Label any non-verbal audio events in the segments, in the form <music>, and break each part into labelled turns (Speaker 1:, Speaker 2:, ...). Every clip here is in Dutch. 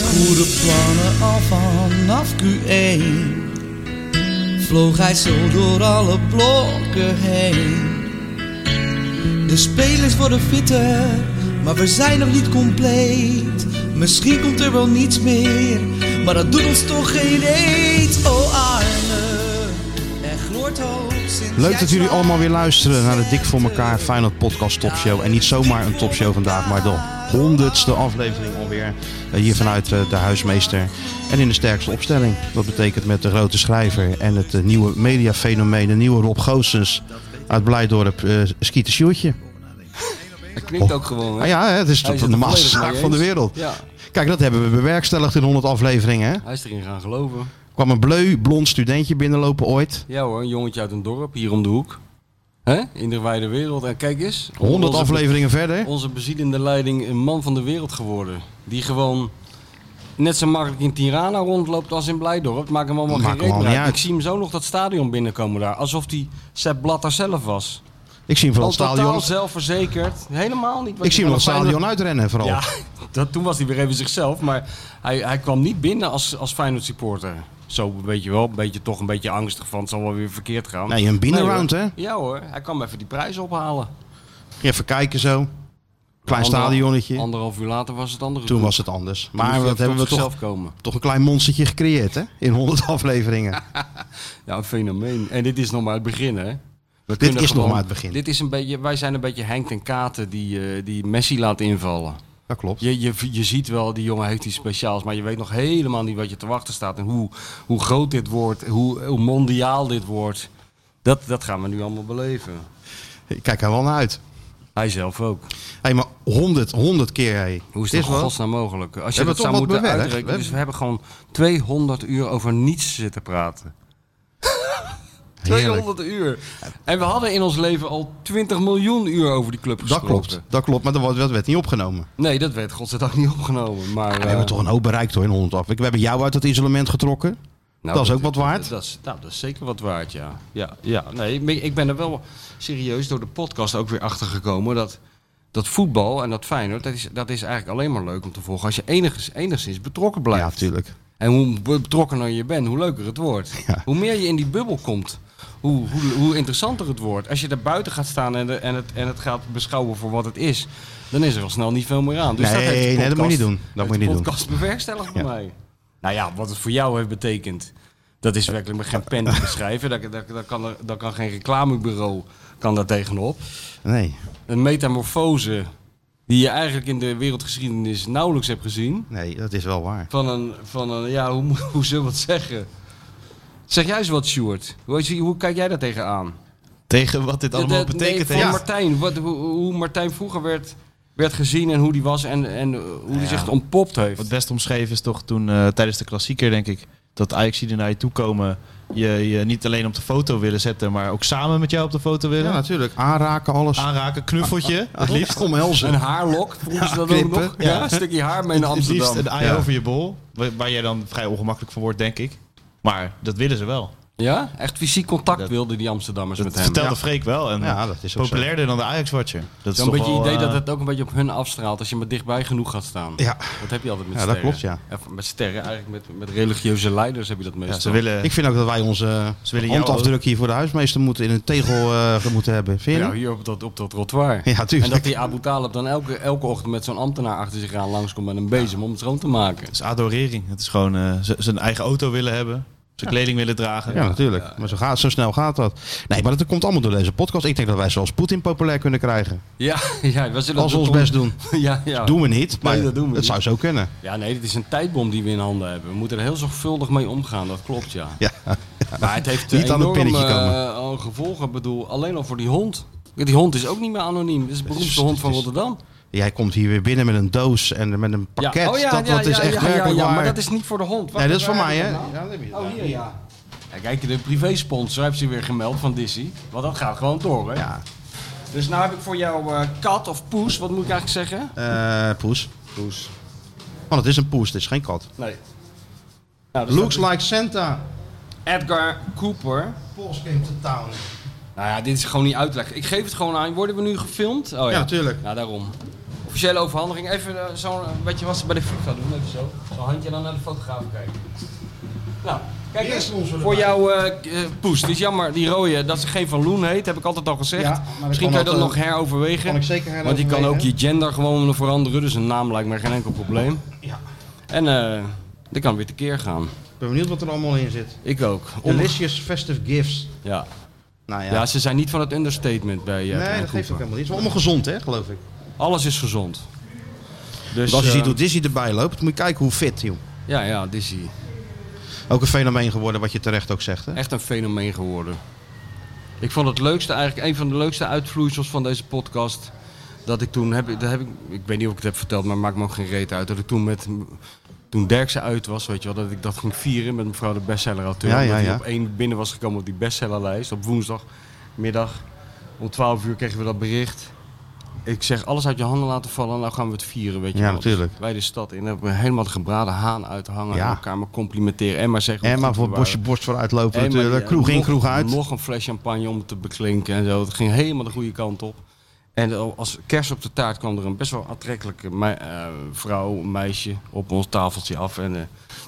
Speaker 1: goede plannen al vanaf Q1 Vloog hij zo door alle blokken heen De spelers worden fitter, maar we zijn nog niet compleet Misschien komt er wel niets meer, maar dat doet ons toch geen eet Oh Arne, er gloort hoop sinds
Speaker 2: Leuk
Speaker 1: jij
Speaker 2: dat jullie
Speaker 1: kwam.
Speaker 2: allemaal weer luisteren naar de Dik voor elkaar Final Podcast Topshow. En niet zomaar een topshow vandaag, maar de honderdste aflevering alweer. Eh, Hier vanuit eh, de huismeester en in de sterkste opstelling. Dat betekent met de grote schrijver en het eh, nieuwe mediafenomeen, de nieuwe Rob Goossens uit Blijdorp, eh Schieten Sjoertje.
Speaker 3: Het klinkt ook gewoon, hè?
Speaker 2: Maar Ah ja, hè, het is
Speaker 3: Hij
Speaker 2: de,
Speaker 3: is het
Speaker 2: de normaalste
Speaker 3: volledig
Speaker 2: zaak
Speaker 3: mee
Speaker 2: van de
Speaker 3: eens.
Speaker 2: wereld.
Speaker 3: Ja,
Speaker 2: Kijk, dat hebben we bewerkstelligd in 100 afleveringen. Hè?
Speaker 3: hij is erin gaan geloven.
Speaker 2: kwam een bleu blond studentje binnenlopen ooit.
Speaker 3: Ja hoor, een jongetje uit een dorp, hier om de hoek. Hè? In de wijde wereld. En kijk eens.
Speaker 2: 100
Speaker 3: onze-
Speaker 2: afleveringen verder.
Speaker 3: Onze bezielende leiding, een man van de wereld geworden. Die gewoon net zo makkelijk in Tirana rondloopt als in Blijdorp. Het maakt hem allemaal
Speaker 2: Maakt
Speaker 3: geen
Speaker 2: hem
Speaker 3: reet meer
Speaker 2: allemaal
Speaker 3: uit.
Speaker 2: niet
Speaker 3: Ik zie hem zo nog dat stadion binnenkomen daar. Alsof hij Sepp Blatter zelf was.
Speaker 2: Ik zie hem
Speaker 3: Al
Speaker 2: vooral het
Speaker 3: totaal
Speaker 2: stadion.
Speaker 3: zelfverzekerd. Helemaal niet. wat
Speaker 2: Ik
Speaker 3: je
Speaker 2: zie hem
Speaker 3: van
Speaker 2: nog het
Speaker 3: een Feyenoord-
Speaker 2: stadion uitrennen vooral.
Speaker 3: Ja, dat, toen was hij weer even zichzelf. Maar hij, hij kwam niet binnen als, als Feyenoord supporter. Zo weet je wel, een beetje, toch een beetje angstig van het zal wel weer verkeerd gaan.
Speaker 2: Nee, een binnenround,
Speaker 3: hoor.
Speaker 2: hè?
Speaker 3: Ja hoor, hij kwam even die prijs ophalen.
Speaker 2: Even kijken zo. Klein
Speaker 3: Ander-
Speaker 2: stadionnetje.
Speaker 3: Anderhalf uur later was het andere.
Speaker 2: Toen
Speaker 3: groep.
Speaker 2: was het anders.
Speaker 3: Toen moest
Speaker 2: Maar
Speaker 3: hij
Speaker 2: dat
Speaker 3: even
Speaker 2: hebben we
Speaker 3: tot
Speaker 2: toch,
Speaker 3: zichzelf komen.
Speaker 2: toch een klein monstertje gecreëerd, hè? In 100 <laughs> afleveringen.
Speaker 3: Ja, een fenomeen. En dit is nog maar het begin, hè?
Speaker 2: Dit
Speaker 3: We kunnen
Speaker 2: is nog maar het begin.
Speaker 3: Dit is een beetje, wij zijn een beetje Henk ten Katen die, eh, die Messi laat invallen.
Speaker 2: Dat klopt.
Speaker 3: Je, je, je ziet wel, die jongen heeft iets speciaals, maar je weet nog helemaal niet wat je te wachten staat. En hoe, hoe groot dit wordt, hoe, hoe mondiaal dit wordt. Dat, dat gaan we nu allemaal beleven.
Speaker 2: Ik kijk er wel naar uit.
Speaker 3: Hij zelf ook.
Speaker 2: Hé, maar 100, 100 keer, hé.
Speaker 3: Hoe is
Speaker 2: Dit
Speaker 3: dat in
Speaker 2: wel-
Speaker 3: godsnaam mogelijk? Als je
Speaker 2: hebben
Speaker 3: dat
Speaker 2: toch wat
Speaker 3: zou moeten
Speaker 2: bewerkt,
Speaker 3: uitrekenen.
Speaker 2: hè?
Speaker 3: Dus we hebben gewoon 200 uur over niets zitten praten.
Speaker 2: Heerlijk.
Speaker 3: 200 uur. En we hadden in ons leven al 20 miljoen uur over die club
Speaker 2: Dat
Speaker 3: gesproken.
Speaker 2: klopt, dat klopt. Maar dat wordt- dat werd niet opgenomen.
Speaker 3: Nee, dat werd godzijdank niet opgenomen. Maar,
Speaker 2: We hebben
Speaker 3: eh,
Speaker 2: toch een hoop bereikt, hoor, in 100 afleveringen. We hebben jou uit dat isolement getrokken.
Speaker 3: Nou,
Speaker 2: Dat is ook wat waard.
Speaker 3: Dat, is, nou, dat is zeker wat waard, ja. Ja, ja. Nee, ik ben- ik ben er wel serieus door de podcast ook weer achter gekomen dat, dat voetbal en dat Feyenoord, dat is, dat is eigenlijk alleen maar leuk om te volgen als je enigszins, enigszins betrokken
Speaker 2: Ja,
Speaker 3: blijft.
Speaker 2: natuurlijk.
Speaker 3: en hoe be- betrokkener je bent, hoe leuker het wordt.
Speaker 2: <laughs> Ja.
Speaker 3: Hoe meer je in die bubbel komt, hoe, hoe, hoe interessanter het wordt. Als je daar buiten gaat staan en, de- en, het, en het gaat beschouwen voor wat het is, dan is er al snel niet veel meer aan. Dus dat
Speaker 2: Nee,
Speaker 3: heeft de
Speaker 2: nee, dat moet je
Speaker 3: podcast-
Speaker 2: niet doen. Dat
Speaker 3: heeft
Speaker 2: moet je
Speaker 3: de
Speaker 2: niet doen.
Speaker 3: podcast bewerkstelligd voor
Speaker 2: Ja.
Speaker 3: mij. Nou ja, wat het voor jou heeft betekend, dat is werkelijk met geen pen te
Speaker 2: <laughs>
Speaker 3: beschrijven. Daar, daar, daar, kan, er- daar kan geen reclamebureau kan daar tegenop.
Speaker 2: Nee,
Speaker 3: Een metamorfose die je eigenlijk in de wereldgeschiedenis nauwelijks hebt gezien.
Speaker 2: nee, dat is wel waar.
Speaker 3: Van een, van een ja, hoe, moet- <laughs> hoe zullen we het zeggen? Zeg jij eens wat, Sjoerd. Hoe, zie- hoe kijk jij daar tegenaan?
Speaker 4: Tegen wat dit allemaal
Speaker 3: De- de- nee,
Speaker 4: betekent
Speaker 3: van
Speaker 4: heeft.
Speaker 3: Martijn. Wat, hoe, hoe Martijn vroeger werd, werd gezien en hoe die was en, en eh, hoe die
Speaker 4: Ja.
Speaker 3: zich ontpopt heeft.
Speaker 4: Wat best omschreven is toch toen eh, tijdens de klassieker, denk ik, dat Ajax die er naar je toe komen, je, je niet alleen op de foto willen zetten, maar ook samen met jou op de foto willen.
Speaker 2: Ja, Ah, natuurlijk. Aanraken, alles.
Speaker 3: Ah.
Speaker 4: Aanraken, knuffeltje, het liefst.
Speaker 3: Een <laughs>
Speaker 2: Omhelzen.
Speaker 3: haarlok, vroegen ze dat
Speaker 2: knippen,
Speaker 3: ook nog? Ja.
Speaker 4: ja.
Speaker 3: een stukje haar mee
Speaker 4: Het
Speaker 3: naar Amsterdam.
Speaker 4: liefst een ei
Speaker 2: Ja.
Speaker 4: over je bol, waar, waar jij dan vrij ongemakkelijk van wordt, denk ik. Maar dat willen ze wel.
Speaker 3: Ja, echt fysiek contact
Speaker 4: Dat-
Speaker 3: wilden die Amsterdammers
Speaker 4: Dat
Speaker 3: met hem.
Speaker 4: vertelde Freek wel. En
Speaker 2: Ja, dat is ook zo.
Speaker 4: populairder dan de Ajax-watcher. Dat is
Speaker 3: Zo'n
Speaker 4: toch
Speaker 3: beetje
Speaker 4: wel,
Speaker 3: idee
Speaker 4: eh,
Speaker 3: dat het ook een beetje op hun afstraalt als je maar dichtbij genoeg gaat staan.
Speaker 2: Ja.
Speaker 3: Dat heb je altijd met
Speaker 2: Ja, dat
Speaker 3: sterren.
Speaker 2: klopt, ja.
Speaker 3: Of Met sterren, eigenlijk met, met religieuze leiders heb je dat meestal.
Speaker 4: ja, ze willen...
Speaker 2: Ik vind ook dat wij onze
Speaker 4: Ze willen jou
Speaker 2: handafdruk hier voor de huismeester moeten in een tegel eh, moeten hebben. Vind je
Speaker 3: Ja,
Speaker 2: niet?
Speaker 3: hier op dat, op dat trottoir.
Speaker 2: Ja,
Speaker 3: en
Speaker 2: tuurlijk.
Speaker 3: dat die Abu Talib dan elke, elke ochtend met zo'n ambtenaar achter zich aan langskomt met een bezem om het schoon te maken.
Speaker 4: Het is adorering. Het is gewoon eh, z- zijn eigen auto willen hebben. Zijn kleding willen dragen.
Speaker 2: Ja, natuurlijk. Maar zo, gaat, zo snel gaat dat. Nee, maar dat komt allemaal door deze podcast. Ik denk dat wij zoals Poetin populair kunnen krijgen.
Speaker 3: Ja, <laughs> ja we zullen
Speaker 2: Als we ons
Speaker 3: dat doen.
Speaker 2: best doen.
Speaker 3: <laughs> Ja, ja.
Speaker 2: Doen we niet, maar
Speaker 3: dat doen we
Speaker 2: het
Speaker 3: niet.
Speaker 2: zou zo kunnen.
Speaker 3: ja, nee, dit is een tijdbom die we in handen hebben. We moeten er heel zorgvuldig mee omgaan, dat klopt, ja.
Speaker 2: Ja.
Speaker 3: <laughs> Maar het heeft
Speaker 2: Niet aan het
Speaker 3: enorm,
Speaker 2: pinnetje komen.
Speaker 3: eh, al gevolgen. Ik bedoel, alleen al voor die hond. Die hond is ook niet meer anoniem. Dit is de beroemdste hond van
Speaker 2: het is-
Speaker 3: Rotterdam.
Speaker 2: Jij komt hier weer binnen met een doos en met een pakket.
Speaker 3: Oh
Speaker 2: dat dat is echt werkelijk waar.
Speaker 3: maar dat is niet voor de hond.
Speaker 2: Nee, dat is van mij, hè?
Speaker 3: Oh, hier, ja. Ja, Kijk, de privésponsor heeft ze weer gemeld van Dizzy. Want dat gaat gewoon door, hè?
Speaker 2: Ja,
Speaker 3: Dus nou heb ik voor jou eh, kat of poes, wat moet ik eigenlijk zeggen?
Speaker 2: Eh, poes. Poes. Want het is een poes, het is geen kat.
Speaker 3: Nee. Nou, dus
Speaker 2: Looks like Santa.
Speaker 3: dat- Edgar Cooper.
Speaker 2: Pols came to town.
Speaker 3: Nou ja, dit is gewoon niet uitleg. Ik geef het gewoon aan. Worden we nu gefilmd? Oh, ja.
Speaker 2: Ja, natuurlijk.
Speaker 3: Nou, daarom. Officiële overhandiging. Even eh, zo'n, eh, weet je wat ze bij de FIFA doen? Even zo. Zo'n handje dan naar de fotograaf kijken. Nou, kijk
Speaker 5: Eerst
Speaker 3: eens.
Speaker 5: ons willen
Speaker 3: Voor jouw eh, k- eh, poes. Het is jammer, die rode, dat ze geen Van Loen heet. Heb ik altijd al gezegd.
Speaker 2: Ja, maar dat
Speaker 3: Misschien
Speaker 2: kan
Speaker 3: kan je dat
Speaker 2: altijd-
Speaker 3: nog heroverwegen.
Speaker 2: Kan ik zeker
Speaker 3: Want je kan ook
Speaker 2: heroverwegen.
Speaker 3: je gender gewoon veranderen. Dus een naam lijkt me geen enkel probleem.
Speaker 2: Ja.
Speaker 3: En eh dat kan weer tekeer gaan.
Speaker 2: Ik ben benieuwd wat er allemaal in zit.
Speaker 3: Ik ook. Om...
Speaker 2: Delicious Festive Gifts.
Speaker 3: Ja.
Speaker 2: Nou ja.
Speaker 3: ja, ze zijn niet van het understatement bij eh,
Speaker 2: nee,
Speaker 3: Klein
Speaker 2: dat geeft ook
Speaker 3: Cooper.
Speaker 2: helemaal niet. Het is wel allemaal gezond, hè, geloof ik.
Speaker 3: Alles is gezond. Dus
Speaker 2: Dus als je
Speaker 3: eh,
Speaker 2: ziet hoe Disney erbij loopt, moet je kijken hoe fit, joh.
Speaker 3: Ja, ja, Dizzy.
Speaker 2: Ook een fenomeen geworden, wat je terecht ook zegt, hè?
Speaker 3: Echt een fenomeen geworden. Ik vond het leukste, eigenlijk een van de leukste uitvloeisels van deze podcast. Dat ik toen heb, dat heb ik, ik weet niet of ik het heb verteld, maar maakt me ook geen reet uit. Dat ik toen met, toen Derksen uit was, weet je wel, dat ik dat ging vieren met mevrouw de bestseller-auteur.
Speaker 2: Ja, ja,
Speaker 3: omdat
Speaker 2: ja.
Speaker 3: hij op één binnen was gekomen op die bestsellerlijst. Op woensdagmiddag om 12 uur kregen we dat bericht. Ik zeg, alles uit je handen laten vallen, nou gaan we het vieren, weet je
Speaker 2: Ja,
Speaker 3: wel.
Speaker 2: natuurlijk.
Speaker 3: Dus wij de stad in, hebben we helemaal de gebraden haan uithangen.
Speaker 2: Ja.
Speaker 3: En elkaar maar complimenteren en maar zeggen hoe
Speaker 2: En maar
Speaker 3: goed
Speaker 2: voor
Speaker 3: we
Speaker 2: bosje
Speaker 3: waren.
Speaker 2: borst vooruit lopen
Speaker 3: Hey, maar
Speaker 2: natuurlijk.
Speaker 3: die,
Speaker 2: Kroeg
Speaker 3: eh,
Speaker 2: in,
Speaker 3: nog-
Speaker 2: kroeg uit.
Speaker 3: Nog een fles champagne om het te beklinken en zo. Het ging helemaal de goede kant op. En al- als kerst op de taart kwam er een best wel aantrekkelijke mei- eh, vrouw, een meisje, op ons tafeltje af. En eh,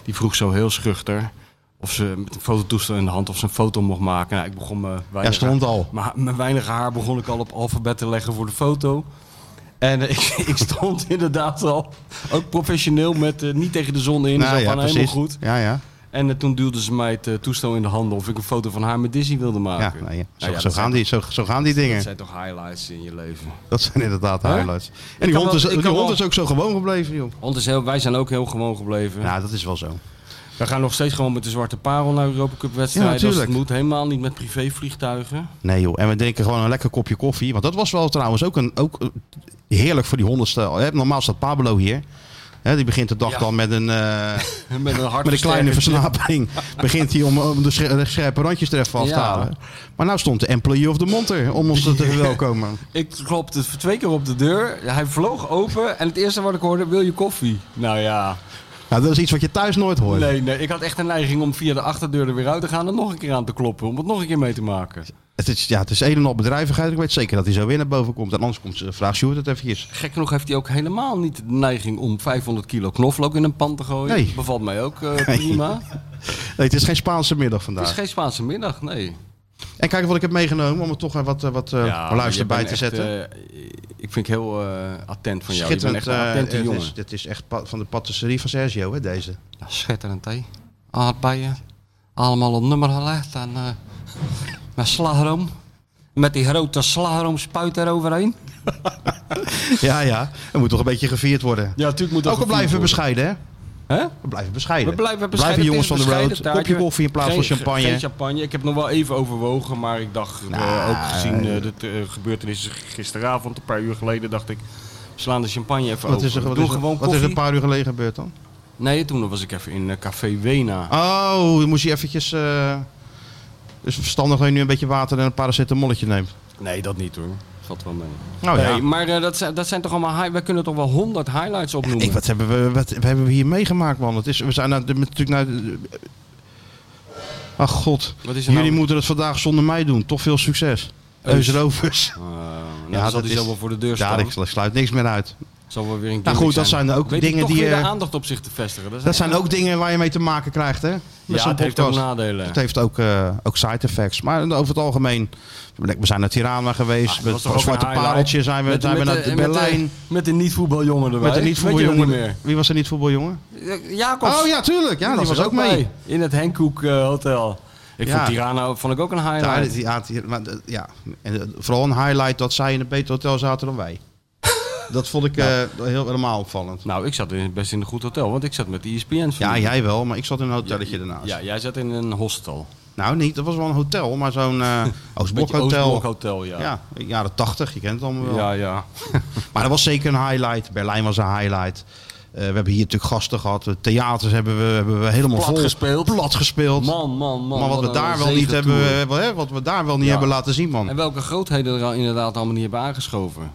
Speaker 3: die vroeg zo heel schuchter of ze met een fototoestel in de hand of ze een foto mocht maken. Nou, ik begon me
Speaker 2: Ja,
Speaker 3: weinig
Speaker 2: stond al.
Speaker 3: maar mijn weinige haar begon ik al op alfabet te leggen voor de foto. En eh, <laughs> ik, ik stond inderdaad al, ook professioneel, met eh, niet tegen de zon in.
Speaker 2: Nou
Speaker 3: zo
Speaker 2: ja,
Speaker 3: van helemaal
Speaker 2: precies.
Speaker 3: goed.
Speaker 2: Ja, ja.
Speaker 3: En eh, toen duwde ze mij het eh, toestel in de handen of ik een foto van haar met Disney wilde
Speaker 2: ja,
Speaker 3: maken.
Speaker 2: nou ja. Zo,
Speaker 3: Nou ja,
Speaker 2: zo
Speaker 3: dat zijn
Speaker 2: gaan die, zo, zo gaan die dingen.
Speaker 3: Dat zijn toch highlights in je leven.
Speaker 2: Dat zijn inderdaad de
Speaker 3: Hè?
Speaker 2: highlights. En
Speaker 3: kan
Speaker 2: die hond,
Speaker 3: wel-
Speaker 2: is,
Speaker 3: ik
Speaker 2: die
Speaker 3: kan
Speaker 2: hond
Speaker 3: wel-
Speaker 2: is ook zo gewoon gebleven, joh.
Speaker 3: Want is heel, wij zijn ook heel gewoon gebleven.
Speaker 2: Ja, dat is wel zo.
Speaker 3: We gaan nog steeds gewoon met de zwarte parel naar Europa Cup
Speaker 2: Ja,
Speaker 3: wedstrijden.
Speaker 2: natuurlijk.
Speaker 3: als het moet helemaal niet met privévliegtuigen.
Speaker 2: Nee, joh. En we drinken gewoon een lekker kopje koffie. Want dat was wel trouwens ook, een, ook eh, heerlijk voor die honderdste. Hè, Normaal staat Pablo hier. Hè, die begint de dag
Speaker 3: Ja.
Speaker 2: dan met een, eh,
Speaker 3: <laughs> Met <laughs> een hart
Speaker 2: met een kleine versnapering. Begint hij om, om de, sche- de scherpe randjes er even af te
Speaker 3: Ja.
Speaker 2: halen. Maar nou stond de employee of the month er om
Speaker 3: <laughs>
Speaker 2: ons te verwelkomen.
Speaker 3: Ik klopte twee keer op de deur. Hij vloog open en het eerste wat ik hoorde, wil je koffie? Nou ja.
Speaker 2: Nou, dat is iets wat je thuis nooit hoort.
Speaker 3: Nee, nee. Ik had echt een neiging om via de achterdeur er weer uit te gaan en nog een keer aan te kloppen. Om het nog een keer mee te maken.
Speaker 2: Het is, ja, het is een en al bedrijvigheid. Ik weet zeker dat hij zo weer naar boven komt. En anders komt ze, vraag Sjoerd het eventjes.
Speaker 3: Gek genoeg heeft hij ook helemaal niet de neiging om 500 kilo knoflook in een pan te gooien.
Speaker 2: Nee.
Speaker 3: Bevalt mij ook eh,
Speaker 2: <laughs>
Speaker 3: prima.
Speaker 2: Nee, het is geen Spaanse middag vandaag.
Speaker 3: Het is geen Spaanse middag, nee.
Speaker 2: En kijk wat ik heb meegenomen om er toch eh, wat, eh, wat eh, luister bij te
Speaker 3: eh,
Speaker 2: zetten.
Speaker 3: ik vind ik heel eh, attent van jou. Je bent
Speaker 2: Schitterend.
Speaker 3: echt een
Speaker 2: eh,
Speaker 3: attente
Speaker 2: het
Speaker 3: jongen.
Speaker 2: is, dit is echt pa- van de patisserie van Sergio, hè,
Speaker 3: <laughs>
Speaker 2: deze.
Speaker 3: Ja, schitterend, hè? Aardbeien. Allemaal op nummer gelegd. En, eh, met slagroom. Met die grote slagroomspuit eroverheen.
Speaker 2: ja, ja. Er moet toch een beetje gevierd worden.
Speaker 3: Ja, natuurlijk moet
Speaker 2: Ook al blijven we bescheiden, hè?
Speaker 3: Hè?
Speaker 2: We blijven bescheiden.
Speaker 3: We blijven bescheiden.
Speaker 2: jongens van
Speaker 3: Het
Speaker 2: de
Speaker 3: is een
Speaker 2: road.
Speaker 3: bescheiden
Speaker 2: Kopje
Speaker 3: taartje.
Speaker 2: koffie in plaats van
Speaker 3: Geen-
Speaker 2: champagne. Nou,
Speaker 3: Geen champagne. Ik heb nog wel even overwogen, maar ik dacht, eh, ook gezien eh, de eh, gebeurtenissen gisteravond, een paar uur geleden, dacht ik, we slaan de champagne even
Speaker 2: wat
Speaker 3: over.
Speaker 2: is er,
Speaker 3: We
Speaker 2: wat
Speaker 3: doen
Speaker 2: is er,
Speaker 3: gewoon
Speaker 2: wat is er
Speaker 3: koffie.
Speaker 2: een paar uur geleden gebeurd dan?
Speaker 3: Nee, toen was ik even in eh, Café Wena.
Speaker 2: Oh, dan moest je eventjes... eh, dus verstandig dat je nu een beetje water en een paracetamolletje neemt.
Speaker 3: Nee, dat niet hoor. Valt wel mee.
Speaker 2: Nou ja.
Speaker 3: Nee, maar eh, dat, zijn, dat zijn toch allemaal... high- Wij kunnen toch wel honderd highlights opnoemen.
Speaker 2: Ik, wat, hebben we, wat, wat hebben we hier meegemaakt, man? Het is, we zijn nou, de- natuurlijk... Nou, de- Ach god,
Speaker 3: Wat is er
Speaker 2: jullie
Speaker 3: nou-
Speaker 2: moeten het vandaag zonder mij doen. Toch veel succes.
Speaker 3: Eus.
Speaker 2: Eus Rovers.
Speaker 3: Eh, nou,
Speaker 2: Ja,
Speaker 3: dan zal
Speaker 2: dat
Speaker 3: die
Speaker 2: is-
Speaker 3: zo wel voor de deur
Speaker 2: Ja,
Speaker 3: staan.
Speaker 2: ik slu- sluit niks meer uit.
Speaker 3: Zal wel weer een
Speaker 2: Nou
Speaker 3: gimmick
Speaker 2: goed, dat zijn er ook
Speaker 3: Weet
Speaker 2: dingen
Speaker 3: toch
Speaker 2: die,
Speaker 3: weer
Speaker 2: eh,
Speaker 3: de aandacht op zich te vestigen. Dat,
Speaker 2: Dat zijn ook dingen waar je mee te maken krijgt, hè? Met
Speaker 3: Ja,
Speaker 2: zo'n
Speaker 3: het heeft ook
Speaker 2: podcast.
Speaker 3: nadelen.
Speaker 2: Het heeft ook, eh, ook side effects. Maar over het algemeen, we zijn naar Tirana geweest.
Speaker 3: Ah, dat
Speaker 2: met
Speaker 3: was toch ook
Speaker 2: Zwarte
Speaker 3: een highlight.
Speaker 2: Pareltje zijn we,
Speaker 3: Met-
Speaker 2: zijn
Speaker 3: met
Speaker 2: we
Speaker 3: de-
Speaker 2: naar
Speaker 3: met de-
Speaker 2: Berlijn.
Speaker 3: Met een niet-voetbaljongen erbij.
Speaker 2: Met een niet-voetbaljongen. Wie was er niet-voetbaljongen?
Speaker 3: Jacobs.
Speaker 2: Oh ja, tuurlijk. Ja, die was ook mee.
Speaker 3: In het Henkoek eh, Hotel. Ik
Speaker 2: Ja.
Speaker 3: vond Tirana vond ik ook een
Speaker 2: Ja,
Speaker 3: highlight.
Speaker 2: die- ja, die- maar, eh, ja. En, eh, vooral een highlight dat zij in een beter hotel zaten dan
Speaker 3: <laughs>
Speaker 2: wij. dat vond ik eh, heel, helemaal opvallend.
Speaker 3: Nou, ik zat in, best in een goed hotel, want ik zat met E de ESPN's.
Speaker 2: Ja,
Speaker 3: vandaag.
Speaker 2: jij wel, maar ik zat in een hotelletje daarnaast.
Speaker 3: Ja, jij zat in een hostel.
Speaker 2: Nou, niet. Dat was wel een hotel, maar zo'n
Speaker 3: <laughs>
Speaker 2: eh
Speaker 3: Beetje
Speaker 2: Oostblokhotel.
Speaker 3: Oostblokhotel, ja.
Speaker 2: Ja, jaren 80, je kent het allemaal wel.
Speaker 3: ja, ja.
Speaker 2: Maar dat was zeker een highlight. Berlijn was een highlight. Eh, we hebben hier natuurlijk gasten gehad. De theaters hebben we, hebben we helemaal
Speaker 3: Plat
Speaker 2: vol
Speaker 3: gespeeld.
Speaker 2: plat gespeeld.
Speaker 3: Man, man, man.
Speaker 2: maar wat, we
Speaker 3: een
Speaker 2: daar wel niet hebben,
Speaker 3: zegentoer.
Speaker 2: eh, wel, hè, wat we daar wel niet
Speaker 3: Ja.
Speaker 2: hebben laten zien, man.
Speaker 3: En welke grootheden er al inderdaad allemaal niet hebben aangeschoven.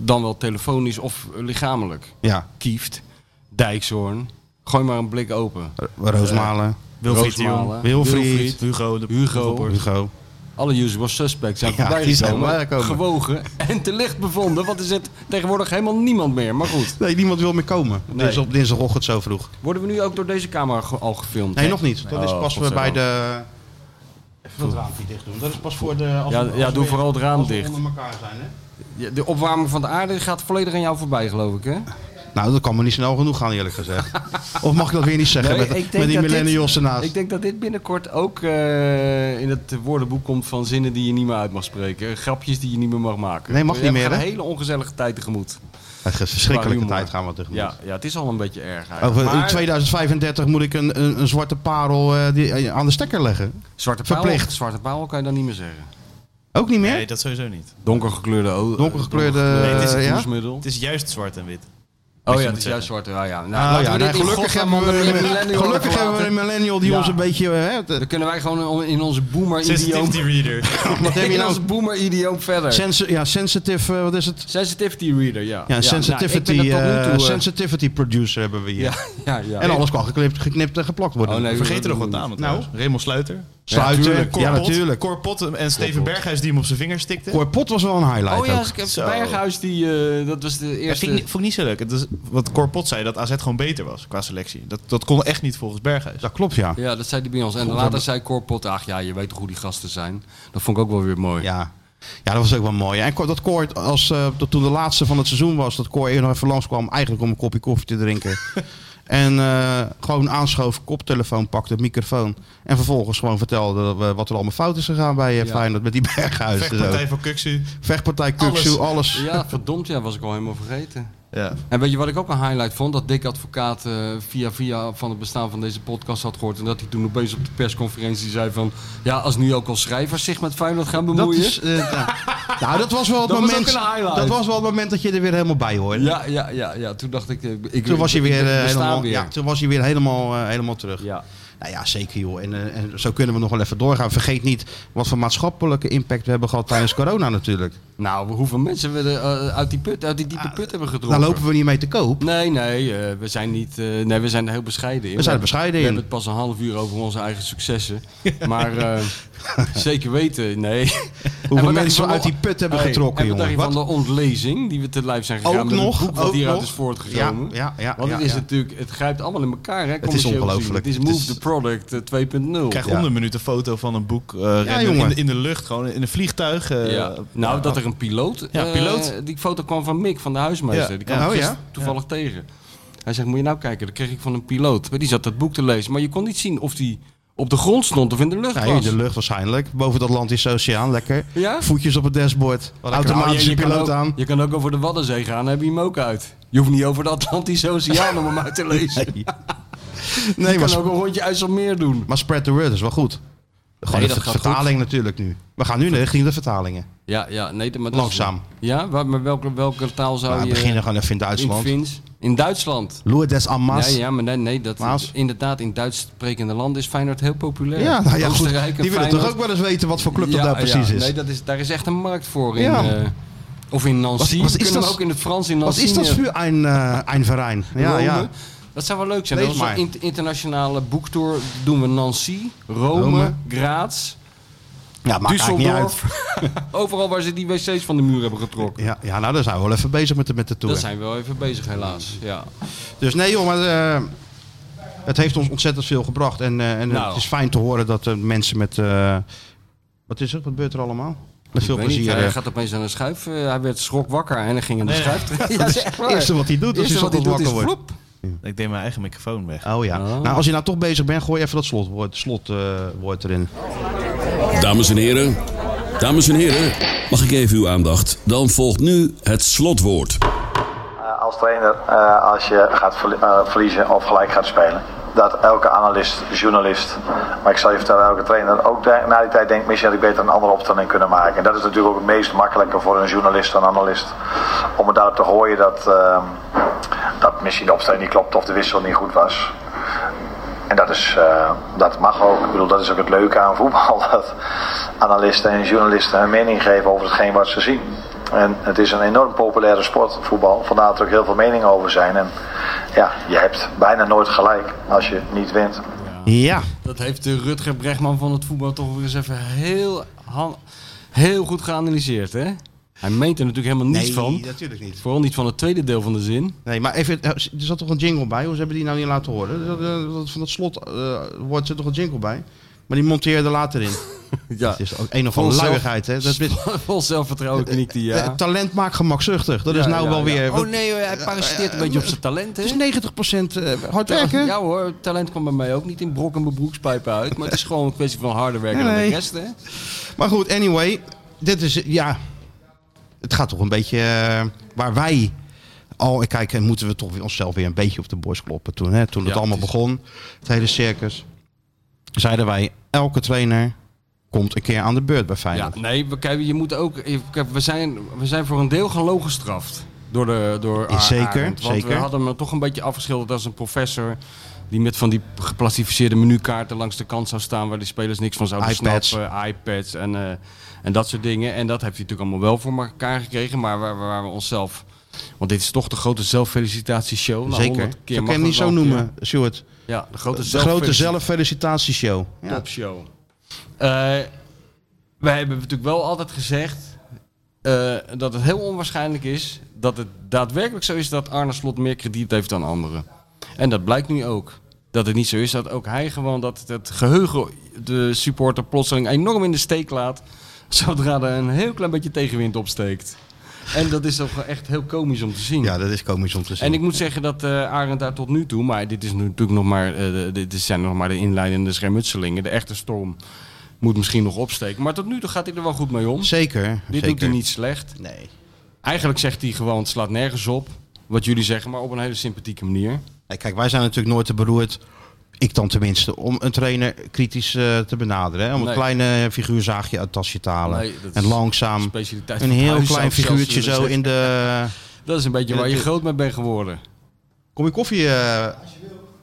Speaker 3: Dan wel telefonisch of eh, lichamelijk.
Speaker 2: Ja,
Speaker 3: Kieft, Dijkshoorn. Gooi maar een blik open.
Speaker 2: Roosmalen,
Speaker 4: Wilfried de
Speaker 3: Roosmalen,
Speaker 4: Jong,
Speaker 2: Wilfried,
Speaker 4: Hugo, de
Speaker 3: Hugo.
Speaker 4: Hugo.
Speaker 2: Hugo.
Speaker 3: alle usual suspects zijn
Speaker 2: Ja,
Speaker 3: voorbij
Speaker 2: die zijn
Speaker 3: gekomen,
Speaker 2: voorbijgekomen.
Speaker 3: gewogen en te licht bevonden. Want er zit tegenwoordig helemaal niemand meer. Maar goed,
Speaker 2: Nee, niemand wil meer komen.
Speaker 3: Nee.
Speaker 2: Dus op dinsdagochtend zo vroeg.
Speaker 3: worden we nu ook door deze camera ge- al gefilmd?
Speaker 2: Nee,
Speaker 3: hè?
Speaker 2: nog niet. Dat is
Speaker 3: Oh,
Speaker 2: pas we bij
Speaker 3: godzijdank.
Speaker 2: de... Even dat raampje dicht doen. Dat is pas voor de... als
Speaker 3: Ja,
Speaker 2: we-
Speaker 3: ja,
Speaker 2: als
Speaker 3: doe
Speaker 2: we-
Speaker 3: vooral het raam
Speaker 2: als we
Speaker 3: dicht.
Speaker 2: onder elkaar zijn, hè?
Speaker 3: Ja, De opwarming van de aarde gaat volledig aan jou voorbij, geloof ik, hè?
Speaker 2: Nou, dat kan me niet snel genoeg gaan, eerlijk
Speaker 3: <laughs>
Speaker 2: gezegd. of mag ik dat weer niet zeggen
Speaker 3: Nee,
Speaker 2: met,
Speaker 3: ik denk
Speaker 2: met die
Speaker 3: dat dit-
Speaker 2: millennials ernaast?
Speaker 3: Ik denk dat dit binnenkort ook eh, in het woordenboek komt van zinnen die je niet meer uit mag spreken. eh, Grapjes die je niet meer mag maken.
Speaker 2: Nee, mag niet
Speaker 3: Je
Speaker 2: meer,
Speaker 3: gaat
Speaker 2: hè?
Speaker 3: een hele ongezellige tijd tegemoet.
Speaker 2: Het is
Speaker 3: Qua
Speaker 2: verschrikkelijke
Speaker 3: humor.
Speaker 2: tijd gaan we tegemoet.
Speaker 3: Ja, ja, het is al een beetje erg eigenlijk.
Speaker 2: Over in
Speaker 3: Maar-
Speaker 2: 2035 moet ik een, een, een zwarte parel eh, die, eh, aan de stekker leggen.
Speaker 3: Zwarte paal,
Speaker 2: Verplicht.
Speaker 3: Zwarte paal kan je dan niet meer zeggen.
Speaker 2: Ook niet meer?
Speaker 4: Nee, dat sowieso niet.
Speaker 3: Donkergekleurde ogen.
Speaker 2: Donkergekleurde,
Speaker 3: Nee,
Speaker 2: eh,
Speaker 3: het is een
Speaker 2: ja?
Speaker 3: voedingsmiddel.
Speaker 4: Het is juist zwart en wit.
Speaker 3: Oh ja,
Speaker 4: moet
Speaker 3: het is
Speaker 4: zeggen.
Speaker 3: juist zwarte. Ja, ja. Nou,
Speaker 2: Nou
Speaker 3: laten
Speaker 2: ja,
Speaker 3: we dit
Speaker 2: nee,
Speaker 3: in
Speaker 2: gelukkig
Speaker 3: godsnaam
Speaker 2: hebben
Speaker 3: onder de
Speaker 2: we,
Speaker 3: millennium
Speaker 2: gelukkig
Speaker 3: laten.
Speaker 2: hebben we een millennial die
Speaker 3: Ja.
Speaker 2: ons een beetje... eh, Hè, te- <laughs>
Speaker 3: Dan kunnen wij gewoon in onze boomer-idioom... <laughs>
Speaker 4: Sensitivity <laughs> reader.
Speaker 2: wat heb je <laughs>
Speaker 3: In
Speaker 2: nou?
Speaker 3: onze boomer-idioom verder.
Speaker 2: Sensi- ja, sensitive... eh, wat is het?
Speaker 3: Sensitivity reader, ja.
Speaker 2: Ja,
Speaker 3: nou,
Speaker 2: sensitivity,
Speaker 3: ik ben er tot nu
Speaker 2: eh,
Speaker 3: toe, eh,
Speaker 2: sensitivity producer hebben we hier.
Speaker 3: <laughs> Ja, ja, ja.
Speaker 2: En alles kan geknipt, geknipt en geplakt worden.
Speaker 3: Oh, nee,
Speaker 4: Vergeet er nog wat namen
Speaker 3: Nou.
Speaker 4: trouwens. Raymond Sluiter.
Speaker 2: Sluiten. Ja,
Speaker 3: tuurlijk.
Speaker 4: Cor Pot.
Speaker 2: natuurlijk.
Speaker 4: Cor Pot en Steven Berghuis die hem op zijn vinger stikte.
Speaker 2: Cor Pot was wel een highlight
Speaker 3: Oh ja,
Speaker 2: ook.
Speaker 3: ik heb
Speaker 4: Zo.
Speaker 3: Berghuis, die, eh, dat was de
Speaker 4: Dat
Speaker 3: eerste...
Speaker 4: ging, niet- vond ik niet zo leuk. Het is, wat Cor Pot zei, dat AZ gewoon beter was qua selectie. Dat, dat kon echt niet volgens Berghuis.
Speaker 2: Dat klopt, ja.
Speaker 3: Ja, dat zei die bij ons. En later zei Corpot, ach ja, je weet toch hoe die gasten zijn. Dat vond ik ook wel weer mooi.
Speaker 2: Ja. Ja, dat was ook wel mooi. En Cor- dat Koor, als, eh, dat toen de laatste van het seizoen was, dat Koor eerder nog even langskwam, eigenlijk om een kopje koffie te
Speaker 3: <laughs>
Speaker 2: drinken. en eh, gewoon aanschoof, koptelefoon pakte, microfoon. En vervolgens gewoon vertelde dat we- wat er allemaal fout is gegaan bij eh,
Speaker 3: Ja.
Speaker 2: Feyenoord met die <laughs> Berghuis.
Speaker 4: Vechtpartij voor Kuxu.
Speaker 2: Vechtpartij Kuksu, alles.
Speaker 3: Ja, verdomd, ja, was ik al helemaal vergeten.
Speaker 4: Ja.
Speaker 3: En weet je wat ik ook een highlight vond? Dat Dick Advocaat eh, via via van het bestaan van deze podcast had gehoord. En dat hij toen opeens op de persconferentie zei van... Ja, als nu ook al schrijvers zich met Feyenoord gaan
Speaker 2: Dat
Speaker 3: bemoeien.
Speaker 2: is, eh, nou, <laughs> nou, dat was wel het
Speaker 3: Dat was
Speaker 2: moment.
Speaker 3: ook een highlight.
Speaker 2: dat was wel het moment dat je er weer helemaal bij hoorde.
Speaker 3: Ja, ja, ja, ja. Toen dacht ik... eh, ik
Speaker 2: Toen was hij
Speaker 3: ik- ik
Speaker 2: weer, eh,
Speaker 3: bestaan
Speaker 2: helemaal,
Speaker 3: weer.
Speaker 2: Ja, toen was hij weer helemaal, eh, helemaal terug.
Speaker 3: Ja.
Speaker 2: Nou ja, zeker joh. En, eh, en zo kunnen we nog wel even doorgaan. Vergeet niet wat voor maatschappelijke impact we hebben gehad
Speaker 3: <laughs>
Speaker 2: tijdens corona natuurlijk.
Speaker 3: Nou, hoeveel mensen we er eh, uit, die put, uit die diepe put hebben
Speaker 2: Daar Ah,
Speaker 3: gedronken.
Speaker 2: nou, lopen we niet mee te koop.
Speaker 3: Nee, nee, eh, we zijn niet. eh, nee, we zijn er heel bescheiden in.
Speaker 2: We zijn er
Speaker 3: We-
Speaker 2: bescheiden
Speaker 3: We
Speaker 2: in.
Speaker 3: hebben het pas een half uur over onze eigen successen. maar
Speaker 2: <laughs>
Speaker 3: eh, zeker weten, nee. En wat
Speaker 2: Hoeveel
Speaker 3: dacht
Speaker 2: mensen
Speaker 3: je
Speaker 2: we
Speaker 3: van
Speaker 2: uit
Speaker 3: de-
Speaker 2: die put hebben
Speaker 3: Hey,
Speaker 2: getrokken,
Speaker 3: en wat dacht
Speaker 2: jongen.
Speaker 3: je van de ontlezing die we te lijf zijn gegaan.
Speaker 2: Ook
Speaker 3: met het
Speaker 2: nog,
Speaker 3: boek wat
Speaker 2: ook
Speaker 3: hieruit
Speaker 2: nog.
Speaker 3: is voortgekomen.
Speaker 2: Ja, ja, ja,
Speaker 3: Want het
Speaker 2: ja,
Speaker 3: is
Speaker 2: ja.
Speaker 3: natuurlijk, het grijpt allemaal in elkaar. Hè,
Speaker 2: is
Speaker 3: commercieel
Speaker 2: ongelooflijk.
Speaker 3: gezien. Het
Speaker 2: Het
Speaker 3: is
Speaker 2: is-
Speaker 3: Move the Product eh, 2.0.
Speaker 4: Ik krijg
Speaker 2: Ja.
Speaker 4: onder een minuut een foto van een boek eh, rennen
Speaker 2: jongen.
Speaker 4: in, de, in de lucht, gewoon in een vliegtuig. eh,
Speaker 3: Ja. Nou, dat er een piloot,
Speaker 4: Ja,
Speaker 3: eh,
Speaker 4: piloot.
Speaker 3: die foto kwam van Mick, van de huismeester.
Speaker 4: Ja.
Speaker 3: Die kwam
Speaker 2: Ja, oh
Speaker 3: gisteren
Speaker 2: ja?
Speaker 3: toevallig tegen. Hij zegt, moet je nou kijken, dat kreeg ik van een piloot. Maar die zat dat boek te lezen, maar je kon niet zien of die op de grond stond of in de lucht
Speaker 2: Nee, in
Speaker 3: was.
Speaker 2: de lucht waarschijnlijk. Boven het Atlantische Oceaan, lekker.
Speaker 3: Ja?
Speaker 2: Voetjes op het dashboard.
Speaker 3: Nou,
Speaker 2: Automatische
Speaker 3: kan
Speaker 2: piloot
Speaker 3: ook,
Speaker 2: aan.
Speaker 3: Je kan ook over de Waddenzee gaan, dan heb je hem ook uit. Je hoeft niet over de Atlantische Oceaan om hem uit te lezen.
Speaker 2: <laughs> Nee,
Speaker 3: je
Speaker 2: nee
Speaker 3: kan
Speaker 2: maar,
Speaker 3: ook een rondje IJsselmeer doen.
Speaker 2: maar spread the word is wel goed. Gewoon
Speaker 3: Nee,
Speaker 2: de
Speaker 3: dat
Speaker 2: ver-
Speaker 3: gaat
Speaker 2: vertaling natuurlijk nu. We gaan nu richting de vertalingen.
Speaker 3: Ja, ja, nee, maar dat is-
Speaker 2: Langzaam.
Speaker 3: ja, waar, maar welke, welke taal zou
Speaker 2: Nou, we
Speaker 3: je...
Speaker 2: beginnen gewoon even in
Speaker 3: in
Speaker 2: Duitsland.
Speaker 3: Fins? In Duitsland.
Speaker 2: Lourdes des Amas.
Speaker 3: Ja, ja, maar nee, nee dat
Speaker 2: Maas.
Speaker 3: inderdaad in Duits sprekende landen is Feyenoord heel populair.
Speaker 2: Ja, nou ja, goed.
Speaker 3: Oostenrijk en
Speaker 2: Die willen toch
Speaker 3: Feyenoord.
Speaker 2: ook wel eens weten wat voor club dat daar precies
Speaker 3: ja.
Speaker 2: is.
Speaker 3: Nee, dat is, daar is echt een markt voor. In,
Speaker 2: Ja.
Speaker 3: eh, of in Nancy.
Speaker 2: Wat- wat is
Speaker 3: We kunnen
Speaker 2: dat-
Speaker 3: hem ook in het Frans in
Speaker 2: Wat
Speaker 3: Nancy.
Speaker 2: is dat
Speaker 3: eh,
Speaker 2: voor een, eh, een verein? Ja,
Speaker 3: Rome.
Speaker 2: ja.
Speaker 3: Dat zou wel leuk zijn.
Speaker 2: Lees
Speaker 3: Dat is een
Speaker 2: maar.
Speaker 3: in- internationale boektour doen we Nancy, Rome,
Speaker 2: Rome.
Speaker 3: Graz,
Speaker 2: ja maakt eigenlijk niet uit.
Speaker 3: Düsseldorf. Overal waar ze die wc's van de muur hebben getrokken.
Speaker 2: Ja, ja, nou, daar zijn we wel even bezig met de, met de tour.
Speaker 3: Daar zijn we wel even bezig helaas. Ja.
Speaker 2: Dus nee, joh, maar eh, het heeft ons ontzettend veel gebracht. En, eh, en
Speaker 3: Nou.
Speaker 2: het is fijn te horen dat eh, mensen met... eh, wat is er? Wat gebeurt er allemaal? Met veel
Speaker 3: Ik weet niet,
Speaker 2: plezier.
Speaker 3: hij
Speaker 2: eh,
Speaker 3: gaat opeens aan de schuif. eh, hij werd schrok wakker en hij ging aan de
Speaker 4: Nee,
Speaker 3: schuif. <laughs> Ja, dat is echt waar.
Speaker 2: het eerste wat hij doet als
Speaker 3: Eerste
Speaker 2: hij
Speaker 3: wat hij
Speaker 2: ochtends
Speaker 3: doet
Speaker 2: wakker
Speaker 3: is
Speaker 2: wordt.
Speaker 3: vloep.
Speaker 4: Ik deed mijn eigen microfoon weg.
Speaker 2: Oh ja.
Speaker 3: Oh.
Speaker 2: Nou, als je nou toch bezig bent, gooi even dat slotwoord slot, eh, woord erin.
Speaker 5: Dames en heren, dames en heren, mag ik even uw aandacht? Dan volgt nu het slotwoord.
Speaker 6: Eh, Als trainer, eh, als je gaat verli- eh, verliezen of gelijk gaat spelen, dat elke analist, journalist, maar ik zal je vertellen, elke trainer ook de- na die tijd denkt, misschien had ik beter een andere opstelling kunnen maken. En dat is natuurlijk ook het meest makkelijke voor een journalist en analist, om het daarop te gooien dat, ehm, dat misschien de opstelling niet klopt of de wissel niet goed was. En dat, is, eh, dat mag ook. Ik bedoel, dat is ook het leuke aan voetbal. <laughs> Dat analisten en journalisten hun mening geven over hetgeen wat ze zien. En het is een enorm populaire sport, voetbal. Vandaar dat er ook heel veel meningen over zijn. En ja, je hebt bijna nooit gelijk als je niet wint.
Speaker 2: Ja, Ja,
Speaker 3: Dat heeft de Rutger Bregman van het voetbal toch weer eens even heel, han- heel goed geanalyseerd, hè? Hij meent er natuurlijk helemaal niets van.
Speaker 2: natuurlijk niet.
Speaker 3: Vooral niet van het tweede deel van de zin.
Speaker 2: Nee, maar even, eh, er zat toch een jingle bij? Hoe hebben die nou niet laten horen? Dat, eh, dat- van dat slot eh, wordt zit toch een jingle bij? Maar die monteerde later in.
Speaker 3: Ja,
Speaker 2: Het is ook een of andere
Speaker 3: Onszelf-
Speaker 2: luiigheid, hè? Dat is,
Speaker 3: <laughs> vol zelfvertrouwen knikt hij, ja.
Speaker 2: Eh, Talent maakt gemakzuchtig. Dat is nou wel weer... Eh,
Speaker 3: Oh nee, hoor, hij parasiteert een beetje op zijn talent, hè?
Speaker 2: Het is 90% eh, hard werken.
Speaker 3: Ja hoor, talent kwam bij mij ook niet in brok en mijn broekspijpen uit. Maar het is gewoon een kwestie van harder werken
Speaker 2: Nee,
Speaker 3: dan
Speaker 2: nee.
Speaker 3: de rest, hè?
Speaker 2: Maar goed, anyway. Dit is, ja... Het gaat toch een beetje eh, waar wij al... Kijk, en moeten we toch weer onszelf weer een beetje op de borst kloppen toen. Hè? Toen het
Speaker 3: Ja,
Speaker 2: allemaal
Speaker 3: het is-
Speaker 2: begon, het hele circus. Zeiden wij, elke trainer komt een keer aan de beurt bij
Speaker 3: Ja,
Speaker 2: Feyenoord.
Speaker 3: nee, we- kijk, je moet ook. je- kijk, we, zijn, we zijn voor een deel gewoon gestraft. Door de. Door Ar-
Speaker 2: Zeker,
Speaker 3: Arend. want
Speaker 2: zeker.
Speaker 3: We hadden hem toch een beetje afgeschilderd als een professor. Die met van die geplastificeerde menukaarten langs de kant zou staan. Waar de spelers niks van zouden
Speaker 2: iPads.
Speaker 3: snappen. iPads en, eh, en dat soort dingen. En dat heeft hij natuurlijk allemaal wel voor elkaar gekregen. Maar waar, waar we onszelf. Want dit is toch de grote zelffelicitatieshow. Nou,
Speaker 2: Zeker.
Speaker 3: 100
Speaker 2: Zo
Speaker 3: keer
Speaker 2: kan
Speaker 3: mag
Speaker 2: je hem
Speaker 3: dat
Speaker 2: niet zo
Speaker 3: wel een
Speaker 2: noemen, Stuart.
Speaker 3: keer. Ja, de grote,
Speaker 2: De grote
Speaker 3: zelffelicitatie-
Speaker 2: zelffelicitatieshow. Ja.
Speaker 3: topshow. Eh, wij hebben natuurlijk wel altijd gezegd eh, dat het heel onwaarschijnlijk is dat het daadwerkelijk zo is dat Arne Slot meer krediet heeft dan anderen. En dat blijkt nu ook. Dat het niet zo is dat ook hij gewoon dat het geheugen de supporter plotseling enorm in de steek laat zodra er een heel klein beetje tegenwind opsteekt. En dat is toch echt heel komisch om te zien.
Speaker 2: ja, dat is komisch om te zien.
Speaker 3: En ik moet zeggen dat eh Arend daar tot nu toe, maar dit, is nu natuurlijk nog maar, eh, de- dit zijn nog maar de inleidende schermutselingen. De echte storm moet misschien nog opsteken. Maar tot nu toe gaat hij er wel goed mee om.
Speaker 2: Zeker.
Speaker 3: Dit doet hij
Speaker 2: zeker.
Speaker 3: niet slecht.
Speaker 2: Nee.
Speaker 3: Eigenlijk zegt hij gewoon, het slaat nergens op. Wat jullie zeggen, maar op een hele sympathieke manier.
Speaker 2: Nee, Kijk, wij zijn natuurlijk nooit te beroerd, ik dan tenminste, om een trainer kritisch eh, te benaderen. Hè? Om
Speaker 3: Nee.
Speaker 2: een kleine figuurzaagje uit het tasje te halen.
Speaker 3: Nee, dat
Speaker 2: en
Speaker 3: is
Speaker 2: langzaam
Speaker 3: Specialiteit
Speaker 2: een
Speaker 3: van
Speaker 2: heel
Speaker 3: huis, zou
Speaker 2: klein
Speaker 3: ik zelfs
Speaker 2: figuurtje
Speaker 3: willen
Speaker 2: zo
Speaker 3: zeggen.
Speaker 2: in de...
Speaker 3: <laughs> Dat is een beetje
Speaker 2: Ja,
Speaker 3: waar je
Speaker 2: dat-
Speaker 3: groot mee bent geworden.
Speaker 2: Kom je koffie? eh,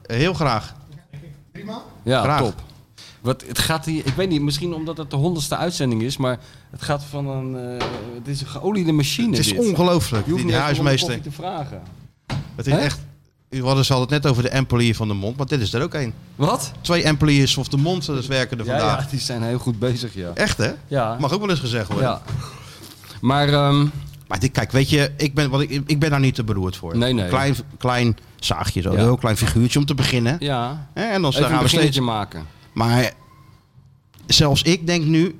Speaker 2: heel graag.
Speaker 3: Ja,
Speaker 2: Graag.
Speaker 3: top. Wat, het gaat hier, ik weet niet, misschien omdat het de honderdste uitzending is, maar het gaat van een, eh, het is een geoliede machine
Speaker 2: Het is
Speaker 3: dit.
Speaker 2: ongelooflijk,
Speaker 3: Je hoeft
Speaker 2: die,
Speaker 3: niet
Speaker 2: die
Speaker 3: eens om de
Speaker 2: huismeester.
Speaker 3: koffie te vragen.
Speaker 2: Het is
Speaker 3: Hè?
Speaker 2: echt... We hadden ze hadden het net over de employee van de mond, maar dit is er ook één.
Speaker 3: Wat?
Speaker 2: Twee employees of de mond dat werken er
Speaker 3: Ja,
Speaker 2: vandaag.
Speaker 3: ja, die zijn heel goed bezig, ja.
Speaker 2: Echt hè?
Speaker 3: Ja.
Speaker 2: Mag ook wel eens gezegd worden.
Speaker 3: ja. Maar ehm,
Speaker 2: Maar dit, kijk, weet je, ik ben, wat ik, ik ben daar niet te beroerd voor.
Speaker 3: Nee, nee.
Speaker 2: Klein, klein zaagje, zo,
Speaker 3: Ja.
Speaker 2: een heel klein figuurtje om te beginnen.
Speaker 3: ja,
Speaker 2: Hè, En dan
Speaker 3: even
Speaker 2: Dus gaan
Speaker 3: een
Speaker 2: we steeds.
Speaker 3: beginnetje maken.
Speaker 2: Maar zelfs ik denk nu.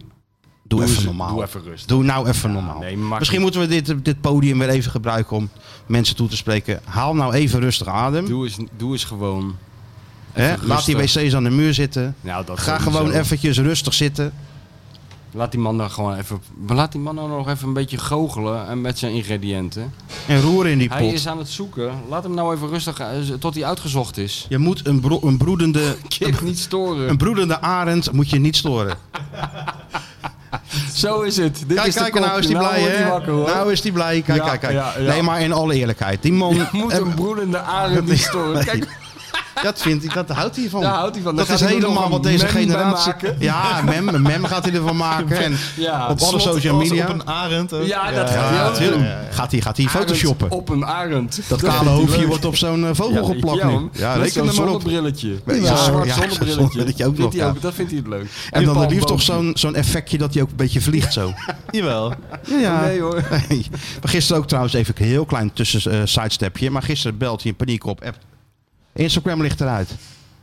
Speaker 2: Doe, even
Speaker 3: eens-
Speaker 2: normaal.
Speaker 3: doe even rustig.
Speaker 2: Doe nou even normaal.
Speaker 3: nee, maar-
Speaker 2: Misschien moeten we dit, dit podium weer even gebruiken om mensen toe te spreken. Haal nou even rustig adem.
Speaker 3: Doe eens, doe eens gewoon.
Speaker 2: hè?
Speaker 3: even
Speaker 2: Laat die
Speaker 3: rustig.
Speaker 2: wc's aan de muur zitten.
Speaker 3: Nou, dat
Speaker 2: Ga
Speaker 3: sowieso.
Speaker 2: gewoon eventjes rustig zitten.
Speaker 3: Laat die man dan gewoon even. Laat die man nou nog even een beetje goochelen en met zijn ingrediënten.
Speaker 2: En roer in die pot.
Speaker 3: Hij is aan het zoeken. Laat hem nou even rustig eh, z- tot hij uitgezocht is.
Speaker 2: Je moet een, bro- een, broedende,
Speaker 3: <laughs> Kip niet storen.
Speaker 2: een broedende arend moet je niet storen.
Speaker 3: Zo is het. Dit
Speaker 2: Kijk,
Speaker 3: is de
Speaker 2: kijk, en nou is
Speaker 3: koffie.
Speaker 2: die blij,
Speaker 3: wordt hij
Speaker 2: hè?
Speaker 3: wakker, hoor.
Speaker 2: Nou is die blij. Kijk,
Speaker 3: Ja,
Speaker 2: kijk, kijk.
Speaker 3: ja, ja.
Speaker 2: Nee, maar in alle eerlijkheid. Die man... eh,
Speaker 3: Je <laughs> moet een broedende
Speaker 2: <laughs>
Speaker 3: arend niet storen. Kijk,
Speaker 2: Dat vindt hij, dat houdt hij van.
Speaker 3: Daar houdt hij van.
Speaker 2: Dat
Speaker 3: Daar
Speaker 2: is
Speaker 3: gaat hij nog
Speaker 2: helemaal
Speaker 3: een
Speaker 2: wat deze
Speaker 3: mem bij
Speaker 2: generatie.
Speaker 3: maken.
Speaker 2: Ja, mem, een mem gaat hij ervan maken. En
Speaker 3: <laughs> Ja,
Speaker 2: op alle
Speaker 4: Slot
Speaker 2: social
Speaker 4: als
Speaker 2: media.
Speaker 4: Op een arend. ook.
Speaker 3: ja, dat gaat hij
Speaker 2: Ja,
Speaker 3: ook doen.
Speaker 2: natuurlijk. Gaat hij, gaat hij
Speaker 3: Arend
Speaker 2: photoshoppen.
Speaker 3: Op een arend.
Speaker 2: dat kale
Speaker 3: vindt hij
Speaker 2: hoofdje
Speaker 3: leuk.
Speaker 2: wordt op zo'n eh, vogel geplakt
Speaker 3: ja,
Speaker 2: nu. Ja, reken er maar op.
Speaker 3: zonnebrilletje.
Speaker 2: Ja,
Speaker 3: Zo'n
Speaker 2: ja,
Speaker 3: zwart
Speaker 2: ja, zo'n
Speaker 3: zonnebrilletje.
Speaker 2: brilletje ook
Speaker 3: Vindt
Speaker 2: nog,
Speaker 3: hij
Speaker 2: ja.
Speaker 3: ook, dat vindt hij het leuk.
Speaker 2: En dan het liefst toch
Speaker 3: palmboom.
Speaker 2: zo'n zo'n effectje dat hij ook een beetje vliegt zo.
Speaker 4: Jawel.
Speaker 2: Ja, ja.
Speaker 3: Nee hoor.
Speaker 2: Nee. Maar gisteren ook trouwens even een heel klein tussen eh, sidestepje. Maar gisteren belt hij in paniek op. App. Instagram ligt eruit.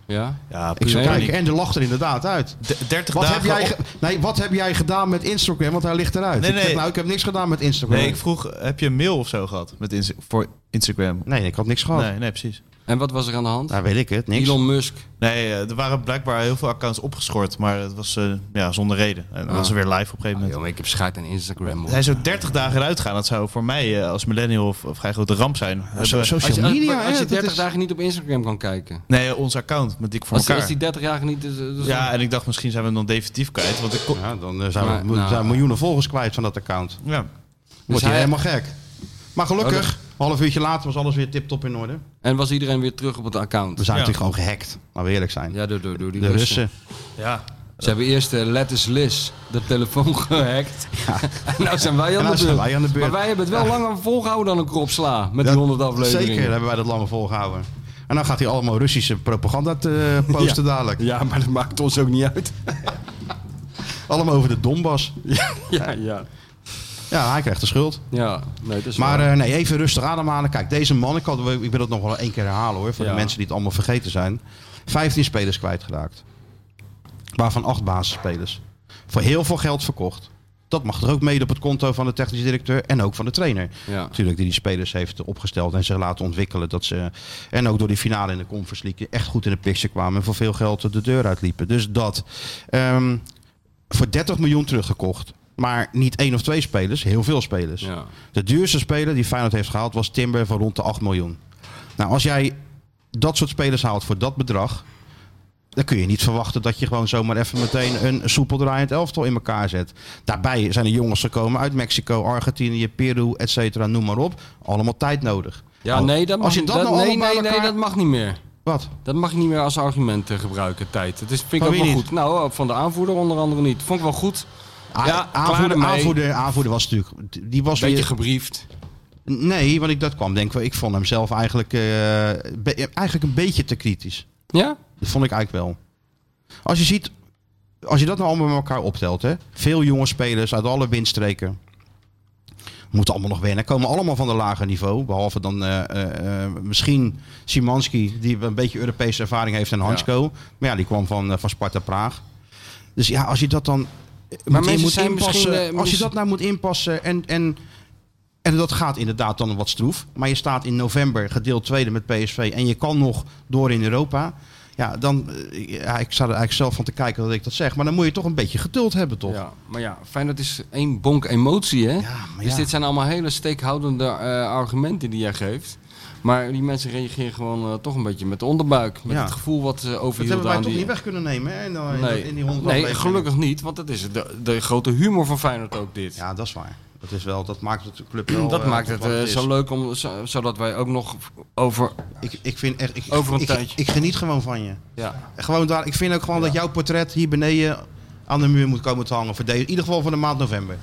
Speaker 3: Ja?
Speaker 4: Ja,
Speaker 2: Ik
Speaker 3: zo
Speaker 2: zou
Speaker 3: Nee,
Speaker 2: kijken. En er lacht er inderdaad uit.
Speaker 4: D- 30
Speaker 2: Wat
Speaker 4: dagen
Speaker 2: heb, jij
Speaker 4: op-
Speaker 2: ge- nee, wat heb jij gedaan met Instagram? Want hij ligt eruit.
Speaker 4: Nee,
Speaker 2: Ik, zeg,
Speaker 4: nee.
Speaker 2: nou, ik heb niks gedaan met Instagram.
Speaker 4: Nee, ik vroeg, heb je een mail of zo gehad met Insta- voor Instagram?
Speaker 2: Nee, ik had niks gehad.
Speaker 4: Nee, nee, precies.
Speaker 3: En wat was er aan de hand?
Speaker 2: Daar weet ik het, niks.
Speaker 3: Elon Musk.
Speaker 4: Nee, eh, er waren blijkbaar heel veel accounts opgeschort, maar het was eh, ja, zonder reden. En dan was ze weer live op een gegeven
Speaker 3: Ah,
Speaker 4: moment.
Speaker 3: joh, maar ik heb scheid aan Instagram. hoor.
Speaker 4: Hij zou 30 dagen eruit gaan. Dat zou voor mij eh, als millennial of, of vrij grote ramp zijn.
Speaker 2: Ah, Zo,
Speaker 4: Hebben-
Speaker 3: Als je,
Speaker 2: social
Speaker 3: als,
Speaker 2: media,
Speaker 3: maar als je
Speaker 2: hè, dat
Speaker 3: 30
Speaker 2: is-
Speaker 3: dagen niet op Instagram kan kijken.
Speaker 4: Nee, eh, ons account met Dik voor
Speaker 3: Als,
Speaker 4: elkaar.
Speaker 3: als die 30 dagen niet... is, eh, dus
Speaker 4: Ja, en ik dacht misschien zijn we hem dan definitief kwijt. Want ik kon-
Speaker 2: Ja, dan eh, zijn, we,
Speaker 3: Maar,
Speaker 2: mo-
Speaker 3: nou. Dus
Speaker 2: zijn miljoenen volgers kwijt van dat account.
Speaker 4: ja.
Speaker 2: Wordt hij
Speaker 3: hij-
Speaker 2: helemaal gek. Maar gelukkig,
Speaker 3: Oh, dat-
Speaker 2: een half uurtje later was alles weer tip-top in orde.
Speaker 3: En was iedereen weer terug op het account?
Speaker 2: We zijn
Speaker 4: Ja.
Speaker 2: natuurlijk gewoon gehackt, laten we eerlijk zijn.
Speaker 3: Ja, door, door, door die
Speaker 2: Dus- de
Speaker 3: Russen.
Speaker 2: Russen.
Speaker 4: ja.
Speaker 3: Ze hebben eerst de Letters Liz de telefoon <laughs> gehackt. en <laughs> nou zijn wij
Speaker 2: En
Speaker 3: aan,
Speaker 2: nou
Speaker 3: de,
Speaker 2: zijn
Speaker 3: beurt.
Speaker 2: wij aan de beurt.
Speaker 3: Maar wij hebben het wel langer volgehouden dan een kropsla met
Speaker 2: Dat-
Speaker 3: die 100 afleveringen.
Speaker 2: Zeker, dat hebben wij dat langer volgehouden. En dan gaat hij allemaal Russische propaganda eh, posten dadelijk.
Speaker 3: Ja, maar dat maakt ons ook niet uit.
Speaker 2: Allemaal over de Donbass.
Speaker 3: <laughs> ja, ja.
Speaker 2: Ja, hij krijgt de schuld.
Speaker 3: Ja, nee, dat is
Speaker 2: Maar
Speaker 3: waar.
Speaker 2: eh, nee, even rustig ademhalen. Kijk, deze man, ik, had, ik wil het nog wel één keer herhalen hoor. Voor
Speaker 3: Ja.
Speaker 2: de mensen die het allemaal vergeten zijn. 15 spelers kwijtgeraakt. Waarvan acht basisspelers. Voor heel veel geld verkocht. Dat mag er ook mede op het konto van de technisch directeur en ook van de trainer.
Speaker 3: Ja.
Speaker 2: Natuurlijk, die die spelers heeft opgesteld en ze laten ontwikkelen. Dat ze, en ook door die finale in de Conference League echt goed in de picture kwamen. En voor veel geld de deur uitliepen. Dus dat. Ehm, voor 30 miljoen teruggekocht. Maar niet één of twee spelers, heel veel spelers.
Speaker 3: Ja.
Speaker 2: De duurste speler die Feyenoord heeft gehaald was Timber van rond de 8 miljoen. Nou, als jij dat soort spelers haalt voor dat bedrag... dan kun je niet verwachten dat je gewoon zomaar even meteen... een soepel draaiend elftal in elkaar zet. Daarbij zijn er jongens gekomen uit Mexico, Argentinië, Peru, et cetera, noem maar op. Allemaal tijd nodig.
Speaker 3: Ja,
Speaker 2: Nou,
Speaker 3: nee, dat mag,
Speaker 2: als je
Speaker 3: niet-
Speaker 2: dat nou
Speaker 3: nee,
Speaker 2: allemaal
Speaker 3: nee,
Speaker 2: bij
Speaker 3: nee,
Speaker 2: elkaar-
Speaker 3: dat mag niet meer.
Speaker 2: Wat?
Speaker 3: Dat mag je niet meer als argument eh, gebruiken, tijd. Het is, vind ik
Speaker 2: Van
Speaker 3: ook
Speaker 2: wie
Speaker 3: wel
Speaker 2: niet?
Speaker 3: goed. Nou, van de aanvoerder onder andere niet. Vond ik wel goed.
Speaker 2: Ah,
Speaker 3: Ja, klaar
Speaker 2: aanvoerder,
Speaker 3: ermee.
Speaker 2: aanvoerder, aanvoerder was natuurlijk... Die was
Speaker 3: Beetje
Speaker 2: weer-
Speaker 3: gebriefd.
Speaker 2: Nee, want ik dat kwam denk ik. wel. Ik vond hem zelf eigenlijk, eh, be- eigenlijk een beetje te kritisch.
Speaker 3: Ja?
Speaker 2: Dat vond ik eigenlijk wel. Als je ziet, als je dat nou allemaal met elkaar optelt, hè? veel jonge spelers uit alle windstreken. Moeten allemaal nog wennen. Komen allemaal van een lager niveau. Behalve dan eh, eh, eh, misschien Simanski, die een beetje Europese ervaring heeft. En Hansko. Maar ja, die kwam van, eh, van Sparta Praag. Dus ja, als je dat dan eh, moet, in-
Speaker 3: mensen
Speaker 2: moet
Speaker 3: zijn
Speaker 2: inpassen.
Speaker 3: misschien, eh,
Speaker 2: als je
Speaker 3: mis-
Speaker 2: dat nou moet inpassen en, en en dat gaat inderdaad dan wat stroef. Maar je staat in november gedeeld tweede met PSV. En je kan nog door in Europa. Ja, dan, eh, ja, ik sta er eigenlijk zelf van te kijken dat ik dat zeg. Maar dan moet je toch een beetje geduld hebben, toch?
Speaker 3: Ja, maar ja, Feyenoord is één bonk emotie, hè?
Speaker 2: Ja, maar
Speaker 3: Dus
Speaker 2: ja.
Speaker 3: dit zijn allemaal hele steekhoudende eh, argumenten die jij geeft. Maar die mensen reageren gewoon eh, toch een beetje met de onderbuik. Met
Speaker 2: Ja.
Speaker 3: het gevoel wat eh
Speaker 2: dat
Speaker 3: overhield
Speaker 2: hebben wij
Speaker 3: aan
Speaker 2: toch
Speaker 3: die...
Speaker 2: niet weg kunnen nemen, hè? In, in-
Speaker 3: nee,
Speaker 2: in die honderd
Speaker 3: nee
Speaker 2: afleveringen.
Speaker 3: gelukkig niet, want dat is de, de grote humor van Feyenoord ook dit.
Speaker 2: Ja, dat is waar. Dat, is wel, dat maakt het club wel...
Speaker 3: dat
Speaker 2: eh,
Speaker 3: maakt het
Speaker 2: wat
Speaker 3: eh,
Speaker 2: is.
Speaker 3: zo leuk, om, zo- zodat wij ook nog over...
Speaker 2: Ik, ik vind echt... Ik,
Speaker 3: Over een
Speaker 2: ik,
Speaker 3: tijdje.
Speaker 2: Ik, geniet gewoon van je.
Speaker 3: Ja,
Speaker 2: Gewoon daar, ik vind ook gewoon dat jouw portret hier beneden aan de muur moet komen te hangen. Voor deze, in ieder geval voor de maand
Speaker 3: <laughs>
Speaker 2: november.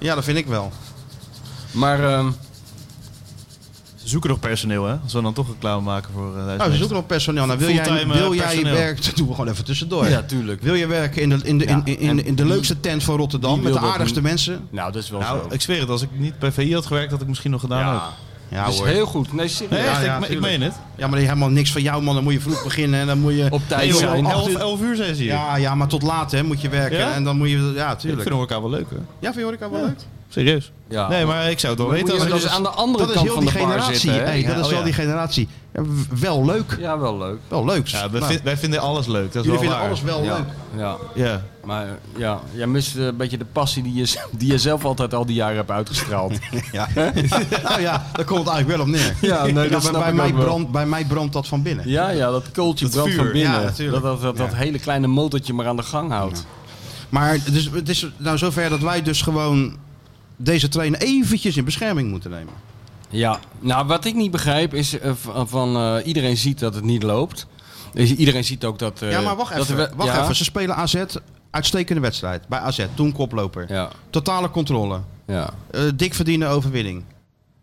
Speaker 2: Ja, dat vind ik wel.
Speaker 3: maar... ehm,
Speaker 4: Ze zoeken nog personeel, hè? Als we dan toch reclame maken voor eh
Speaker 2: Nou, ze
Speaker 4: huismeester.
Speaker 2: zoeken nog personeel. Nou, wil jij,
Speaker 4: Fulltime, eh,
Speaker 2: wil jij
Speaker 4: personeel.
Speaker 2: werken? <laughs> Dat doen we gewoon even tussendoor.
Speaker 3: Ja, tuurlijk.
Speaker 2: Wil je werken in de, in de, in, in, in, de leukste tent van Rotterdam?
Speaker 3: wie
Speaker 2: Met de
Speaker 3: wil dat
Speaker 2: aardigste
Speaker 3: niet?
Speaker 2: mensen?
Speaker 3: nou, dat is wel zo.
Speaker 4: Nou, ik zweer het. Als ik niet bij VI had gewerkt, had ik misschien nog gedaan ook.
Speaker 3: ja,
Speaker 2: Ja,
Speaker 3: dat is
Speaker 2: hoor.
Speaker 3: Dus heel goed. Nee, serieus.
Speaker 4: Nee, echt,
Speaker 2: ja,
Speaker 4: ik, ik
Speaker 2: tuurlijk.
Speaker 4: meen het.
Speaker 2: ja, maar die helemaal niks van jou, man. Dan moet je vroeg beginnen en dan moet je...
Speaker 3: Op tijd
Speaker 4: Nee, joh,
Speaker 3: zijn.
Speaker 4: om
Speaker 2: acht
Speaker 4: elf,
Speaker 2: uur-
Speaker 4: elf uur zijn ze hier.
Speaker 2: Ja, ja, maar tot laat hè, moet je werken.
Speaker 4: Ja?
Speaker 2: En dan moet je... Ja,
Speaker 4: ik vind
Speaker 2: tuurlijk.
Speaker 4: elkaar wel leuk, hè?
Speaker 2: Ja, vind je Horeca wel leuk?
Speaker 4: Serieus.
Speaker 3: Ja.
Speaker 4: Nee, maar ik zou het wel
Speaker 3: Moet
Speaker 4: weten.
Speaker 3: je
Speaker 4: Als ik
Speaker 3: dus
Speaker 4: dus-
Speaker 3: aan de andere
Speaker 2: Dat is
Speaker 3: kant
Speaker 2: heel
Speaker 3: van
Speaker 2: die
Speaker 3: de bar
Speaker 2: generatie.
Speaker 3: zitten, hè?
Speaker 2: Hey, dat
Speaker 4: Ja,
Speaker 2: is
Speaker 4: oh
Speaker 2: wel
Speaker 4: ja.
Speaker 2: die generatie. Ja, w- wel leuk.
Speaker 3: Ja, wel leuk.
Speaker 2: Wel leuk.
Speaker 4: Ja, we
Speaker 2: Nou,
Speaker 4: vind- wij vinden alles leuk. Dat is
Speaker 2: jullie vinden
Speaker 4: wel waar.
Speaker 2: alles wel
Speaker 3: Ja,
Speaker 2: leuk.
Speaker 3: ja.
Speaker 4: Ja.
Speaker 3: Maar eh, ja, jij mist eh, een beetje de passie die je, die je zelf altijd al die jaren hebt
Speaker 2: <laughs>
Speaker 3: uitgestraald.
Speaker 2: Ja. <laughs> nou ja, daar komt het eigenlijk wel op neer.
Speaker 3: Ja,
Speaker 2: <laughs>
Speaker 3: nee, dat
Speaker 2: bij-
Speaker 3: snap
Speaker 2: bij,
Speaker 3: ik
Speaker 2: mij
Speaker 3: ook wel.
Speaker 2: brandt, bij mij brandt dat van binnen.
Speaker 3: ja, ja, dat kooltje brandt
Speaker 2: vuur,
Speaker 3: van binnen.
Speaker 2: ja, natuurlijk.
Speaker 3: dat dat, dat, dat hele kleine motortje maar aan de gang houdt.
Speaker 2: Maar het is, het is nou zover dat wij dus gewoon deze trainer eventjes in bescherming moeten nemen.
Speaker 3: Ja, nou wat ik niet begrijp is eh, van, van, eh, iedereen ziet dat het niet loopt. Dus iedereen ziet ook dat... eh,
Speaker 2: ja, maar wacht
Speaker 3: dat
Speaker 2: even.
Speaker 3: er we-
Speaker 2: wacht
Speaker 3: ja,
Speaker 2: even. Ze spelen AZ. Uitstekende wedstrijd. Bij AZ. Toen koploper.
Speaker 3: Ja,
Speaker 2: Totale controle.
Speaker 3: ja.
Speaker 2: Eh, dik verdiende overwinning.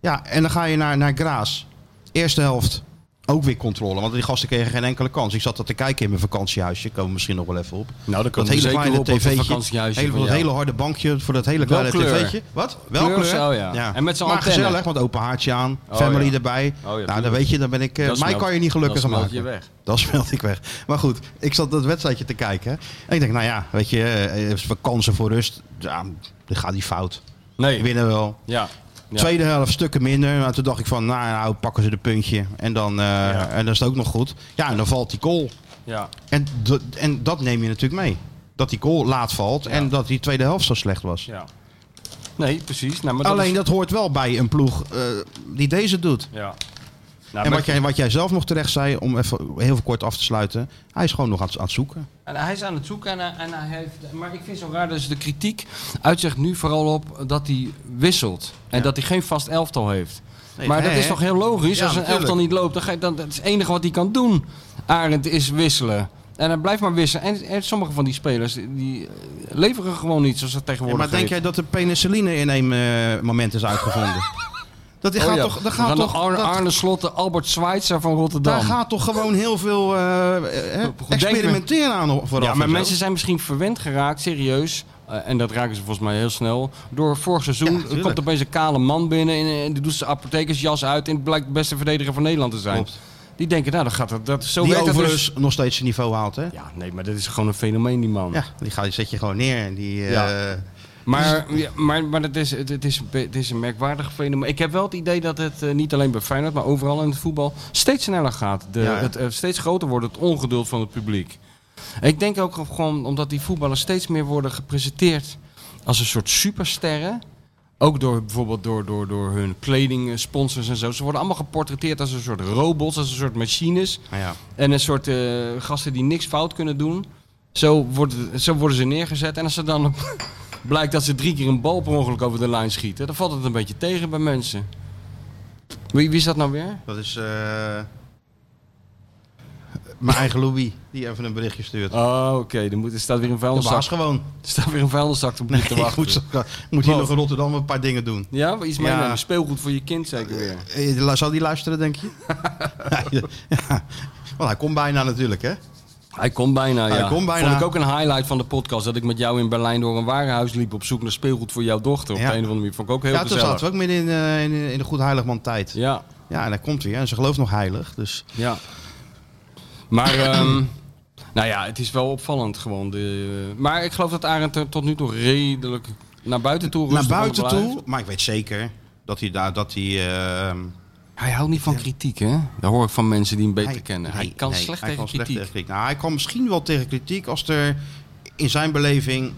Speaker 2: Ja, en dan ga je naar, naar Graas. Eerste helft. Ook weer controle. Want die gasten kregen geen enkele kans. Ik zat dat te kijken in mijn vakantiehuisje. Komen we misschien nog wel even op.
Speaker 3: Nou, dat
Speaker 2: Dat
Speaker 3: komt
Speaker 2: hele
Speaker 3: zeker
Speaker 2: kleine
Speaker 3: op, op het
Speaker 2: tv'tje.
Speaker 3: vakantiehuisje
Speaker 2: Hele,
Speaker 3: van
Speaker 2: dat
Speaker 3: jou.
Speaker 2: hele harde bankje voor dat hele
Speaker 3: Wel
Speaker 2: kleine
Speaker 3: kleur.
Speaker 2: tv'tje. Wat? Wel
Speaker 3: Kleur
Speaker 2: kleur?
Speaker 3: zo, ja. En met z'n
Speaker 2: Maar
Speaker 3: antennes.
Speaker 2: gezellig, want open haartje aan.
Speaker 3: Oh,
Speaker 2: family
Speaker 3: ja.
Speaker 2: erbij.
Speaker 3: ja,
Speaker 2: nou, dan
Speaker 3: tuurlijk.
Speaker 2: weet je, dan ben ik... eh,
Speaker 3: Dat
Speaker 2: mij
Speaker 3: smelt-
Speaker 2: kan je niet gelukkig
Speaker 3: dat
Speaker 2: aan
Speaker 3: smelt
Speaker 2: maken.
Speaker 3: je weg.
Speaker 2: Dat smelt ik weg. Maar goed, ik zat dat wedstrijdje te kijken. En ik denk, nou ja, weet je, eh, eh, kansen voor rust. Ja, dan gaat die fout.
Speaker 3: Nee,
Speaker 2: Winnen wel.
Speaker 3: ja. ja.
Speaker 2: Tweede helft stukken minder. Maar toen dacht ik van, nou, nou pakken ze de puntje. En dan, eh, en dan is het ook nog goed. Ja, en dan valt die goal.
Speaker 3: Ja.
Speaker 2: En, dat- en dat neem je natuurlijk mee. Dat die goal laat valt en dat die tweede helft zo slecht was.
Speaker 3: ja. Nee, precies. Nou, maar dat
Speaker 2: Alleen
Speaker 3: is-
Speaker 2: dat hoort wel bij een ploeg eh, die deze doet.
Speaker 3: Ja. Nou,
Speaker 2: En wat jij, wat jij zelf nog terecht zei, om even heel kort af te sluiten. Hij is gewoon nog aan, het- aan het zoeken.
Speaker 3: En hij is aan het zoeken en hij, en hij heeft... Maar ik vind zo raar, dus de kritiek uitzicht nu vooral op dat hij wisselt. En dat hij geen vast elftal heeft. maar
Speaker 2: hè,
Speaker 3: dat is
Speaker 2: hè?
Speaker 3: toch heel logisch?
Speaker 2: Ja,
Speaker 3: Als een
Speaker 2: natuurlijk.
Speaker 3: elftal niet loopt, dan, ga je- dan dat is het enige wat hij kan doen, Arend, is wisselen. En hij blijft maar wisselen. En, en sommige van die spelers, die eh, leveren gewoon niet zoals dat
Speaker 2: Ja,
Speaker 3: tegenwoordig
Speaker 2: maar denk
Speaker 3: heet.
Speaker 2: jij
Speaker 3: <laughs>
Speaker 2: dat de penicilline in één eh, moment is uitgevonden? Dat
Speaker 3: Oh
Speaker 2: gaat
Speaker 3: ja,
Speaker 2: toch, dat
Speaker 3: we
Speaker 2: gaat
Speaker 3: gaan
Speaker 2: toch,
Speaker 3: naar Arne,
Speaker 2: dat-
Speaker 3: Arne Slotte, Albert Schweitzer van Rotterdam.
Speaker 2: daar gaat toch gewoon heel veel eh, eh, experimenteren aan vooraf.
Speaker 3: ja,
Speaker 2: en
Speaker 3: maar
Speaker 2: zo.
Speaker 3: mensen zijn misschien verwend geraakt, serieus. eh, en dat raken ze volgens mij heel snel. Door vorig seizoen
Speaker 2: tuurlijk.
Speaker 3: komt opeens een kale man binnen. En, eh, die doet zijn apothekersjas uit. En blijkt de beste verdediger van Nederland te zijn.
Speaker 2: Klopt.
Speaker 3: Die denken, nou, dat gaat dat. dat zo
Speaker 2: Die
Speaker 3: werkt dat
Speaker 2: overigens
Speaker 3: dus.
Speaker 2: nog steeds zijn niveau haalt, hè?
Speaker 3: Ja, nee, maar dat is gewoon een fenomeen, die man.
Speaker 2: Ja, die ga, zet je gewoon neer. En die, eh,
Speaker 3: Ja. Maar, ja, maar, maar het, is, het, het is, een be- het is een merkwaardig fenomeen. Ik heb wel het idee dat het eh, niet alleen bij Feyenoord, maar overal in het voetbal steeds sneller gaat. De,
Speaker 2: Ja, hè?
Speaker 3: het, eh, steeds groter wordt het ongeduld van het publiek. En ik denk ook gewoon omdat die voetballers steeds meer worden gepresenteerd als een soort supersterren. Ook door bijvoorbeeld door, door, door hun kleding, eh, sponsors en zo. Ze worden allemaal geportretteerd als een soort robots, als een soort machines.
Speaker 2: maar ja.
Speaker 3: En een soort eh, gasten die niks fout kunnen doen. Zo, wordt, het- zo worden ze neergezet. En als ze dan <laughs> blijkt dat ze drie keer een bal per ongeluk over de lijn schieten, dan valt het een beetje tegen bij mensen. Wie, wie is dat nou weer?
Speaker 2: Dat is eh, mijn eigen Louis die even een berichtje stuurt.
Speaker 3: Oh, oké. Er, moet- er staat weer een
Speaker 2: de baas
Speaker 3: vuilniszak.
Speaker 2: <laughs> gewoon.
Speaker 3: Er staat weer een vuilniszak op
Speaker 2: Nee,
Speaker 3: <laughs> nee, te
Speaker 2: ik
Speaker 3: wachten.
Speaker 2: moet, moet hier
Speaker 3: Wat?
Speaker 2: nog in Rotterdam een paar dingen doen.
Speaker 3: Ja, iets
Speaker 2: Ja.
Speaker 3: meenemen. Speelgoed voor je kind zeker weer.
Speaker 2: Eh, la- Zal die luisteren, denk je? <laughs> ja. Want hij komt bijna natuurlijk, hè?
Speaker 3: Hij komt bijna, ja.
Speaker 2: Hij komt bijna.
Speaker 3: Vond ik ook een highlight van de podcast. Dat ik met jou in Berlijn door een warenhuis liep op zoek naar speelgoed voor jouw dochter. Op
Speaker 2: Ja.
Speaker 3: de een of andere manier. Vond ik ook heel
Speaker 2: ja, toen
Speaker 3: gezellig.
Speaker 2: zaten we ook midden in, eh, in, in de Goed Heiligman tijd. Ja.
Speaker 3: Ja,
Speaker 2: en hij komt weer. En ze gelooft nog heilig. Dus
Speaker 3: Ja. Maar, ehm, <clears throat> nou ja, het is wel opvallend gewoon. De, maar ik geloof dat Arend er tot nu toe redelijk naar buiten toe
Speaker 2: naar
Speaker 3: rustig aan
Speaker 2: buiten
Speaker 3: blijft.
Speaker 2: toe. Maar ik weet zeker dat hij daar, dat hij... ehm,
Speaker 3: Hij houdt niet van kritiek, hè? Dat hoor ik van mensen die hem beter
Speaker 2: hij-
Speaker 3: kennen.
Speaker 2: nee,
Speaker 3: hij kan
Speaker 2: nee,
Speaker 3: slecht
Speaker 2: hij
Speaker 3: tegen
Speaker 2: kan
Speaker 3: kritiek.
Speaker 2: Nou, hij kan misschien wel tegen kritiek als er in zijn beleving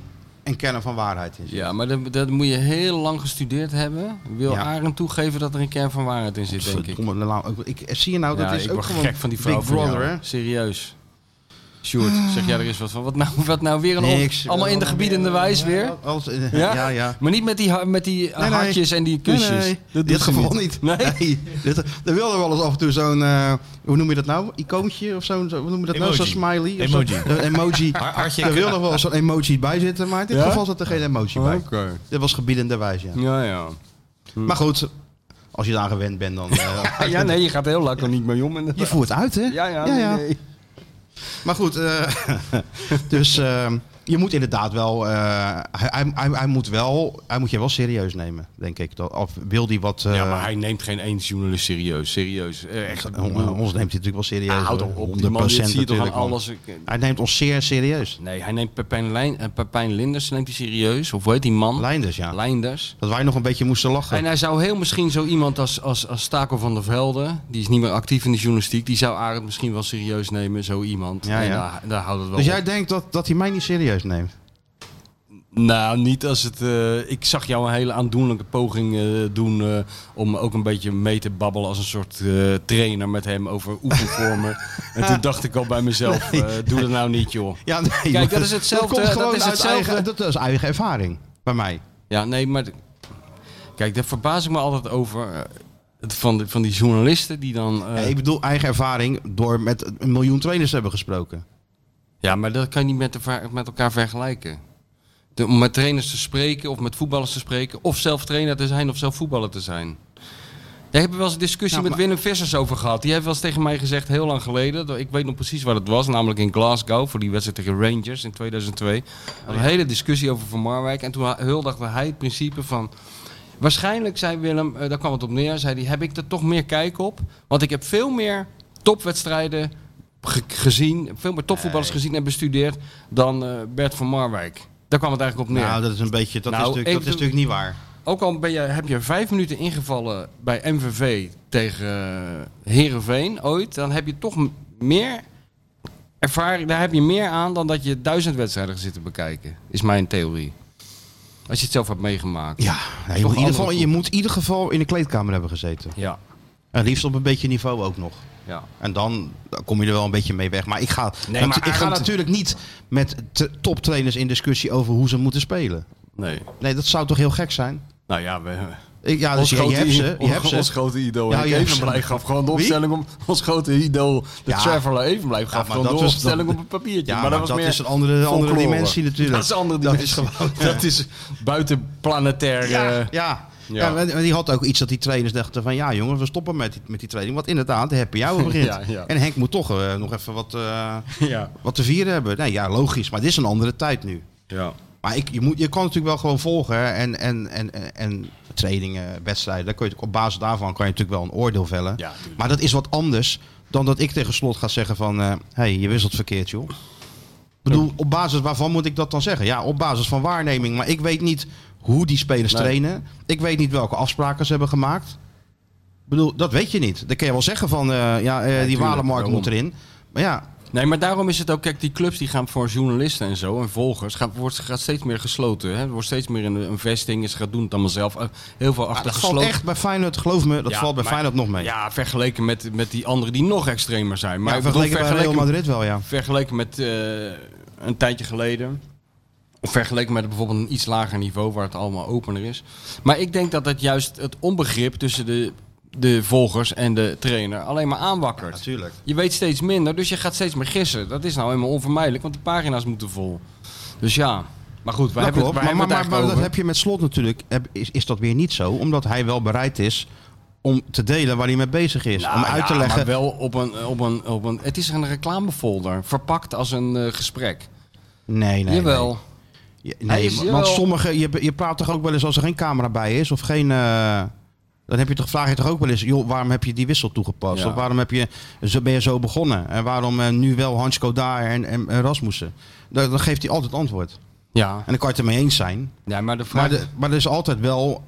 Speaker 2: een kern van waarheid is.
Speaker 3: Ja, maar dat, dat moet je heel lang gestudeerd hebben. Wil
Speaker 2: Ja.
Speaker 3: Arend toegeven dat er een kern van waarheid in zit, denk ik.
Speaker 2: Verdomme, nou, ik- ik zie je nou, dat
Speaker 3: ja,
Speaker 2: is
Speaker 3: ik
Speaker 2: ook
Speaker 3: word
Speaker 2: gewoon
Speaker 3: gek van die
Speaker 2: Big
Speaker 3: vrouw van jou.
Speaker 2: Brother, hè?
Speaker 3: Serieus. Sjoerd, zeg jij er eens wat van? Wat nou, <laughs> wat nou weer een
Speaker 2: Niks.
Speaker 3: op, Allemaal in de gebiedende wijs weer?
Speaker 2: Alles,
Speaker 3: Ja?
Speaker 2: <laughs> ja, ja. ja.
Speaker 3: Maar niet met die, ha- met die eh,
Speaker 2: Nee, nee.
Speaker 3: hartjes en die kusjes.
Speaker 2: Nee, nee.
Speaker 3: Dat
Speaker 2: in dit
Speaker 3: doet ze
Speaker 2: geval
Speaker 3: niet.
Speaker 2: niet.
Speaker 3: Nee?
Speaker 2: Dit, er wilde wel eens af en toe zo'n, eh, hoe noem je dat nou? Icoontje of zo'n, zo, hoe noem je dat nou? Zo'n
Speaker 4: Emoji.
Speaker 2: smiley. of
Speaker 4: Emoji.
Speaker 2: zo'n- Een emoji.
Speaker 4: hartje-
Speaker 2: er wil nog wel zo'n emoji bij zitten, maar in dit
Speaker 3: Ja? Oh.
Speaker 2: geval zat er geen emoji
Speaker 3: Oké.
Speaker 2: bij. Dit was gebiedenderwijs, ja.
Speaker 3: Ja, ja.
Speaker 2: Maar goed, als je daar gewend bent, dan... eh,
Speaker 3: <laughs> Ah, ja, nee, je gaat er heel lekker niet mee om. inderdaad.
Speaker 2: Je voert uit, hè?
Speaker 3: Ja, ja, nee, nee.
Speaker 2: Maar goed, eh, <laughs> dus eh, je moet inderdaad wel, eh, hij, hij, hij- hij moet wel, hij moet je wel serieus nemen, denk ik. Dat, of wil hij wat, eh,
Speaker 3: Ja, maar hij neemt geen één journalist serieus. Serieus. Eh, Echt.
Speaker 2: on- ons neemt hij natuurlijk wel serieus.
Speaker 3: Ah, houd
Speaker 2: hoor.
Speaker 3: toch op.
Speaker 2: 100%
Speaker 3: Die man, dit zie je toch aan
Speaker 2: natuurlijk, man.
Speaker 3: alles. Ik- eh,
Speaker 2: Hij neemt ons zeer serieus.
Speaker 3: Nee, hij neemt Pepijn, Lijn, eh, Pepijn Linders neemt hij serieus. Of hoe heet die man?
Speaker 2: Leinders, dus, ja.
Speaker 3: Leinders.
Speaker 2: Dat wij nog een beetje moesten lachen.
Speaker 3: En hij zou heel misschien zo iemand als, als, als Taco van der Velde, die is niet meer actief in de journalistiek, die zou Arend misschien wel serieus nemen, zo iemand.
Speaker 2: Ja,
Speaker 3: En
Speaker 2: ja.
Speaker 3: daar, daar houdt het wel
Speaker 2: dus
Speaker 3: op.
Speaker 2: jij denkt dat, dat hij mij niet serieus neemt?
Speaker 3: Nou, niet als het. eh, ik zag jou een hele aandoenlijke poging eh, doen eh, om ook een beetje mee te babbelen als een soort eh, trainer met hem over oefenvormen. en toen dacht ik al bij mezelf, eh, doe dat nou niet, joh.
Speaker 2: Ja, nee.
Speaker 3: dat
Speaker 2: maar
Speaker 3: is hetzelfde, eh,
Speaker 2: komt
Speaker 3: dat
Speaker 2: gewoon
Speaker 3: is
Speaker 2: uit
Speaker 3: hetzelfde.
Speaker 2: Eigen, dat is eigen ervaring bij mij.
Speaker 3: Ja, nee, maar. d- Kijk, daar verbaas ik me altijd over. eh, het- van, de- van die journalisten die dan. eh,
Speaker 2: Ja, ik bedoel eigen ervaring door met een miljoen trainers te hebben gesproken.
Speaker 3: Ja, maar dat kan je niet met, elva- met elkaar vergelijken. De- om met trainers te spreken of met voetballers te spreken. Of zelf trainer te zijn of zelf voetballer te zijn. Daar hebben we wel eens een discussie
Speaker 2: Nou,
Speaker 3: met
Speaker 2: maar-
Speaker 3: Willem Vissers over gehad. Die heeft wel eens tegen mij gezegd, heel lang geleden. dat- Ik weet nog precies waar het was. Namelijk in Glasgow voor die wedstrijd tegen Rangers in 2002. Een hele discussie over Van Marwijk. En toen ha- huldigde hij het principe van... Waarschijnlijk, zei Willem, eh, daar kwam het op neer, zei hij, heb ik er toch meer kijk op? Want ik heb veel meer topwedstrijden ge- gezien, veel meer topvoetballers gezien en bestudeerd dan eh, Bert van Marwijk. Daar kwam het eigenlijk op neer.
Speaker 2: Nou, dat is een beetje, dat,
Speaker 3: Nou,
Speaker 2: is, natuurlijk, dat
Speaker 3: even-
Speaker 2: is natuurlijk niet waar.
Speaker 3: Ook al ben je, heb je vijf minuten ingevallen bij MVV tegen eh, Heerenveen ooit, dan heb je toch m- meer ervaring, daar heb je meer aan dan dat je duizend wedstrijden gaat zitten bekijken, is mijn theorie. Als je het zelf hebt
Speaker 2: <laughs>
Speaker 3: meegemaakt.
Speaker 2: Ja, nou, je, moet in
Speaker 3: andere
Speaker 2: ieder geval, je
Speaker 3: voetbal.
Speaker 2: moet in ieder geval in de kleedkamer hebben gezeten.
Speaker 3: Ja,
Speaker 2: En liefst op een beetje niveau ook nog.
Speaker 3: ja.
Speaker 2: En dan kom je er wel een beetje mee weg. Maar ik ga,
Speaker 3: Nee, maar
Speaker 2: natu- ik ga
Speaker 3: Arend-
Speaker 2: natuurlijk niet met te- toptrainers in discussie over hoe ze moeten spelen.
Speaker 3: Nee.
Speaker 2: Nee, dat zou toch heel gek zijn?
Speaker 3: Nou ja, we,
Speaker 2: Ik, ja, dus
Speaker 3: Ons
Speaker 2: je, je
Speaker 3: grote
Speaker 2: hebt
Speaker 3: i-
Speaker 2: ze. Je
Speaker 3: ons-
Speaker 2: hebt
Speaker 3: Ons
Speaker 2: ze.
Speaker 3: grote idool.
Speaker 2: Ja,
Speaker 3: Ja,
Speaker 2: je hebt ze.
Speaker 3: Evenblijf gaf gewoon de
Speaker 2: Wie?
Speaker 3: opstelling om... Ons grote idool, de
Speaker 2: Ja.
Speaker 3: Traveler Evenblijf,
Speaker 2: Ja,
Speaker 3: gaf
Speaker 2: maar
Speaker 3: gewoon
Speaker 2: dat
Speaker 3: de
Speaker 2: was-
Speaker 3: opstelling
Speaker 2: dat-
Speaker 3: op een papiertje.
Speaker 2: Ja,
Speaker 3: maar dat, was
Speaker 2: dat
Speaker 3: meer
Speaker 2: is een andere, andere
Speaker 3: folklore.
Speaker 2: dimensie natuurlijk.
Speaker 3: <laughs> Dat is een andere
Speaker 2: Dat
Speaker 3: dimensie.
Speaker 2: is gewoon-
Speaker 3: Dat is buitenplanetair. eh,
Speaker 2: Ja, ja. Ja.
Speaker 3: Ja.
Speaker 2: maar die- maar die had ook iets dat die trainers dachten van... ja jongens, we stoppen met die, met die training. Want inderdaad, de happy
Speaker 3: <laughs>
Speaker 2: hour begint.
Speaker 3: Ja, ja.
Speaker 2: En Henk moet toch eh, nog even wat, eh,
Speaker 3: Ja.
Speaker 2: wat te vieren hebben. Nee, ja, logisch. Maar dit is een andere tijd nu.
Speaker 3: Ja.
Speaker 2: Maar ik, je, moet, je kan natuurlijk wel gewoon volgen hè, en, en, en, en, en trainingen, wedstrijden. Daar kun je, natuurlijk- op basis daarvan kan je natuurlijk wel een oordeel vellen.
Speaker 3: Ja, tuurlijk.
Speaker 2: maar dat is wat anders dan dat ik tegen slot ga zeggen van... Hé, hey, je wisselt verkeerd joh. Ik bedoel, op basis waarvan moet ik dat dan zeggen? Ja, op basis van waarneming. Maar ik weet niet hoe die spelers
Speaker 3: Nee.
Speaker 2: trainen. Ik weet niet welke afspraken ze hebben gemaakt. Ik bedoel, dat weet je niet. Dan kun je wel zeggen van... eh, ja, eh, die
Speaker 3: tuurlijk,
Speaker 2: Walenmarkt
Speaker 3: daarom.
Speaker 2: moet erin. Maar ja,
Speaker 3: Nee, maar daarom is het ook, kijk, die clubs die gaan voor journalisten en zo en volgers, gaan, wordt, gaat steeds meer gesloten. Hè? Er wordt steeds meer een, een vesting, ze gaat doen het allemaal zelf. Eh, Heel veel
Speaker 2: Ah, dat
Speaker 3: achter
Speaker 2: valt
Speaker 3: gesloten.
Speaker 2: echt bij Feyenoord, geloof me, dat
Speaker 3: Ja,
Speaker 2: valt bij
Speaker 3: maar-
Speaker 2: Feyenoord nog mee. Ja,
Speaker 3: Ja, vergeleken met, met die anderen die nog extremer zijn. Maar ik bedoel,
Speaker 2: vergeleken bij Real Madrid wel, ja.
Speaker 3: vergeleken met eh, een tijdje geleden. Of vergeleken met bijvoorbeeld een iets lager niveau waar het allemaal opener is. Maar ik denk dat dat juist het onbegrip tussen de, de volgers en de trainer alleen maar aanwakkert.
Speaker 2: Natuurlijk.
Speaker 3: Je weet steeds minder, dus je gaat steeds meer gissen. Dat is nou helemaal onvermijdelijk, want die pagina's moeten vol. Dus ja, maar goed,
Speaker 2: Dat
Speaker 3: wij hebben,
Speaker 2: klopt,
Speaker 3: het-
Speaker 2: maar, maar,
Speaker 3: wij
Speaker 2: maar,
Speaker 3: hebben
Speaker 2: maar
Speaker 3: het
Speaker 2: dat
Speaker 3: eigenlijk
Speaker 2: heb je met slot natuurlijk. heb- Is, is dat weer niet zo? Omdat hij wel bereid is om te delen waar hij mee bezig is.
Speaker 3: over.
Speaker 2: om
Speaker 3: Nou
Speaker 2: uit te
Speaker 3: ja,
Speaker 2: leggen.
Speaker 3: Maar wel op een, op, een, op een. Het is een reclamefolder, verpakt als een eh, gesprek.
Speaker 2: Nee, nee.
Speaker 3: Jawel.
Speaker 2: Nee, Je-
Speaker 3: Hij
Speaker 2: nee
Speaker 3: is-
Speaker 2: want
Speaker 3: jawel.
Speaker 2: sommigen. Je, je praat toch ook wel eens als er geen camera bij is. Of geen. eh, dan heb je toch, vraag je toch ook wel eens. Joh, waarom heb je die wissel toegepast?
Speaker 3: Ja.
Speaker 2: Of waarom heb je, zo, ben je zo begonnen? En waarom eh, nu wel Hansko daar en, en, en Rasmussen? Dan, dan geeft hij altijd antwoord.
Speaker 3: Ja.
Speaker 2: En dan kan je het ermee eens zijn.
Speaker 3: ja, maar de vraag.
Speaker 2: Maar, de, maar er is altijd wel.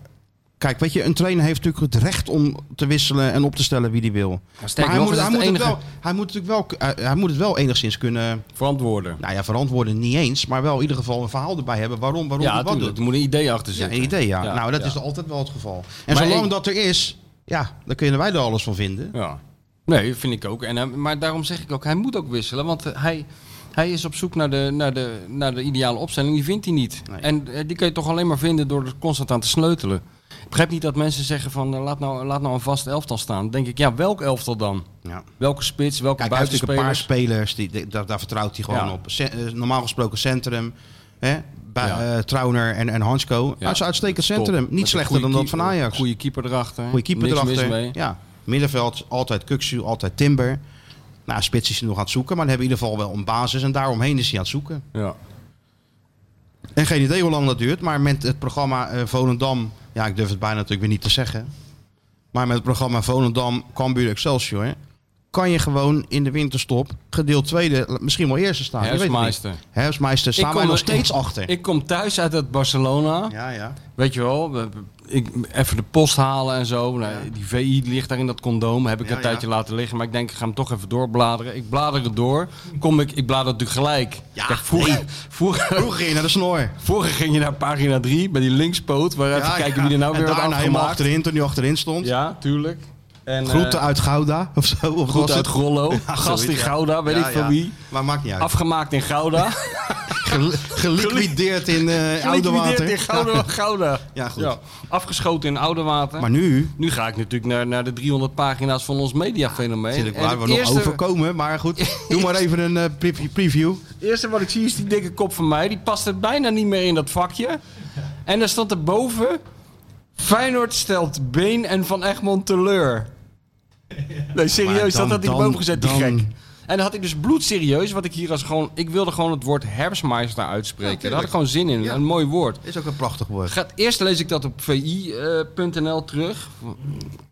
Speaker 2: Kijk, weet je, een trainer heeft natuurlijk het recht om te wisselen en op te stellen wie die wil. Maar
Speaker 3: sterker
Speaker 2: hij
Speaker 3: nog,
Speaker 2: moet,
Speaker 3: is
Speaker 2: hij,
Speaker 3: het
Speaker 2: moet het
Speaker 3: enige
Speaker 2: wel, hij moet natuurlijk wel, eh, hij moet het wel enigszins kunnen,
Speaker 3: verantwoorden.
Speaker 2: nou ja, verantwoorden niet eens, maar wel in ieder geval een verhaal erbij hebben waarom, waarom
Speaker 3: Ja,
Speaker 2: hij wat
Speaker 3: tuurlijk.
Speaker 2: doet.
Speaker 3: Er moet een idee achter
Speaker 2: Ja,
Speaker 3: zitten.
Speaker 2: een idee, ja. nou, dat
Speaker 3: ja.
Speaker 2: is altijd wel het geval. En
Speaker 3: Maar
Speaker 2: zolang
Speaker 3: ik-
Speaker 2: dat er is, ja, dan kunnen wij er alles van vinden.
Speaker 3: Ja. Nee, vind ik ook. En, hij- maar daarom zeg ik ook, hij moet ook wisselen. Want eh, hij, hij is op zoek naar de, naar, de, naar de ideale opstelling. Die vindt hij niet.
Speaker 2: Nee.
Speaker 3: En eh, die kun je toch alleen maar vinden door er constant aan te sleutelen. Ik begrijp niet dat mensen zeggen van, eh, laat, nou, laat nou een vast elftal staan. Dan denk ik, ja, welk elftal dan?
Speaker 2: Ja.
Speaker 3: Welke spits, welke
Speaker 2: Kijk, hij heeft natuurlijk een paar
Speaker 3: buitenspelers?
Speaker 2: spelers, die, die- daar, daar vertrouwt hij gewoon
Speaker 3: Ja.
Speaker 2: op. Ce- eh, normaal gesproken centrum, hè, bij,
Speaker 3: Ja.
Speaker 2: eh, Trauner en, en Hansko.
Speaker 3: Ja.
Speaker 2: Dat is een uitstekend
Speaker 3: Top.
Speaker 2: centrum,
Speaker 3: Met
Speaker 2: niet
Speaker 3: een
Speaker 2: slechter dan
Speaker 3: goede
Speaker 2: dat
Speaker 3: keeper-
Speaker 2: van Ajax.
Speaker 3: Goede keeper erachter.
Speaker 2: Goede keeper
Speaker 3: Niks mis
Speaker 2: erachter.
Speaker 3: mee.
Speaker 2: Ja. Middenveld, altijd Kuksu, altijd Timber. Nou, spits is hij nog aan het zoeken, maar dan hebben we in ieder geval wel een basis. En daaromheen is hij aan het zoeken.
Speaker 3: Ja.
Speaker 2: En geen idee hoe lang dat duurt, maar met het programma eh, Volendam... Ja, ik durf het bijna natuurlijk weer niet te zeggen. Maar met het programma Volendam, Cambuur, Excelsior... kan je gewoon in de winterstop gedeeld tweede, misschien wel eerste staan. Je weet het niet.
Speaker 3: Herfstmeister.
Speaker 2: Herfstmeister
Speaker 3: Ik
Speaker 2: staan wij
Speaker 3: kom
Speaker 2: nog
Speaker 3: er-
Speaker 2: steeds achter.
Speaker 3: Ik kom thuis uit het Barcelona.
Speaker 2: ja, ja.
Speaker 3: Weet je wel, we- we- ik, even de post halen en zo. Nou, Die VI ligt daar in dat condoom. Heb ik
Speaker 2: Ja,
Speaker 3: een tijdje
Speaker 2: ja.
Speaker 3: laten liggen. Maar ik denk, ik ga hem toch even doorbladeren. Ik blader het door. Kom ik, ik blader het natuurlijk gelijk.
Speaker 2: Ja,
Speaker 3: Kijk, vroeger,
Speaker 2: nee.
Speaker 3: vroeger, <laughs>
Speaker 2: Vroeger ging je naar de snor.
Speaker 3: vroeger ging je naar pagina 3 bij die linkspoot. Waar even
Speaker 2: Ja,
Speaker 3: kijken
Speaker 2: ja.
Speaker 3: wie er nou
Speaker 2: en
Speaker 3: weer wat
Speaker 2: daarna helemaal
Speaker 3: afgemaakt.
Speaker 2: achterin, toen hij achterin stond.
Speaker 3: Ja, tuurlijk. En,
Speaker 2: Groeten
Speaker 3: eh,
Speaker 2: uit Gouda of zo. Of was
Speaker 3: groeten uit
Speaker 2: het-
Speaker 3: Grollo. Gast in
Speaker 2: zoiets, <laughs> ja.
Speaker 3: Gouda, weet
Speaker 2: Ja,
Speaker 3: ik van
Speaker 2: ja.
Speaker 3: wie.
Speaker 2: Maar maakt niet uit.
Speaker 3: Afgemaakt in Gouda.
Speaker 2: Gel- geliquideerd in eh oude
Speaker 3: Geliquideerd
Speaker 2: water.
Speaker 3: in Gouda. Gouda.
Speaker 2: Ja, goed.
Speaker 3: Afgeschoten in Oudewater.
Speaker 2: Maar nu
Speaker 3: Nu ga ik natuurlijk naar, naar de 300 pagina's van ons mediafenomeen.
Speaker 2: zit ik
Speaker 3: En
Speaker 2: waar we
Speaker 3: het
Speaker 2: nog
Speaker 3: eerste,
Speaker 2: overkomen. Maar <laughs> goed, doe maar even een eh, pre- preview.
Speaker 3: eerste wat ik zie is die dikke kop van mij. Die past er bijna niet meer in dat vakje. En daar stond erboven... Feyenoord stelt Been en Van Egmond teleur. Nee,
Speaker 2: Maar
Speaker 3: serieus,
Speaker 2: dan-
Speaker 3: dat had hij
Speaker 2: dan-
Speaker 3: erboven gezet, die
Speaker 2: dan-
Speaker 3: gek. En dan had ik dus bloedserieus, wat ik hier als gewoon... Ik wilde gewoon het woord herbstmeister uitspreken. Daar had ik gewoon zin in,
Speaker 2: Ja.
Speaker 3: een mooi woord.
Speaker 2: Is ook een prachtig woord.
Speaker 3: Gaat, eerst lees ik dat op vi.nl terug.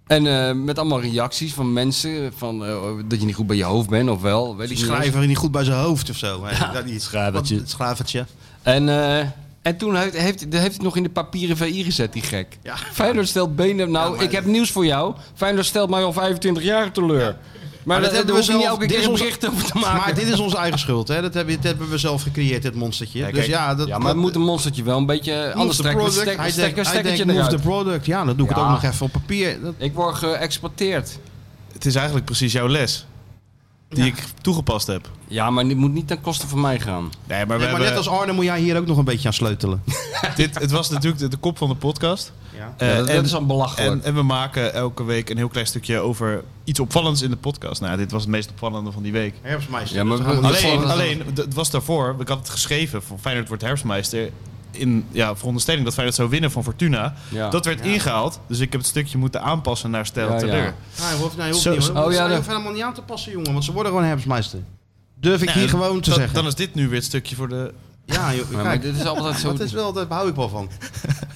Speaker 3: En eh, met allemaal reacties van mensen. Van, eh, dat je niet goed bij je hoofd bent of wel. Weet
Speaker 2: Die
Speaker 3: ik niet
Speaker 2: schrijver niet goed bij zijn hoofd of zo. hè. Dat die-
Speaker 3: schrijvertje.
Speaker 2: wat- Het schrijvertje.
Speaker 3: eens. En, eh, en toen heeft, heeft, heeft hij het nog in de papieren VI gezet, die gek.
Speaker 2: Ja.
Speaker 3: Feyenoord stelt benen... Nou, ik heb nieuws voor jou. Feyenoord stelt mij al 25 jaar teleur. Maar, dat, hebben we niet
Speaker 2: zelf-
Speaker 3: elke
Speaker 2: dit
Speaker 3: keer
Speaker 2: is
Speaker 3: een
Speaker 2: onze-
Speaker 3: bericht over te maken.
Speaker 2: Maar dit is onze eigen schuld. Hè? Dat, hebben, dit hebben we zelf gecreëerd, dit monstertje. dus ja, dat,
Speaker 3: ja, maar het moet een monstertje wel een beetje... Anders
Speaker 2: de
Speaker 3: trek ik het
Speaker 2: product.
Speaker 3: stek-
Speaker 2: Hij
Speaker 3: stek-
Speaker 2: denkt- hij
Speaker 3: stekkertje
Speaker 2: denkt, move
Speaker 3: eruit.
Speaker 2: the product. Ja, dan doe ik het
Speaker 3: Ja.
Speaker 2: ook nog even op papier. Dat-
Speaker 3: Ik word geëxporteerd.
Speaker 4: Het is eigenlijk precies jouw les. Die ik toegepast heb.
Speaker 3: Ja, maar dit moet niet ten koste van mij gaan.
Speaker 4: Nee, maar, we
Speaker 2: Nee, maar
Speaker 4: hebben-
Speaker 2: net als Arne moet jij hier ook nog een beetje aan <laughs> sleutelen.
Speaker 4: dit, het was natuurlijk de, de kop van de podcast.
Speaker 2: Ja.
Speaker 4: Eh,
Speaker 3: Ja, dat, dat
Speaker 4: en-
Speaker 3: is al belachelijk.
Speaker 4: En, en we maken elke week een heel klein stukje over iets opvallends in de podcast. Nou, dit was het meest opvallende van die week.
Speaker 2: Herfstmeister.
Speaker 3: Ja, maar
Speaker 2: dat gaan we
Speaker 3: we-
Speaker 2: niet
Speaker 4: Alleen,
Speaker 2: vallen.
Speaker 4: alleen d- het was daarvoor, ik had het geschreven voor Feyenoord wordt herfstmeister. in ja, veronderstelling dat Feyenoord zou winnen van Fortuna.
Speaker 3: Ja.
Speaker 4: Dat werd ingehaald, dus ik heb het stukje moeten aanpassen naar Stel
Speaker 3: Ja, ja.
Speaker 4: teleur.
Speaker 2: Ah, hij hoeft, nee, hij hoeft
Speaker 4: Zo-
Speaker 2: niet, hoor.
Speaker 3: oh,
Speaker 2: Want
Speaker 3: ja,
Speaker 2: hij
Speaker 3: dat-
Speaker 2: hoeft helemaal niet aan te passen, jongen. Want ze worden gewoon herbstmeister. Durf ik
Speaker 4: Nou,
Speaker 2: hier gewoon te
Speaker 4: dan-
Speaker 2: zeggen.
Speaker 4: Dan is dit nu weer het stukje voor de...
Speaker 2: Ja, joh,
Speaker 3: Maar, maar
Speaker 2: kijk,
Speaker 3: dit is altijd zo...
Speaker 2: dat is wel, daar hou ik wel van.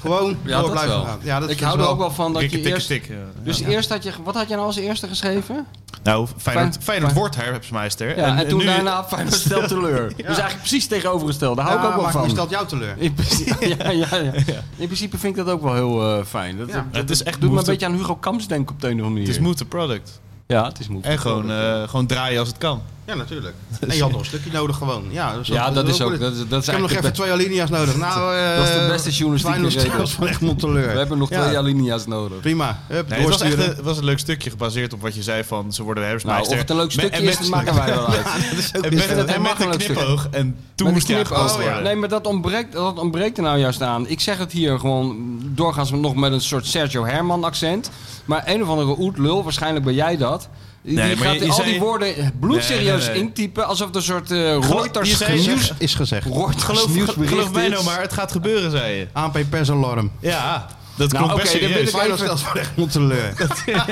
Speaker 2: Gewoon
Speaker 3: <laughs> ja,
Speaker 2: door
Speaker 3: dat
Speaker 2: blijven
Speaker 3: wel.
Speaker 2: gaan. Ja, dat
Speaker 3: ik
Speaker 2: is
Speaker 3: hou er ook wel van dat
Speaker 4: Tikken,
Speaker 3: je
Speaker 4: tikken,
Speaker 3: eerst...
Speaker 4: tikken. ja.
Speaker 3: Dus eerst had je... Wat had je nou als eerste geschreven?
Speaker 4: Nou, Feyenoord,
Speaker 3: Fijn-
Speaker 4: Feyenoord wordt herbstmeister.
Speaker 3: Ja, en, toen
Speaker 4: nu- <laughs>
Speaker 3: daarna Feyenoord stelt teleur. Dus eigenlijk precies tegenovergesteld. Daar hou ik ook wel
Speaker 2: maar je
Speaker 3: van.
Speaker 2: stelt jou teleur.
Speaker 3: In
Speaker 4: <laughs>
Speaker 3: principe, ja, ja, ja. In principe vind ik dat ook wel heel eh, fijn. Dat,
Speaker 2: Ja.
Speaker 3: dat-
Speaker 4: Het is echt
Speaker 3: dat doet me een
Speaker 4: moeite.
Speaker 3: beetje aan Hugo Kamps denken op de een of andere
Speaker 4: Het is
Speaker 3: manier.
Speaker 4: moot the product.
Speaker 3: ja, het is moe.
Speaker 4: En gewoon, eh, gewoon draaien als het kan.
Speaker 2: Ja,
Speaker 3: <laughs>
Speaker 2: natuurlijk. En je had nog een stukje nodig gewoon. Ja, dat is,
Speaker 3: Ja, dat is ook...
Speaker 2: goed.
Speaker 3: Dat is, dat is
Speaker 2: ik heb nog
Speaker 3: eigenlijk
Speaker 2: even
Speaker 3: de
Speaker 2: twee alinea's nodig. Nou, eh,
Speaker 3: Dat is de beste journalistieke
Speaker 2: Feyenoord <laughs>
Speaker 3: reden.
Speaker 2: stelt van Egmond teleur.
Speaker 3: be- We hebben nog
Speaker 2: Ja,
Speaker 3: twee alinea's nodig.
Speaker 2: Prima. Hup,
Speaker 4: Nee, het was echt
Speaker 2: doorsturen.
Speaker 4: een, het was een leuk stukje gebaseerd op wat je zei van ze worden
Speaker 3: Nou,
Speaker 4: herbstmeister.
Speaker 3: of het een leuk
Speaker 4: Met-
Speaker 3: stukje
Speaker 4: en
Speaker 3: is, dat
Speaker 4: met-
Speaker 3: maken wij
Speaker 4: <laughs>
Speaker 3: wel uit.
Speaker 4: En
Speaker 3: Ik
Speaker 4: met,
Speaker 3: vind het
Speaker 4: en
Speaker 3: helemaal
Speaker 4: met een
Speaker 3: geen leuk stuk.
Speaker 4: knipoog. En toen
Speaker 3: Met
Speaker 4: moest
Speaker 3: een
Speaker 4: hij
Speaker 3: knipoog.
Speaker 4: aangepast worden.
Speaker 3: Nee, maar dat ontbreekt, dat ontbreekt er nou juist aan. Ik zeg het hier gewoon doorgaans nog met een soort Sergio Herman accent. Maar een of andere oetlul, waarschijnlijk ben jij dat. Die
Speaker 4: Nee, maar
Speaker 3: gaat
Speaker 4: je- je
Speaker 3: al
Speaker 4: zei-
Speaker 3: die woorden bloedserieus
Speaker 4: Nee, nee, nee.
Speaker 3: intypen. Alsof het een soort eh Reuters
Speaker 4: je zei-
Speaker 3: nieuws...
Speaker 2: Is gezegd.
Speaker 3: Reuters
Speaker 4: Geloof,
Speaker 3: nieuwsbericht
Speaker 4: geloof mij
Speaker 3: is.
Speaker 4: nou maar, het gaat gebeuren, zei je.
Speaker 2: ANP pers alarm.
Speaker 4: Ja, dat
Speaker 3: Nou,
Speaker 4: klonk best
Speaker 3: oké, dan wil
Speaker 4: serieus.
Speaker 3: ik-
Speaker 2: Feyenoord stelt van Egmond teleur.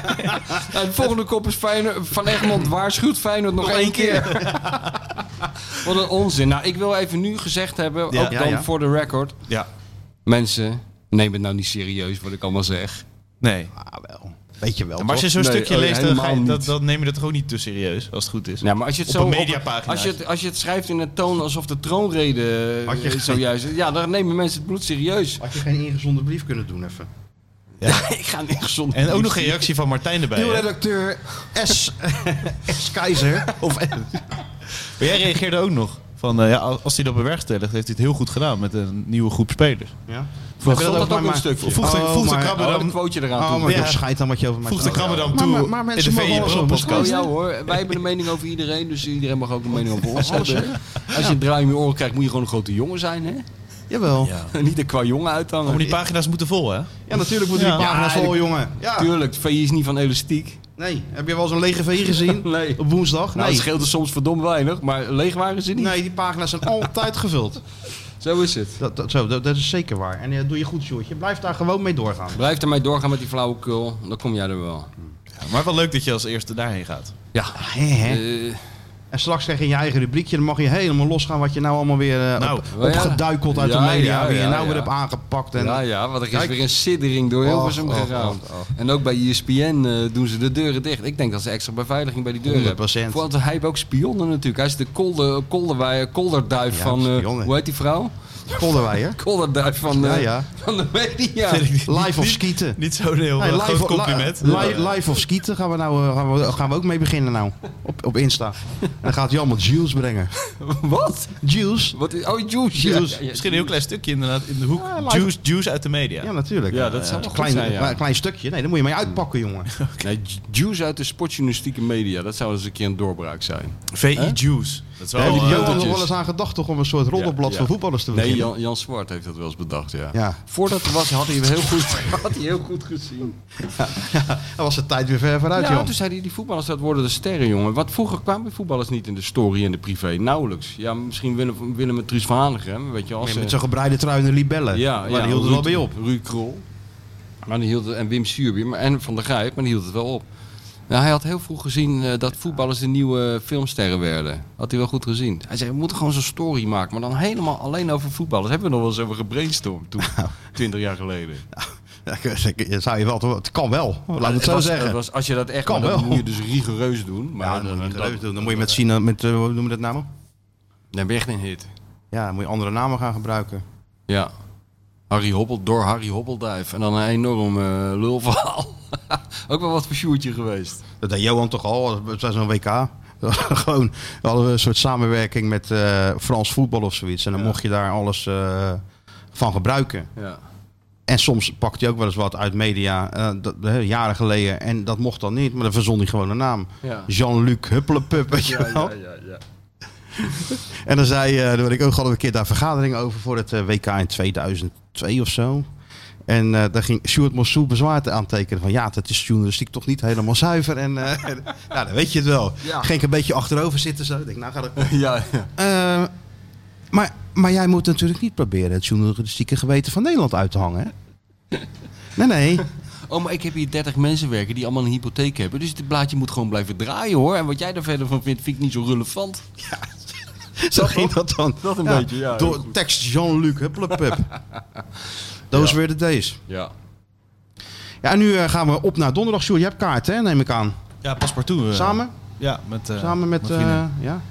Speaker 3: <laughs> Nou, de volgende kop is Feyenoord, Van Egmond waarschuwt Feyenoord nog, één keer. <laughs> Wat een onzin. Nou, ik wil even nu gezegd hebben,
Speaker 4: Ja.
Speaker 3: ook
Speaker 2: Ja,
Speaker 3: dan
Speaker 2: ja.
Speaker 3: voor de record.
Speaker 4: Ja,
Speaker 3: Mensen, neem het nou niet serieus wat ik allemaal zeg.
Speaker 4: nee.
Speaker 2: Ah, wel. Weet je wel,
Speaker 4: Maar als je zo'n
Speaker 3: Nee,
Speaker 4: stukje
Speaker 3: oh,
Speaker 4: leest, dan, ga je-
Speaker 3: helemaal
Speaker 4: dat,
Speaker 3: niet.
Speaker 4: dan neem je dat toch ook niet te serieus, als het goed is.
Speaker 3: Nou, maar als je het
Speaker 4: Op
Speaker 3: zo
Speaker 4: een mediapagina.
Speaker 3: Als je het, als je het schrijft in een toon alsof de troonrede eh,
Speaker 2: Had je geen-
Speaker 3: zojuist. Ja, dan nemen mensen het bloed serieus. <laughs>
Speaker 2: Had je geen ingezonden brief kunnen doen even?
Speaker 3: ik ga niet gezond.
Speaker 4: En ook nog een reactie van Martijn erbij.
Speaker 2: Nieuwe
Speaker 4: hè?
Speaker 2: redacteur S. S. Keizer. Of
Speaker 4: Maar jij reageerde ook nog. Van, eh, ja, als hij dat bewerkstelligt, heeft hij het heel goed gedaan met een nieuwe groep spelers.
Speaker 2: Ja. ook
Speaker 3: Stond dat
Speaker 2: maar-
Speaker 3: ook in
Speaker 2: maar-
Speaker 3: een stukje?
Speaker 4: Voeg de,
Speaker 2: Oh,
Speaker 4: voeg de
Speaker 2: maar-
Speaker 4: krabben
Speaker 3: Oh,
Speaker 4: dan-
Speaker 3: een quoteje eraan
Speaker 2: Oh,
Speaker 3: toe.
Speaker 2: maar
Speaker 4: Ja.
Speaker 2: joh, scheid dan wat je over mij
Speaker 4: voeg de
Speaker 2: praat.
Speaker 4: krabben dan
Speaker 2: Maar-
Speaker 4: toe
Speaker 2: maar- maar mensen
Speaker 4: in de
Speaker 2: mogen wel eens
Speaker 4: VE
Speaker 2: op een
Speaker 4: podcast.
Speaker 2: schrijven.
Speaker 3: ja Oh, hoor, wij hebben een mening over iedereen, dus iedereen mag ook een mening over
Speaker 2: Oh,
Speaker 3: ons hebben. Als je een draai om je oren krijgt, moet je gewoon een grote jongen zijn, hè?
Speaker 2: Jawel. Ja,
Speaker 4: Ja.
Speaker 3: <laughs> Niet een qua jongen uithangen.
Speaker 4: Maar die pagina's moeten vol, hè?
Speaker 2: natuurlijk moeten die
Speaker 4: Ja.
Speaker 2: pagina's
Speaker 3: Ja,
Speaker 2: vol,
Speaker 3: die-
Speaker 2: jongen. Ja.
Speaker 3: Tuurlijk, VI is niet van elastiek.
Speaker 2: Nee, heb je wel zo'n lege VI gezien?
Speaker 3: <laughs> Nee.
Speaker 2: Op woensdag?
Speaker 3: Nou,
Speaker 2: Nee.
Speaker 3: het scheelt er soms verdomd weinig, maar leeg waren ze niet.
Speaker 2: Nee, die pagina's
Speaker 3: <laughs>
Speaker 2: zijn altijd gevuld.
Speaker 3: Zo is het.
Speaker 2: Dat, dat, zo, dat, dat is zeker waar. En eh, doe je goed, Sjoerd. Je blijft daar gewoon mee doorgaan.
Speaker 3: Blijf ermee doorgaan met die flauwekul, dan kom jij er wel.
Speaker 4: Ja, maar wel leuk dat je als eerste daarheen gaat.
Speaker 3: Ja.
Speaker 2: Hè, hè?
Speaker 3: Eh,
Speaker 2: En straks krijg je je eigen rubriekje. Dan mag je helemaal losgaan wat je nou allemaal weer eh,
Speaker 4: Nou,
Speaker 2: op,
Speaker 3: ja.
Speaker 2: opgeduikeld uit
Speaker 3: Ja,
Speaker 2: de media.
Speaker 3: ja,
Speaker 2: wie je
Speaker 3: ja,
Speaker 2: nou
Speaker 3: ja.
Speaker 2: weer hebt aangepakt. En,
Speaker 3: ja, ja, want er is
Speaker 2: Kijk.
Speaker 3: weer een siddering door Hilversum
Speaker 2: Och, och,
Speaker 3: gegaan.
Speaker 2: och, och.
Speaker 3: En ook bij ESPN eh, doen ze de deuren dicht. Ik denk dat ze extra beveiliging bij die deuren hebben.
Speaker 2: 100%.
Speaker 3: Vooral dat hij heeft ook spionnen natuurlijk. Hij is de kolder, kolderwij- kolderduif
Speaker 2: Ja,
Speaker 3: van... eh,
Speaker 2: spionnen.
Speaker 3: hoe heet die vrouw? <laughs>
Speaker 2: Kolderweijer.
Speaker 3: Kolderduif van, eh,
Speaker 2: Ja, ja.
Speaker 3: van de media.
Speaker 2: Live of skieten.
Speaker 4: Niet zo'n heel
Speaker 2: Nee,
Speaker 4: eh,
Speaker 2: live,
Speaker 4: groot
Speaker 2: li-
Speaker 4: compliment.
Speaker 2: li- live, of skieten gaan we, nou, eh, gaan, we, gaan we ook mee beginnen nou. Op, op Insta. En dan gaat hij allemaal Jules
Speaker 3: <laughs>
Speaker 2: brengen.
Speaker 3: Wat?
Speaker 2: Jules?
Speaker 3: Wat is, oh, Juice. Ja,
Speaker 2: Juice.
Speaker 3: ja, ja.
Speaker 4: Misschien een heel klein stukje inderdaad in de hoek.
Speaker 2: Ja, live-
Speaker 4: juice, juice uit de media.
Speaker 2: Ja, natuurlijk.
Speaker 3: Ja, dat zou wel
Speaker 2: een
Speaker 3: goed
Speaker 2: klein,
Speaker 3: zijn, ja.
Speaker 2: klein- klein stukje. Nee, daar moet je mee uitpakken,
Speaker 3: <laughs>
Speaker 2: jongen.
Speaker 3: Nee, Juice uit de sportjournalistieke media. Dat zou eens een keer een doorbraak zijn.
Speaker 4: VI Juice. Dat is
Speaker 2: Daar
Speaker 4: wel...
Speaker 2: hebben
Speaker 4: eh,
Speaker 2: die jongen
Speaker 3: autootjes.
Speaker 2: er wel eens aan gedacht toch om een soort roddelblad
Speaker 3: Ja,
Speaker 2: voor
Speaker 3: ja.
Speaker 2: voetballers te
Speaker 3: Nee,
Speaker 2: beginnen.
Speaker 3: Jan, Jan Zwart heeft dat wel eens bedacht, ja.
Speaker 2: Ja.
Speaker 3: Voordat het was, had hij hem heel goed, <laughs> had hij heel goed gezien.
Speaker 2: Dan was de tijd weer ver vooruit,
Speaker 3: Ja,
Speaker 2: Jan.
Speaker 3: toen zei hij, die voetballers, dat worden de sterren, jongen. Wat vroeger kwamen voetballers niet in de story en de privé, nauwelijks. Ja, misschien Willem, Willem en Truus van Hanegem, weet je, als
Speaker 2: Ja,
Speaker 3: ze-
Speaker 2: Met zo'n gebreide trui en de libellen.
Speaker 3: Ja,
Speaker 2: maar
Speaker 3: ja,
Speaker 2: die hield er
Speaker 3: Ruud-
Speaker 2: wel bij op. <laughs>
Speaker 3: Ruud Krol. Maar die hield het, en Wim Suurby maar, en Van der Grijp, maar die hield het wel op. Nou, hij had heel vroeg gezien eh, dat voetballers de nieuwe filmsterren werden. Had hij wel goed gezien. Hij zei, we moeten gewoon zo'n story maken, maar dan helemaal alleen over voetballers. Hebben we nog wel eens over gebrainstormd toen,
Speaker 2: Nou.
Speaker 3: twintig jaar geleden.
Speaker 2: Ja, dat zou je wel, te- het kan wel. Laat ik het
Speaker 3: Het
Speaker 2: zo
Speaker 3: was-
Speaker 2: zeggen.
Speaker 3: het was- als je dat echt
Speaker 2: Kan
Speaker 3: kan, dan
Speaker 2: wel.
Speaker 3: moet je dus rigoureus doen. Maar
Speaker 2: ja, dan,
Speaker 3: dan,
Speaker 2: moet je
Speaker 3: dat-
Speaker 2: dat doen. dan moet je met Sina, met, eh, hoe noemen we dat namen?
Speaker 3: dan ben je echt een hit.
Speaker 2: Ja, dan moet je andere namen gaan gebruiken.
Speaker 3: Ja. Harry Hoppel door Harry Hoppelduif. En dan een enorm eh, lulverhaal. <laughs> Ook wel wat voor Sjoertje <laughs> geweest.
Speaker 2: Dat deed Johan toch al, het was een WK. <laughs> Gewoon, we hadden een soort samenwerking met eh, Frans voetbal of zoiets. En dan mocht je daar alles eh, van gebruiken.
Speaker 3: Ja.
Speaker 2: En soms pakt hij ook wel eens wat uit media, eh, dat, hè, jaren geleden. En dat mocht dan niet, maar dan verzon hij gewoon een naam.
Speaker 3: Ja.
Speaker 2: Jean-Luc Huppelepup, weet je
Speaker 3: Ja,
Speaker 2: wel.
Speaker 3: ja, ja, ja.
Speaker 2: <laughs> En dan zei, eh, toen werd ik ook hadden we een keer daar vergadering over voor het eh, WK in 2002 of zo. En eh, daar ging Stuart Mossou bezwaar te aantekenen van ja, dat is journalistiek toch niet helemaal zuiver. En eh, <laughs> nou, dan weet je het wel.
Speaker 3: Ja.
Speaker 2: Ging ik een beetje achterover zitten zo. Ik denk, nou gaat het.
Speaker 3: Ja, ja.
Speaker 2: Eh, maar Maar jij moet natuurlijk niet proberen het journalistieke geweten van Nederland uit te hangen. hè? Nee,
Speaker 3: <laughs>
Speaker 2: nee.
Speaker 3: Oh, maar ik heb hier 30 mensen werken die allemaal een hypotheek hebben. Dus dit blaadje moet gewoon blijven draaien hoor. En wat jij daar verder van vindt, vind ik niet zo relevant.
Speaker 2: Zo ging dat dan.
Speaker 3: Dat een beetje, ja, heel
Speaker 2: Door
Speaker 3: goed.
Speaker 2: tekst Jean-Luc,
Speaker 3: <laughs>
Speaker 2: hupplepup. Those were the days.
Speaker 3: Ja.
Speaker 2: Ja, en nu eh, gaan we op naar donderdag. Sjoerd, je hebt kaart, hè, neem ik aan.
Speaker 4: Ja, paspartout. eh,
Speaker 2: Samen?
Speaker 4: Ja, met... eh,
Speaker 2: Samen met...
Speaker 4: vrienden.
Speaker 2: eh, ja,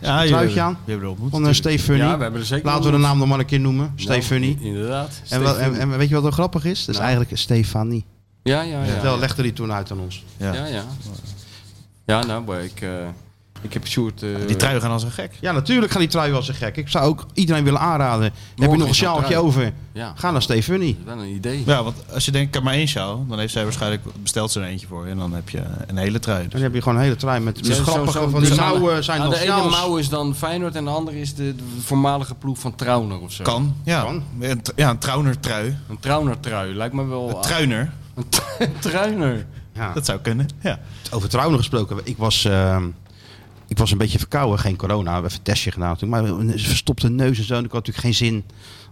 Speaker 4: ja, je-
Speaker 2: truitje aan.
Speaker 4: Je hebt er ontmoet.
Speaker 2: van eh,
Speaker 4: natuurlijk.
Speaker 2: Steve Funny.
Speaker 3: Ja, we hebben er zeker
Speaker 2: Laten we de
Speaker 3: nog-
Speaker 2: naam nog maar een keer noemen. Steve
Speaker 3: Nou,
Speaker 2: Funny.
Speaker 3: i- Inderdaad. Steve
Speaker 2: En, wel- en,
Speaker 3: Funny.
Speaker 2: en weet je wat wel grappig is? Dat is
Speaker 3: Nou.
Speaker 2: eigenlijk Stefanie.
Speaker 3: ja, ja, ja.
Speaker 2: Vertel, legde die toen uit aan ons.
Speaker 4: ja.
Speaker 3: Ja, ja. Ja, nou, maar ik, eh, ik heb Sjoerd... eh,
Speaker 4: Die trui gaan als een gek.
Speaker 2: Ja, natuurlijk gaan die trui wel zo gek. Ik zou ook iedereen willen aanraden. Heb je
Speaker 3: is
Speaker 2: nog een
Speaker 3: dat
Speaker 2: sjaaltje
Speaker 3: trui.
Speaker 2: over?
Speaker 3: Ja, dat
Speaker 2: Ga naar Stefanie.
Speaker 3: is wel een idee.
Speaker 4: Ja, want als je denkt, ik heb maar één sjaal, dan heeft zij waarschijnlijk besteld ze er eentje voor je. En dan heb je een hele trui.
Speaker 2: Dan
Speaker 4: Dus.
Speaker 2: heb je gewoon een hele trui met, met
Speaker 3: Zo- zo-
Speaker 2: grappige
Speaker 3: zo-
Speaker 2: van die
Speaker 3: dus aan de-
Speaker 2: mouwen zijn
Speaker 3: aan
Speaker 2: dan
Speaker 3: De ene
Speaker 2: sjaals.
Speaker 3: mouw is dan Feyenoord en de andere is de, de voormalige ploeg van Trauner of zo.
Speaker 4: Kan, ja.
Speaker 2: Kan.
Speaker 4: Een tr- Ja, een trouner trui.
Speaker 3: Een Trauner-trui, lijkt me wel...
Speaker 4: Een truiner.
Speaker 3: Een tr- truiner.
Speaker 2: Ja.
Speaker 4: Dat zou kunnen, ja.
Speaker 2: Over trouwen gesproken. Ik was, ehm, ik was een beetje verkouden. Geen corona. We hebben even een testje gedaan natuurlijk. Maar een verstopte neus en zo. En ik had natuurlijk geen zin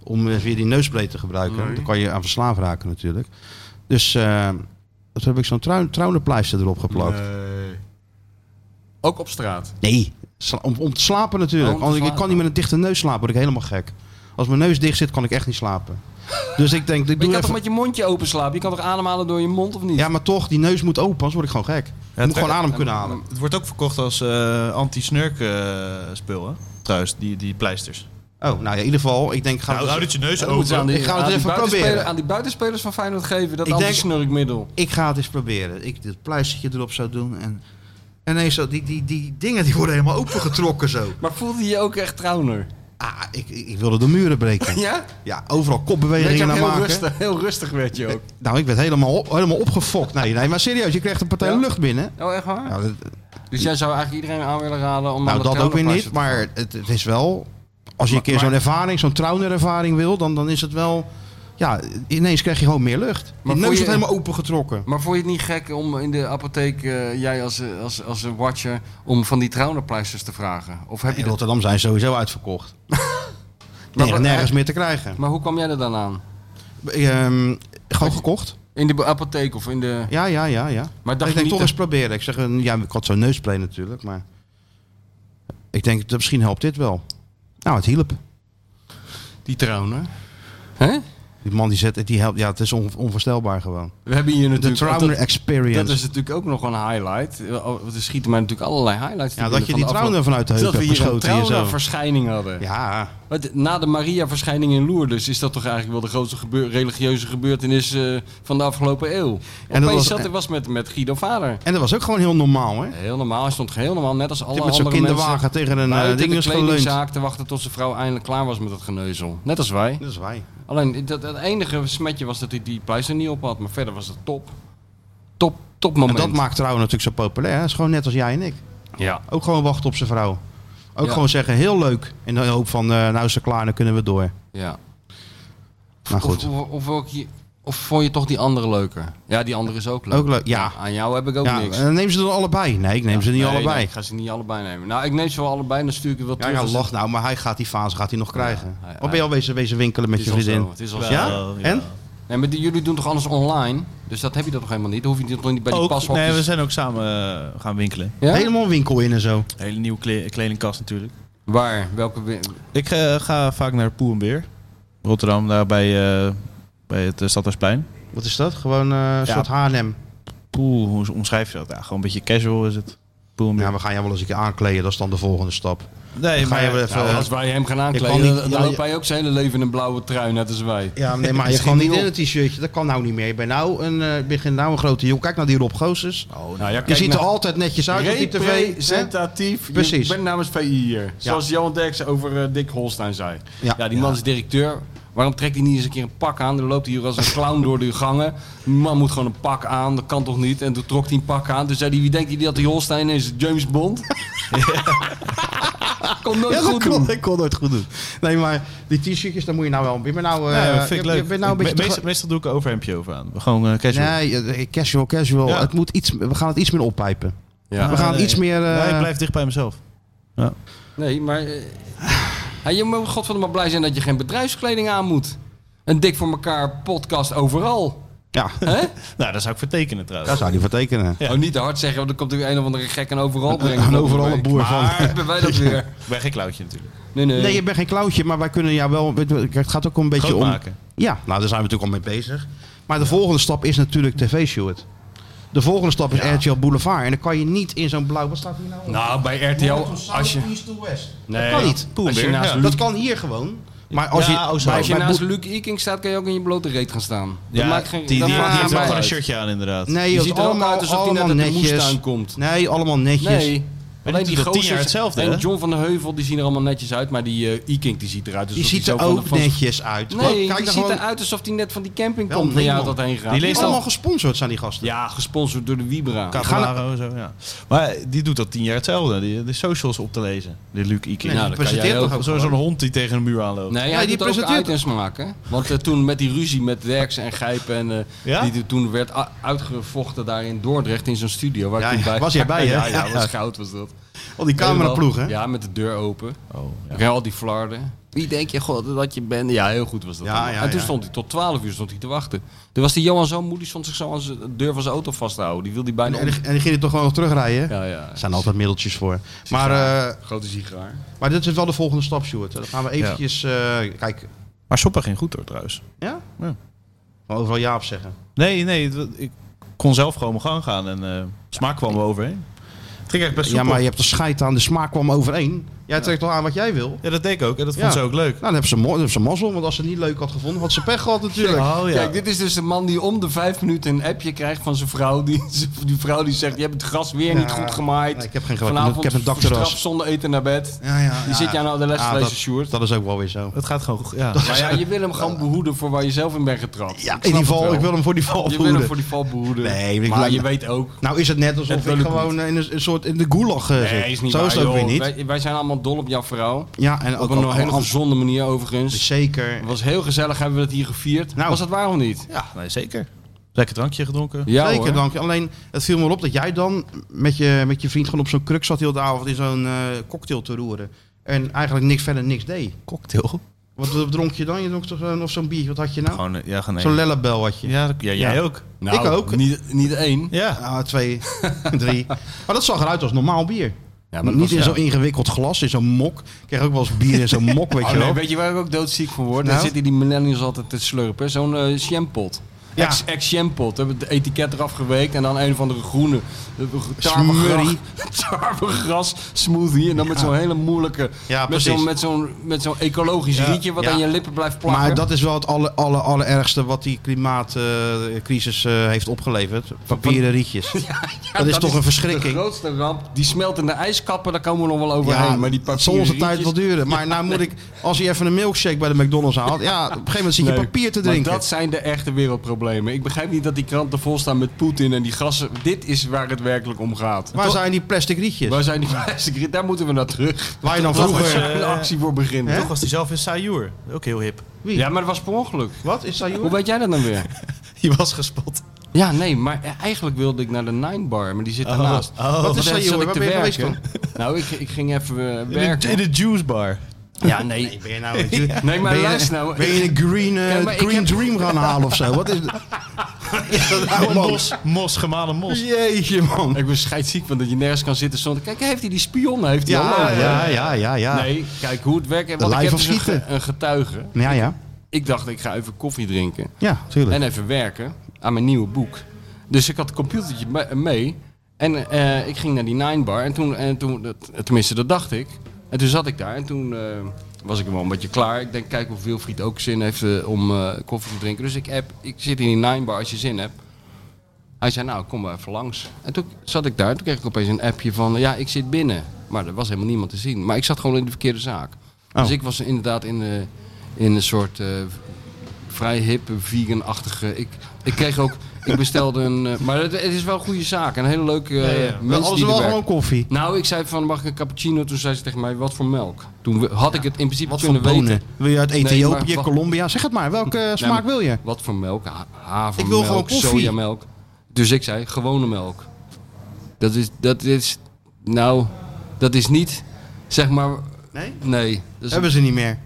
Speaker 2: om eh, weer die neusbreed te gebruiken. Want Dan kan je aan verslaafd raken natuurlijk. Dus ehm, toen heb ik zo'n trou trouwenpleister erop geplakt.
Speaker 3: eh, Ook op straat.
Speaker 2: Nee, sla- om, om te slapen natuurlijk.
Speaker 3: Oh, om te
Speaker 2: Anders- ik- Ik
Speaker 3: slapen.
Speaker 2: kan niet met een dichte neus slapen, word ik helemaal gek. Als mijn neus dicht zit, kan ik echt niet slapen. Dus ik denk, ik
Speaker 3: Maar je
Speaker 2: doe
Speaker 3: kan
Speaker 2: even...
Speaker 3: toch met je mondje open slapen? Je kan toch ademhalen door je mond of niet?
Speaker 2: Ja, maar toch, die neus moet open, anders word ik gewoon gek. ik moet
Speaker 4: het-
Speaker 2: gewoon adem kunnen halen.
Speaker 4: Het wordt ook verkocht als eh, anti-snurk eh, spul, hè? Trouwens, die, die pleisters.
Speaker 2: Oh, nou ja, in ieder geval, ik denk... ik Ga
Speaker 4: Nou, houd het je neus
Speaker 3: Ja, dat moeten ze
Speaker 4: open.
Speaker 3: aan die-
Speaker 2: Ik ga het
Speaker 3: aan die
Speaker 2: even
Speaker 3: buitenspelers-
Speaker 2: proberen.
Speaker 3: Aan die buitenspelers van Feyenoord geven, dat
Speaker 2: Ik denk-
Speaker 3: antisnurkmiddel.
Speaker 2: Ik ga het eens proberen. Ik dit pleistertje erop zou doen en... En ineens, zo, die, die, die dingen die worden helemaal opengetrokken zo.
Speaker 3: Maar voelde je je ook echt trauner?
Speaker 2: Ah, ik, ik ik wilde de muren breken. Ja,
Speaker 3: Ja?
Speaker 2: overal
Speaker 3: Werd je
Speaker 2: kopbewegingen
Speaker 3: ook
Speaker 2: naar
Speaker 3: heel
Speaker 2: maken.
Speaker 3: rustig, heel rustig werd je ook.
Speaker 2: Nou, ik werd helemaal, op, helemaal opgefokt. Nee, nee, maar serieus, je krijgt een partij
Speaker 3: Ja?
Speaker 2: lucht binnen.
Speaker 3: Oh, echt waar?
Speaker 2: Ja, dat,
Speaker 3: Dus jij zou eigenlijk iedereen aan willen raden om
Speaker 2: Nou,
Speaker 3: aan dat
Speaker 2: dat ook weer
Speaker 3: traunerpleister
Speaker 2: niet.
Speaker 3: te
Speaker 2: Maar het, het is wel. Als je een keer
Speaker 3: Maar-
Speaker 2: zo'n ervaring, zo'n trouwnerervaring wil, dan, dan is het wel. Ja, ineens krijg je gewoon meer lucht.
Speaker 3: Maar
Speaker 2: Maar je neus
Speaker 3: voel je-
Speaker 2: wordt helemaal opengetrokken.
Speaker 3: Maar vond je het niet gek om in de apotheek, eh, jij als, eh, als, als een watcher, om van die traunerpleisters te vragen? Of heb je
Speaker 2: In
Speaker 3: dat?
Speaker 2: Rotterdam zijn ze sowieso
Speaker 3: <laughs>
Speaker 2: uitverkocht.
Speaker 3: Maar
Speaker 2: Nergens,
Speaker 3: wat-
Speaker 2: nergens meer te krijgen.
Speaker 3: Maar hoe kwam jij er dan aan?
Speaker 2: Ehm, gewoon gekocht.
Speaker 3: In de apotheek of in de...
Speaker 2: Ja, ja, ja, ja.
Speaker 3: Maar dacht
Speaker 2: ik
Speaker 3: je
Speaker 2: denk
Speaker 3: niet
Speaker 2: toch
Speaker 3: dat-
Speaker 2: eens proberen. Ik zeg, een- ja, ik had zo'n neuspray natuurlijk, maar ik denk, dat misschien helpt dit wel. Nou, het hielp.
Speaker 3: Die trauner? Hè?
Speaker 2: Die man die zet, die helpt, ja, het is on- onvoorstelbaar gewoon.
Speaker 3: We hebben hier
Speaker 2: De
Speaker 3: natuurlijk...
Speaker 2: Trauner
Speaker 3: dat,
Speaker 2: Experience.
Speaker 3: dat is natuurlijk ook nog een highlight. Eh, oh, Er schieten mij natuurlijk allerlei highlights te
Speaker 2: Ja,
Speaker 3: binnen
Speaker 2: dat je
Speaker 3: van
Speaker 2: die
Speaker 3: de
Speaker 2: trouwner
Speaker 3: afgelopen-
Speaker 2: vanuit de heup
Speaker 3: Dat we
Speaker 2: hebt
Speaker 3: hier een
Speaker 2: geschoten en zo.
Speaker 3: traunerverschijning hadden.
Speaker 2: Ja,
Speaker 3: Wat, na de Maria-verschijning in Lourdes is dat toch eigenlijk wel de grootste gebeur- religieuze gebeurtenis eh, van de afgelopen eeuw. En dat
Speaker 2: was-
Speaker 3: was, zat, er was met, met Guido Vader.
Speaker 2: en dat was ook gewoon heel normaal, hè?
Speaker 3: Heel normaal, hij stond heel normaal, net als alle
Speaker 2: Dit met
Speaker 3: andere
Speaker 2: zo'n kinderwagen
Speaker 3: mensen.
Speaker 2: tegen een eh,
Speaker 3: buiten
Speaker 2: ding
Speaker 3: de
Speaker 2: is geleund.
Speaker 3: kledingzaak te wachten tot zijn vrouw eindelijk klaar was met dat geneuzel. Net als wij.
Speaker 2: Dat is wij.
Speaker 3: Alleen dat, het enige smetje was dat hij die pleister niet op had, maar verder was het top. Top, top moment.
Speaker 2: En dat maakt trouwen natuurlijk zo populair. hè? Het is gewoon net als jij en ik.
Speaker 3: Ja.
Speaker 2: Ook gewoon wachten op zijn vrouw. Ook
Speaker 3: Ja.
Speaker 2: gewoon zeggen, heel leuk. In de hoop van, eh, nou is ze klaar, dan kunnen we door.
Speaker 3: ja.
Speaker 2: Maar Nou, goed.
Speaker 3: Of, of, of, ook je- of vond je toch die andere leuker? Ja, die andere is ook leuk.
Speaker 2: Ook leuk, Oh, ja.
Speaker 3: Aan jou heb ik ook
Speaker 2: ja,
Speaker 3: niks.
Speaker 2: en dan neem ze dan allebei. Nee, ik neem ze niet
Speaker 3: Nee,
Speaker 2: allebei.
Speaker 3: nee, ik ga ze niet allebei nemen. Nou, ik neem ze wel allebei en dan stuur ik het wel
Speaker 2: ja,
Speaker 3: terug.
Speaker 2: ja,
Speaker 3: als-
Speaker 2: lach nou, maar hij gaat die fase gaat hij nog krijgen.
Speaker 3: hij-
Speaker 2: Of ben je al wezen, wezen winkelen met
Speaker 3: Het
Speaker 2: je
Speaker 3: is al
Speaker 2: vriendin?
Speaker 3: zo, het is al zo.
Speaker 2: Ja?
Speaker 4: Wel, ja.
Speaker 2: En?
Speaker 3: Nee, maar die, jullie doen toch alles online? Dus dat heb je dat toch helemaal niet? Dan hoef je toch niet bij die
Speaker 4: Ook,
Speaker 3: pashokjes...
Speaker 4: nee, we zijn ook samen eh, gaan winkelen.
Speaker 3: Ja?
Speaker 2: Helemaal winkel in en zo.
Speaker 4: Hele nieuwe kle- kledingkast natuurlijk.
Speaker 3: Waar? Welke... wi-
Speaker 4: Ik eh, ga vaak naar Poe en Beer. Rotterdam, daar bij, eh, bij het eh, Stadhuisplein.
Speaker 2: Wat is dat? Gewoon eh, een soort H&M.
Speaker 4: Poe, hoe omschrijf je dat? Ja, gewoon een beetje casual is het. Poe en Beer.
Speaker 2: Ja, Nou, we gaan jou wel eens een keer aankleden. Dat is dan de volgende stap.
Speaker 4: nee,
Speaker 2: ga je wel even-
Speaker 3: Nou,
Speaker 2: eh,
Speaker 3: als wij hem gaan
Speaker 2: ik
Speaker 3: aankleden,
Speaker 2: kan niet-
Speaker 3: dan
Speaker 2: ja,
Speaker 3: loopt
Speaker 2: je-
Speaker 3: hij ook zijn hele leven in een blauwe trui, net als wij.
Speaker 2: Ja, <laughs> nee, maar je
Speaker 3: Misschien
Speaker 2: kan niet
Speaker 3: niet
Speaker 2: in een t-shirtje. Dat kan nou niet meer. Je bent nou een, eh, begin nou een grote jongen. Kijk naar die Rob Goossens.
Speaker 3: Nou, ja,
Speaker 2: je
Speaker 3: kijk
Speaker 2: ziet er
Speaker 3: nou-
Speaker 2: altijd netjes uit op die tv. hè?
Speaker 3: Representatief.
Speaker 2: Precies.
Speaker 3: Ik ben namens VI hier. Zoals Johan Derksen over eh, Dick Holstein zei.
Speaker 2: Ja.
Speaker 3: Ja, die man is directeur. Waarom trekt hij niet eens een keer een pak aan? Dan loopt hij hier als een clown door de gangen. Die man moet gewoon een pak aan. Dat kan toch niet? En toen trok hij een pak aan. Toen zei hij, wie denkt hij dat die Holstein is? James
Speaker 2: <laughs>
Speaker 3: Bond? Kom nooit
Speaker 2: Ja, dat
Speaker 3: goed doen.
Speaker 2: klopt. Ik kon nooit goed doen. Nee, maar die t-shirtjes, daar moet je nou wel... Je bent nou, eh,
Speaker 4: Ja, dat vind
Speaker 2: je,
Speaker 4: ik leuk.
Speaker 2: je bent nou een beetje...
Speaker 4: Me-
Speaker 2: te
Speaker 4: meestal, meestal doe ik een overhemdje over aan. Gewoon eh,
Speaker 2: gro-
Speaker 4: casual.
Speaker 2: Nee, eh, casual, casual.
Speaker 4: Ja.
Speaker 2: Het moet iets, we gaan het iets meer oppijpen.
Speaker 3: Ja.
Speaker 2: we gaan iets meer... eh,
Speaker 4: Nee, ik blijf dicht bij mezelf.
Speaker 3: Nee, maar eh, Hey, je moet godverdomme maar blij zijn dat je geen bedrijfskleding aan moet. Een dik voor elkaar podcast overal.
Speaker 4: <laughs>
Speaker 2: Ja,
Speaker 3: Hè?
Speaker 4: Nou, dat zou ik vertekenen trouwens.
Speaker 2: daar zou hij voor tekenen.
Speaker 4: Ja.
Speaker 3: Oh, niet te hard zeggen, want dan komt er een of andere gek en overal brengen.
Speaker 2: Een overal een boer van.
Speaker 3: Waar hebben
Speaker 2: <laughs>
Speaker 3: wij dat weer?
Speaker 4: Ik ben geen klauwtje natuurlijk.
Speaker 3: Nee, nee.
Speaker 2: Nee, je bent geen klauwtje, maar wij kunnen jou wel... Kijk, Het gaat ook een beetje
Speaker 4: Groot
Speaker 2: om...
Speaker 4: maken.
Speaker 2: Ja, nou daar zijn we natuurlijk al mee bezig. Maar de volgende stap is natuurlijk tv, Stuart. De volgende stap is RTL Boulevard. En dan kan je niet in zo'n blauw... Wat staat hier nou? op?
Speaker 3: nou, bij RTL, als je...
Speaker 2: East to West.
Speaker 3: Nee,
Speaker 2: dat kan niet.
Speaker 3: als je
Speaker 4: Poenbeer,
Speaker 3: naast,
Speaker 4: ja.
Speaker 3: Luc,
Speaker 2: Dat kan hier gewoon. Maar als je,
Speaker 4: Ja, oh, zo.
Speaker 2: bij-
Speaker 4: Als
Speaker 3: als je
Speaker 2: bij
Speaker 3: naast
Speaker 2: Boel-
Speaker 3: Luc Iking staat, kan je ook in je blote reet gaan staan.
Speaker 4: Ja,
Speaker 3: dat maakt geen,
Speaker 4: die,
Speaker 3: dat
Speaker 4: die,
Speaker 3: maakt geen
Speaker 4: die heeft
Speaker 3: reet
Speaker 4: wel gewoon een
Speaker 3: uit.
Speaker 4: shirtje aan inderdaad.
Speaker 2: Nee,
Speaker 3: Je
Speaker 2: joh,
Speaker 3: ziet er ook
Speaker 2: allemaal,
Speaker 3: uit alsof hij
Speaker 2: allemaal
Speaker 3: net uit de
Speaker 2: netjes.
Speaker 3: moestuin komt.
Speaker 2: Nee, allemaal netjes.
Speaker 3: Nee.
Speaker 4: Maar
Speaker 3: Alleen
Speaker 4: dit
Speaker 3: die
Speaker 4: is al tien
Speaker 3: gozers
Speaker 4: jaar hetzelfde,
Speaker 3: en
Speaker 4: hè?
Speaker 3: John van der Heuvel, die zien er allemaal netjes uit. Maar die eh Iking, die ziet eruit alsof
Speaker 2: Je ziet
Speaker 3: hij
Speaker 2: er
Speaker 3: zo
Speaker 2: ook
Speaker 3: van de, van-
Speaker 2: netjes uit.
Speaker 3: Nee,
Speaker 2: Kijk
Speaker 3: die
Speaker 2: er
Speaker 3: ziet
Speaker 2: gewoon...
Speaker 3: eruit alsof hij net van die camping
Speaker 2: Wel,
Speaker 3: komt waar
Speaker 2: nee,
Speaker 3: jij
Speaker 2: man.
Speaker 3: dat heen gaat.
Speaker 4: Die leest
Speaker 2: Allemaal gesponsord zijn die gasten.
Speaker 3: Ja, gesponsord door de Vibra.
Speaker 4: Cavalaro, zo, ja. Maar die doet dat tien jaar hetzelfde. Die, de socials op te lezen. De Luc Iking.
Speaker 2: Nee,
Speaker 3: Nou,
Speaker 2: die
Speaker 3: dat kan jij
Speaker 2: presenteert
Speaker 3: ook.
Speaker 2: toch ook
Speaker 4: Zo- Zo'n
Speaker 2: gewoon?
Speaker 4: hond die tegen een muur aanloopt.
Speaker 3: Nee,
Speaker 2: Nee,
Speaker 3: hij
Speaker 2: die
Speaker 3: doet er ook
Speaker 2: presenteert-
Speaker 3: uit en smaken. Want eh, toen met die ruzie met Derks en Gijpen en eh,
Speaker 4: Ja?
Speaker 3: die, toen werd a- uitgevochten daar in Dordrecht in zo'n studio. Waar
Speaker 2: Ja,
Speaker 3: ik toen
Speaker 2: ja,
Speaker 3: bij
Speaker 2: was jij bij, hè?
Speaker 3: <laughs> Ja, ja,
Speaker 2: Ja.
Speaker 3: was goud was dat.
Speaker 2: Al die cameraploeg, hè?
Speaker 3: Ja, met de deur open.
Speaker 4: Oh, ja.
Speaker 3: Ja, al die flarden. Wie denk je god, dat je bent? Ja, heel goed was dat.
Speaker 2: Ja,
Speaker 3: allemaal.
Speaker 2: ja,
Speaker 3: en toen
Speaker 2: ja.
Speaker 3: stond hij tot 12 uur stond hij te wachten. Toen was die Johan zo moe, die stond zich zo aan zijn- de deur van zijn auto vast te houden. Die wilde hij
Speaker 2: En,
Speaker 3: bijna...
Speaker 2: en,
Speaker 3: om-
Speaker 2: en die gingen toch gewoon nog terugrijden?
Speaker 3: Ja, ja.
Speaker 2: Er zijn altijd middeltjes voor. Maar, eh,
Speaker 3: Grote sigaar.
Speaker 2: maar dit is wel de volgende stap, Stuart. Dan gaan we eventjes... eh, kijk,
Speaker 4: Maar Soppa ging goed door trouwens.
Speaker 2: ja?
Speaker 4: Ja.
Speaker 2: Gewoon overal ja op zeggen.
Speaker 4: Nee, nee. het- ik kon zelf gewoon mijn gang gaan. En eh smaak kwam me overheen. Het ging echt best
Speaker 2: Ja,
Speaker 4: soepel.
Speaker 2: maar je hebt er scheid aan. De smaak kwam overeen. Jij trekt al aan wat jij wil.
Speaker 4: Ja, dat deed ik ook. En dat vond
Speaker 2: Ja.
Speaker 4: ze ook leuk.
Speaker 2: Nou, dan hebben ze, mo- dan hebben ze mazzel. Want als ze het niet leuk had gevonden, had ze pech gehad natuurlijk.
Speaker 4: Oh ja.
Speaker 3: Kijk, dit is dus de man die om de vijf minuten een appje krijgt van zijn vrouw. Die, <laughs> die vrouw die zegt, je hebt het gras weer niet goed gemaaid.
Speaker 2: nee, ik heb geen gras.
Speaker 3: Vanavond
Speaker 2: Ik heb een dakterras.
Speaker 3: verstraft zonder eten naar
Speaker 2: <laughs>
Speaker 3: bed.
Speaker 2: Ja, ja,
Speaker 3: Die
Speaker 2: ja.
Speaker 3: zit jij nou de les te
Speaker 2: Ja,
Speaker 3: lezen,
Speaker 2: dat-
Speaker 3: Sjoerd.
Speaker 2: Dat is ook wel weer zo.
Speaker 4: Het gaat gewoon goed. Ja.
Speaker 3: Maar Nou ja, je wil hem gewoon behoeden voor waar je zelf in bent
Speaker 2: Ja,
Speaker 3: getrapt. Ik
Speaker 2: in
Speaker 3: snap
Speaker 2: die
Speaker 3: het
Speaker 2: val.
Speaker 3: wel.
Speaker 2: Ik wil hem voor die val
Speaker 3: Je wil hem
Speaker 2: behoeden.
Speaker 3: voor die val behoeden.
Speaker 2: Nee, ik
Speaker 3: maar
Speaker 2: laat-
Speaker 3: je weet ook...
Speaker 2: Nou is het net alsof
Speaker 3: Het
Speaker 2: ik
Speaker 3: lukt
Speaker 2: gewoon eh, in een, een soort in de gulag eh, zit.
Speaker 3: Nee, is niet
Speaker 2: Zo
Speaker 3: waar,
Speaker 2: is het ook
Speaker 3: joh.
Speaker 2: weer niet.
Speaker 3: Wij, wij zijn allemaal dol op jouw vrouw.
Speaker 2: Ja, en ook
Speaker 3: Op een
Speaker 2: al-
Speaker 3: hele
Speaker 2: al-
Speaker 3: gezonde manier overigens.
Speaker 2: Zeker.
Speaker 3: Het was heel gezellig, hebben we dat hier gevierd.
Speaker 2: Nou.
Speaker 3: Was dat waar of niet?
Speaker 4: Ja, nee, zeker. Lekker drankje gedronken.
Speaker 3: Ja
Speaker 2: Zeker,
Speaker 3: hoor.
Speaker 2: dank je. Alleen, het viel me wel op dat jij dan met je, met je vriend gewoon op zo'n kruk zat heel de avond in zo'n eh, cocktail te roeren. En eigenlijk niks verder niks deed.
Speaker 4: Cocktail.
Speaker 2: Wat wat dronk je dan? Je dronk toch zo'n- of zo'n bier? Wat had je nou?
Speaker 3: Oh,
Speaker 4: Gewoon, eh, ja, gewoon
Speaker 2: Zo'n
Speaker 4: één.
Speaker 2: lellebel had je.
Speaker 4: ja, dat- ja, jij
Speaker 2: Ja.
Speaker 4: ook.
Speaker 3: Nou,
Speaker 2: Ik ook.
Speaker 3: Niet, niet één.
Speaker 4: Ja.
Speaker 2: Ah, twee, <laughs> drie. Maar dat zag eruit als normaal bier.
Speaker 3: Ja,
Speaker 2: niet in zo'n ingewikkeld glas, in zo'n mok. Ik kreeg ook wel eens bier in
Speaker 3: <laughs>
Speaker 2: zo'n mok, weet
Speaker 3: Oh,
Speaker 2: je
Speaker 3: nee,
Speaker 2: wel.
Speaker 3: weet je waar ik ook doodziek van word?
Speaker 2: Nou?
Speaker 3: Dan zitten die millennials altijd te slurpen. Zo'n eh shampot.
Speaker 2: Ja.
Speaker 3: Ex, ex shampot. Hebben het etiket eraf geweekt en dan een van de groene eh, tarwegras,
Speaker 2: Smurrie.
Speaker 3: <laughs> tarwegras smoothie. En dan met zo'n hele moeilijke,
Speaker 2: Ja,
Speaker 3: met
Speaker 2: precies.
Speaker 3: zo'n met zo'n met zo'n ecologisch
Speaker 2: Ja.
Speaker 3: rietje wat
Speaker 2: Ja.
Speaker 3: aan je lippen blijft plakken.
Speaker 2: Maar dat is wel het aller, aller, allerergste wat die klimaatcrisis eh, heeft opgeleverd. Papieren rietjes.
Speaker 3: <laughs> Ja,
Speaker 2: dat is toch een verschrikking.
Speaker 3: De grootste ramp. Die smeltende ijskappen, daar komen we nog wel overheen.
Speaker 2: Ja,
Speaker 3: maar die
Speaker 2: het
Speaker 3: papieren
Speaker 2: zal onze tijd wel
Speaker 3: rietjes-
Speaker 2: duren. Maar nou moet ik, als je even een milkshake bij de McDonald's haalt, ja, op een gegeven moment zit je
Speaker 3: Nee,
Speaker 2: papier te
Speaker 3: maar
Speaker 2: drinken.
Speaker 3: dat zijn de echte wereldproblemen. Ik begrijp niet dat die kranten vol staan met Poetin en die gassen. Dit is waar het werkelijk om gaat.
Speaker 2: Waar zijn die plastic rietjes?
Speaker 3: Waar zijn die plastic? <laughs> Daar moeten we naar terug.
Speaker 2: Waar je dan
Speaker 3: Laten we
Speaker 2: vroeger...
Speaker 3: er een actie voor beginnen.
Speaker 4: Toch was hij zelf in Sayur. Ook heel hip.
Speaker 2: Wie?
Speaker 3: Ja, maar dat was per ongeluk.
Speaker 2: Wat? Is dat
Speaker 3: Hoe
Speaker 2: joh?
Speaker 3: weet jij dat dan weer?
Speaker 4: Die was gespot.
Speaker 3: <laughs> Ja, nee, maar eigenlijk wilde ik naar de Nine Bar, maar die zit daarnaast.
Speaker 4: oh.
Speaker 2: Wat is
Speaker 3: Daar
Speaker 2: dat
Speaker 3: zat
Speaker 2: joh?
Speaker 3: ik
Speaker 2: Waar
Speaker 3: te
Speaker 2: ben je geweest
Speaker 3: werken.
Speaker 2: dan?
Speaker 3: <laughs> Nou, ik, ik ging even eh,
Speaker 4: In de, in
Speaker 3: werken.
Speaker 4: de juice bar.
Speaker 3: Ja, nee.
Speaker 2: Ben je nou een ju-
Speaker 3: Nee, maar
Speaker 2: ben je-
Speaker 3: luister nou.
Speaker 2: Ben je een green, eh,
Speaker 3: Kijk, maar ik
Speaker 2: green
Speaker 3: heb-
Speaker 2: dream gaan halen of zo? Wat
Speaker 3: <laughs>
Speaker 2: is Is dat nou
Speaker 4: Mos, mos, gemalen mos.
Speaker 2: Jeetje man.
Speaker 3: Ik ben scheidsziek van dat je nergens kan zitten zonder... Kijk, heeft hij die spion? Heeft hij al
Speaker 2: Ja,
Speaker 3: lang?
Speaker 2: ja, ja, ja, ja.
Speaker 3: Nee, kijk hoe het werkt. Want ik
Speaker 2: lijf
Speaker 3: heb
Speaker 2: of
Speaker 3: dus een,
Speaker 2: schieten.
Speaker 3: ge- een getuige.
Speaker 2: Ja, ja.
Speaker 3: Ik dacht, ik ga even koffie drinken.
Speaker 2: Ja, tuurlijk.
Speaker 3: En even werken aan mijn nieuwe boek. Dus ik had het computertje me- mee. En eh, ik ging naar die Nine Bar. En toen, en toen dat- tenminste, dat dacht ik. En toen zat ik daar. En toen eh, was ik wel een beetje klaar. Ik denk, kijk of Wilfried ook zin heeft eh, om eh, koffie te drinken. Dus ik app, ik zit in die Nine Bar als je zin hebt. Hij zei, nou, kom maar even langs. En toen zat ik daar. en Toen kreeg ik opeens een appje van, ja, ik zit binnen. Maar er was helemaal niemand te zien. Maar ik zat gewoon in de verkeerde zaak. Dus
Speaker 2: Oh.
Speaker 3: ik was inderdaad in, eh, in een soort... eh, vrij hip, vegan-achtige. Ik, ik kreeg ook, ik bestelde een. eh, maar het, het is wel een goede zaak. Een hele leuke eh mensen
Speaker 2: Alles
Speaker 3: die
Speaker 2: wel
Speaker 3: er werken.
Speaker 2: gewoon koffie.
Speaker 3: Nou, ik zei van mag ik een cappuccino? Toen zei ze tegen mij wat voor melk. Toen we- had ik het in principe
Speaker 2: Wat voor
Speaker 3: kunnen weten.
Speaker 2: bonen? Wil je uit
Speaker 3: Nee,
Speaker 2: Ethiopië,
Speaker 3: maar wat-
Speaker 2: Colombia? Zeg het maar, welke eh, smaak
Speaker 3: maar-
Speaker 2: wil je?
Speaker 3: Wat voor melk? Ha- Havermelk,
Speaker 2: Ik wil gewoon koffie.
Speaker 3: sojamelk. Dus ik zei gewone melk. Dat is, dat is, nou, dat is niet, zeg maar,
Speaker 2: Nee?
Speaker 3: Nee, dat is, een,
Speaker 2: Hebben ze niet meer.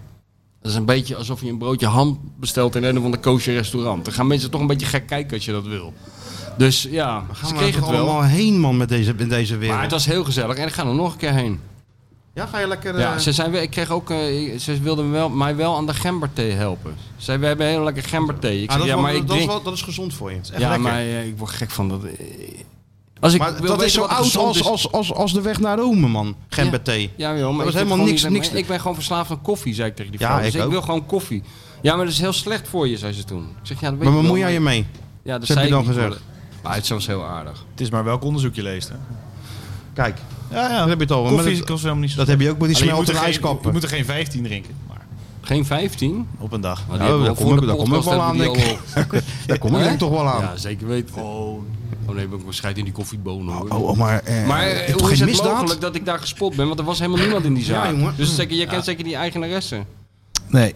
Speaker 3: dat is een beetje alsof je een broodje ham bestelt in een van de kosher restaurant. Dan gaan mensen toch een beetje gek kijken als je dat wil. Dus ja,
Speaker 2: Gaan
Speaker 3: ze
Speaker 2: we er
Speaker 3: kregen
Speaker 2: toch
Speaker 3: het wel.
Speaker 2: allemaal heen, man, met deze, in deze wereld.
Speaker 3: Maar het was heel gezellig en ik ga er nog een keer heen.
Speaker 2: Ja, ga je lekker...
Speaker 3: Ja,
Speaker 2: eh,
Speaker 3: ze, zijn, wel- ik kreeg ook, eh, ze wilden me wel, mij wel aan de gemberthee helpen. Ze zei, we hebben heel lekker gemberthee. Ik
Speaker 2: ah,
Speaker 3: zei,
Speaker 2: dat, is
Speaker 3: ja,
Speaker 2: wel-
Speaker 3: maar ik
Speaker 2: dat, is
Speaker 3: drink...
Speaker 2: wel, dat is gezond voor je. Het is echt
Speaker 3: Ja,
Speaker 2: lekker.
Speaker 3: maar eh, ik word gek van dat... eh, Als ik
Speaker 2: Maar
Speaker 3: wil
Speaker 2: dat
Speaker 3: weten
Speaker 2: is zo
Speaker 3: wat er
Speaker 2: oud
Speaker 3: gezond
Speaker 2: als,
Speaker 3: is-
Speaker 2: als, als, als de weg naar Rome, man. Gember thee.
Speaker 3: Ja, joh, maar
Speaker 2: was
Speaker 3: ik heb
Speaker 2: helemaal
Speaker 3: gewoon
Speaker 2: niks-
Speaker 3: niet-
Speaker 2: niks-
Speaker 3: maar Ik ben gewoon verslaafd aan koffie, zei ik tegen die
Speaker 2: Ja,
Speaker 3: vrouw. dus
Speaker 2: ik
Speaker 3: ik
Speaker 2: ook.
Speaker 3: wil gewoon koffie. Ja, maar dat is heel slecht voor je, zei ze toen. Ik zeg, ja, dat weet
Speaker 2: Maar
Speaker 3: ik wel,
Speaker 2: bemoei jij je
Speaker 3: maar-
Speaker 2: mee?
Speaker 3: Ja, dat
Speaker 2: Ze
Speaker 3: zei
Speaker 2: heb je
Speaker 3: ik
Speaker 2: dan
Speaker 3: niet,
Speaker 2: gezegd?
Speaker 3: maar- Maar het was heel aardig.
Speaker 4: Het is maar welk onderzoek je leest. Hè?
Speaker 2: Kijk,
Speaker 4: Ja, ja.
Speaker 2: dat heb je toch. wel. Maar
Speaker 4: Koffie
Speaker 2: dat,
Speaker 4: kost helemaal niet zo.
Speaker 2: dat heb je ook met die
Speaker 4: Alleen, je moet
Speaker 2: smelter
Speaker 4: er geen-
Speaker 2: ijskappen.
Speaker 4: Je moet er geen 15 drinken. Maar
Speaker 3: Geen 15?
Speaker 4: op een dag.
Speaker 3: Maar
Speaker 2: Ja, daar kom ik- daar kom ik wel aan, denk ik. Daar kom ik denk toch wel aan.
Speaker 3: Ja, zeker weten. Oh, nee, ben ik waarschijnlijk in die koffiebonen hoor.
Speaker 2: Oh, oh, maar eh,
Speaker 3: Maar
Speaker 2: is
Speaker 3: eh,
Speaker 2: het
Speaker 3: hoe
Speaker 2: geen
Speaker 3: is het
Speaker 2: misdaad?
Speaker 3: mogelijk dat ik daar gespot ben? Want er was helemaal niemand in die zaak.
Speaker 2: jongen.
Speaker 3: Dus zeker, jij kent zeker die eigenaresse.
Speaker 4: Nee.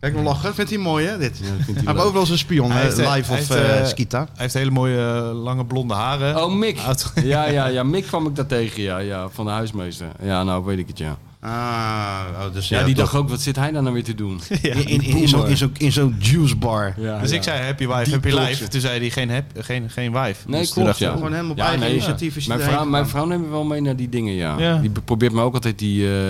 Speaker 2: Kijk, we lachen. Vindt hij mooi, hè, dit?
Speaker 3: dat vindt hij
Speaker 2: Hij heeft
Speaker 3: leuk.
Speaker 2: overal zijn spion,
Speaker 4: Hij
Speaker 2: hè,
Speaker 4: heeft, eh,
Speaker 2: live
Speaker 4: hij
Speaker 2: of
Speaker 4: heeft,
Speaker 2: eh
Speaker 4: eh,
Speaker 2: Skita.
Speaker 4: Hij heeft hele mooie eh, lange blonde haren.
Speaker 3: Oh, Mick.
Speaker 2: Ah,
Speaker 4: Uit-
Speaker 3: Ja, ja, ja, Mick kwam ik daar tegen, ja, ja, van de huismeester. Ja, nou weet ik het, ja.
Speaker 2: Ah, oh, dus
Speaker 3: Ja, die
Speaker 2: toch.
Speaker 3: dacht ook, wat zit hij daar nou weer te
Speaker 2: <laughs>
Speaker 3: doen?
Speaker 2: In, in, in, in zo'n in zo'n- in zo'n juice bar.
Speaker 3: Ja,
Speaker 4: dus
Speaker 3: ja.
Speaker 4: ik zei happy wife,
Speaker 2: Die
Speaker 4: happy
Speaker 2: klotsen.
Speaker 4: life. Toen zei hij geen, hap, geen, geen wife.
Speaker 3: Nee,
Speaker 4: Dus toen
Speaker 3: klopt,
Speaker 4: dacht ik,
Speaker 3: ja.
Speaker 4: oh,
Speaker 2: Gewoon helemaal op
Speaker 3: Ja,
Speaker 2: eigen
Speaker 3: nee,
Speaker 2: initiatief is hij
Speaker 3: Mijn
Speaker 2: erheen
Speaker 3: vrouw,
Speaker 2: gegaan.
Speaker 3: mijn vrouw neemt me wel mee naar die dingen, ja.
Speaker 4: Ja.
Speaker 3: Die probeert me ook altijd die... eh,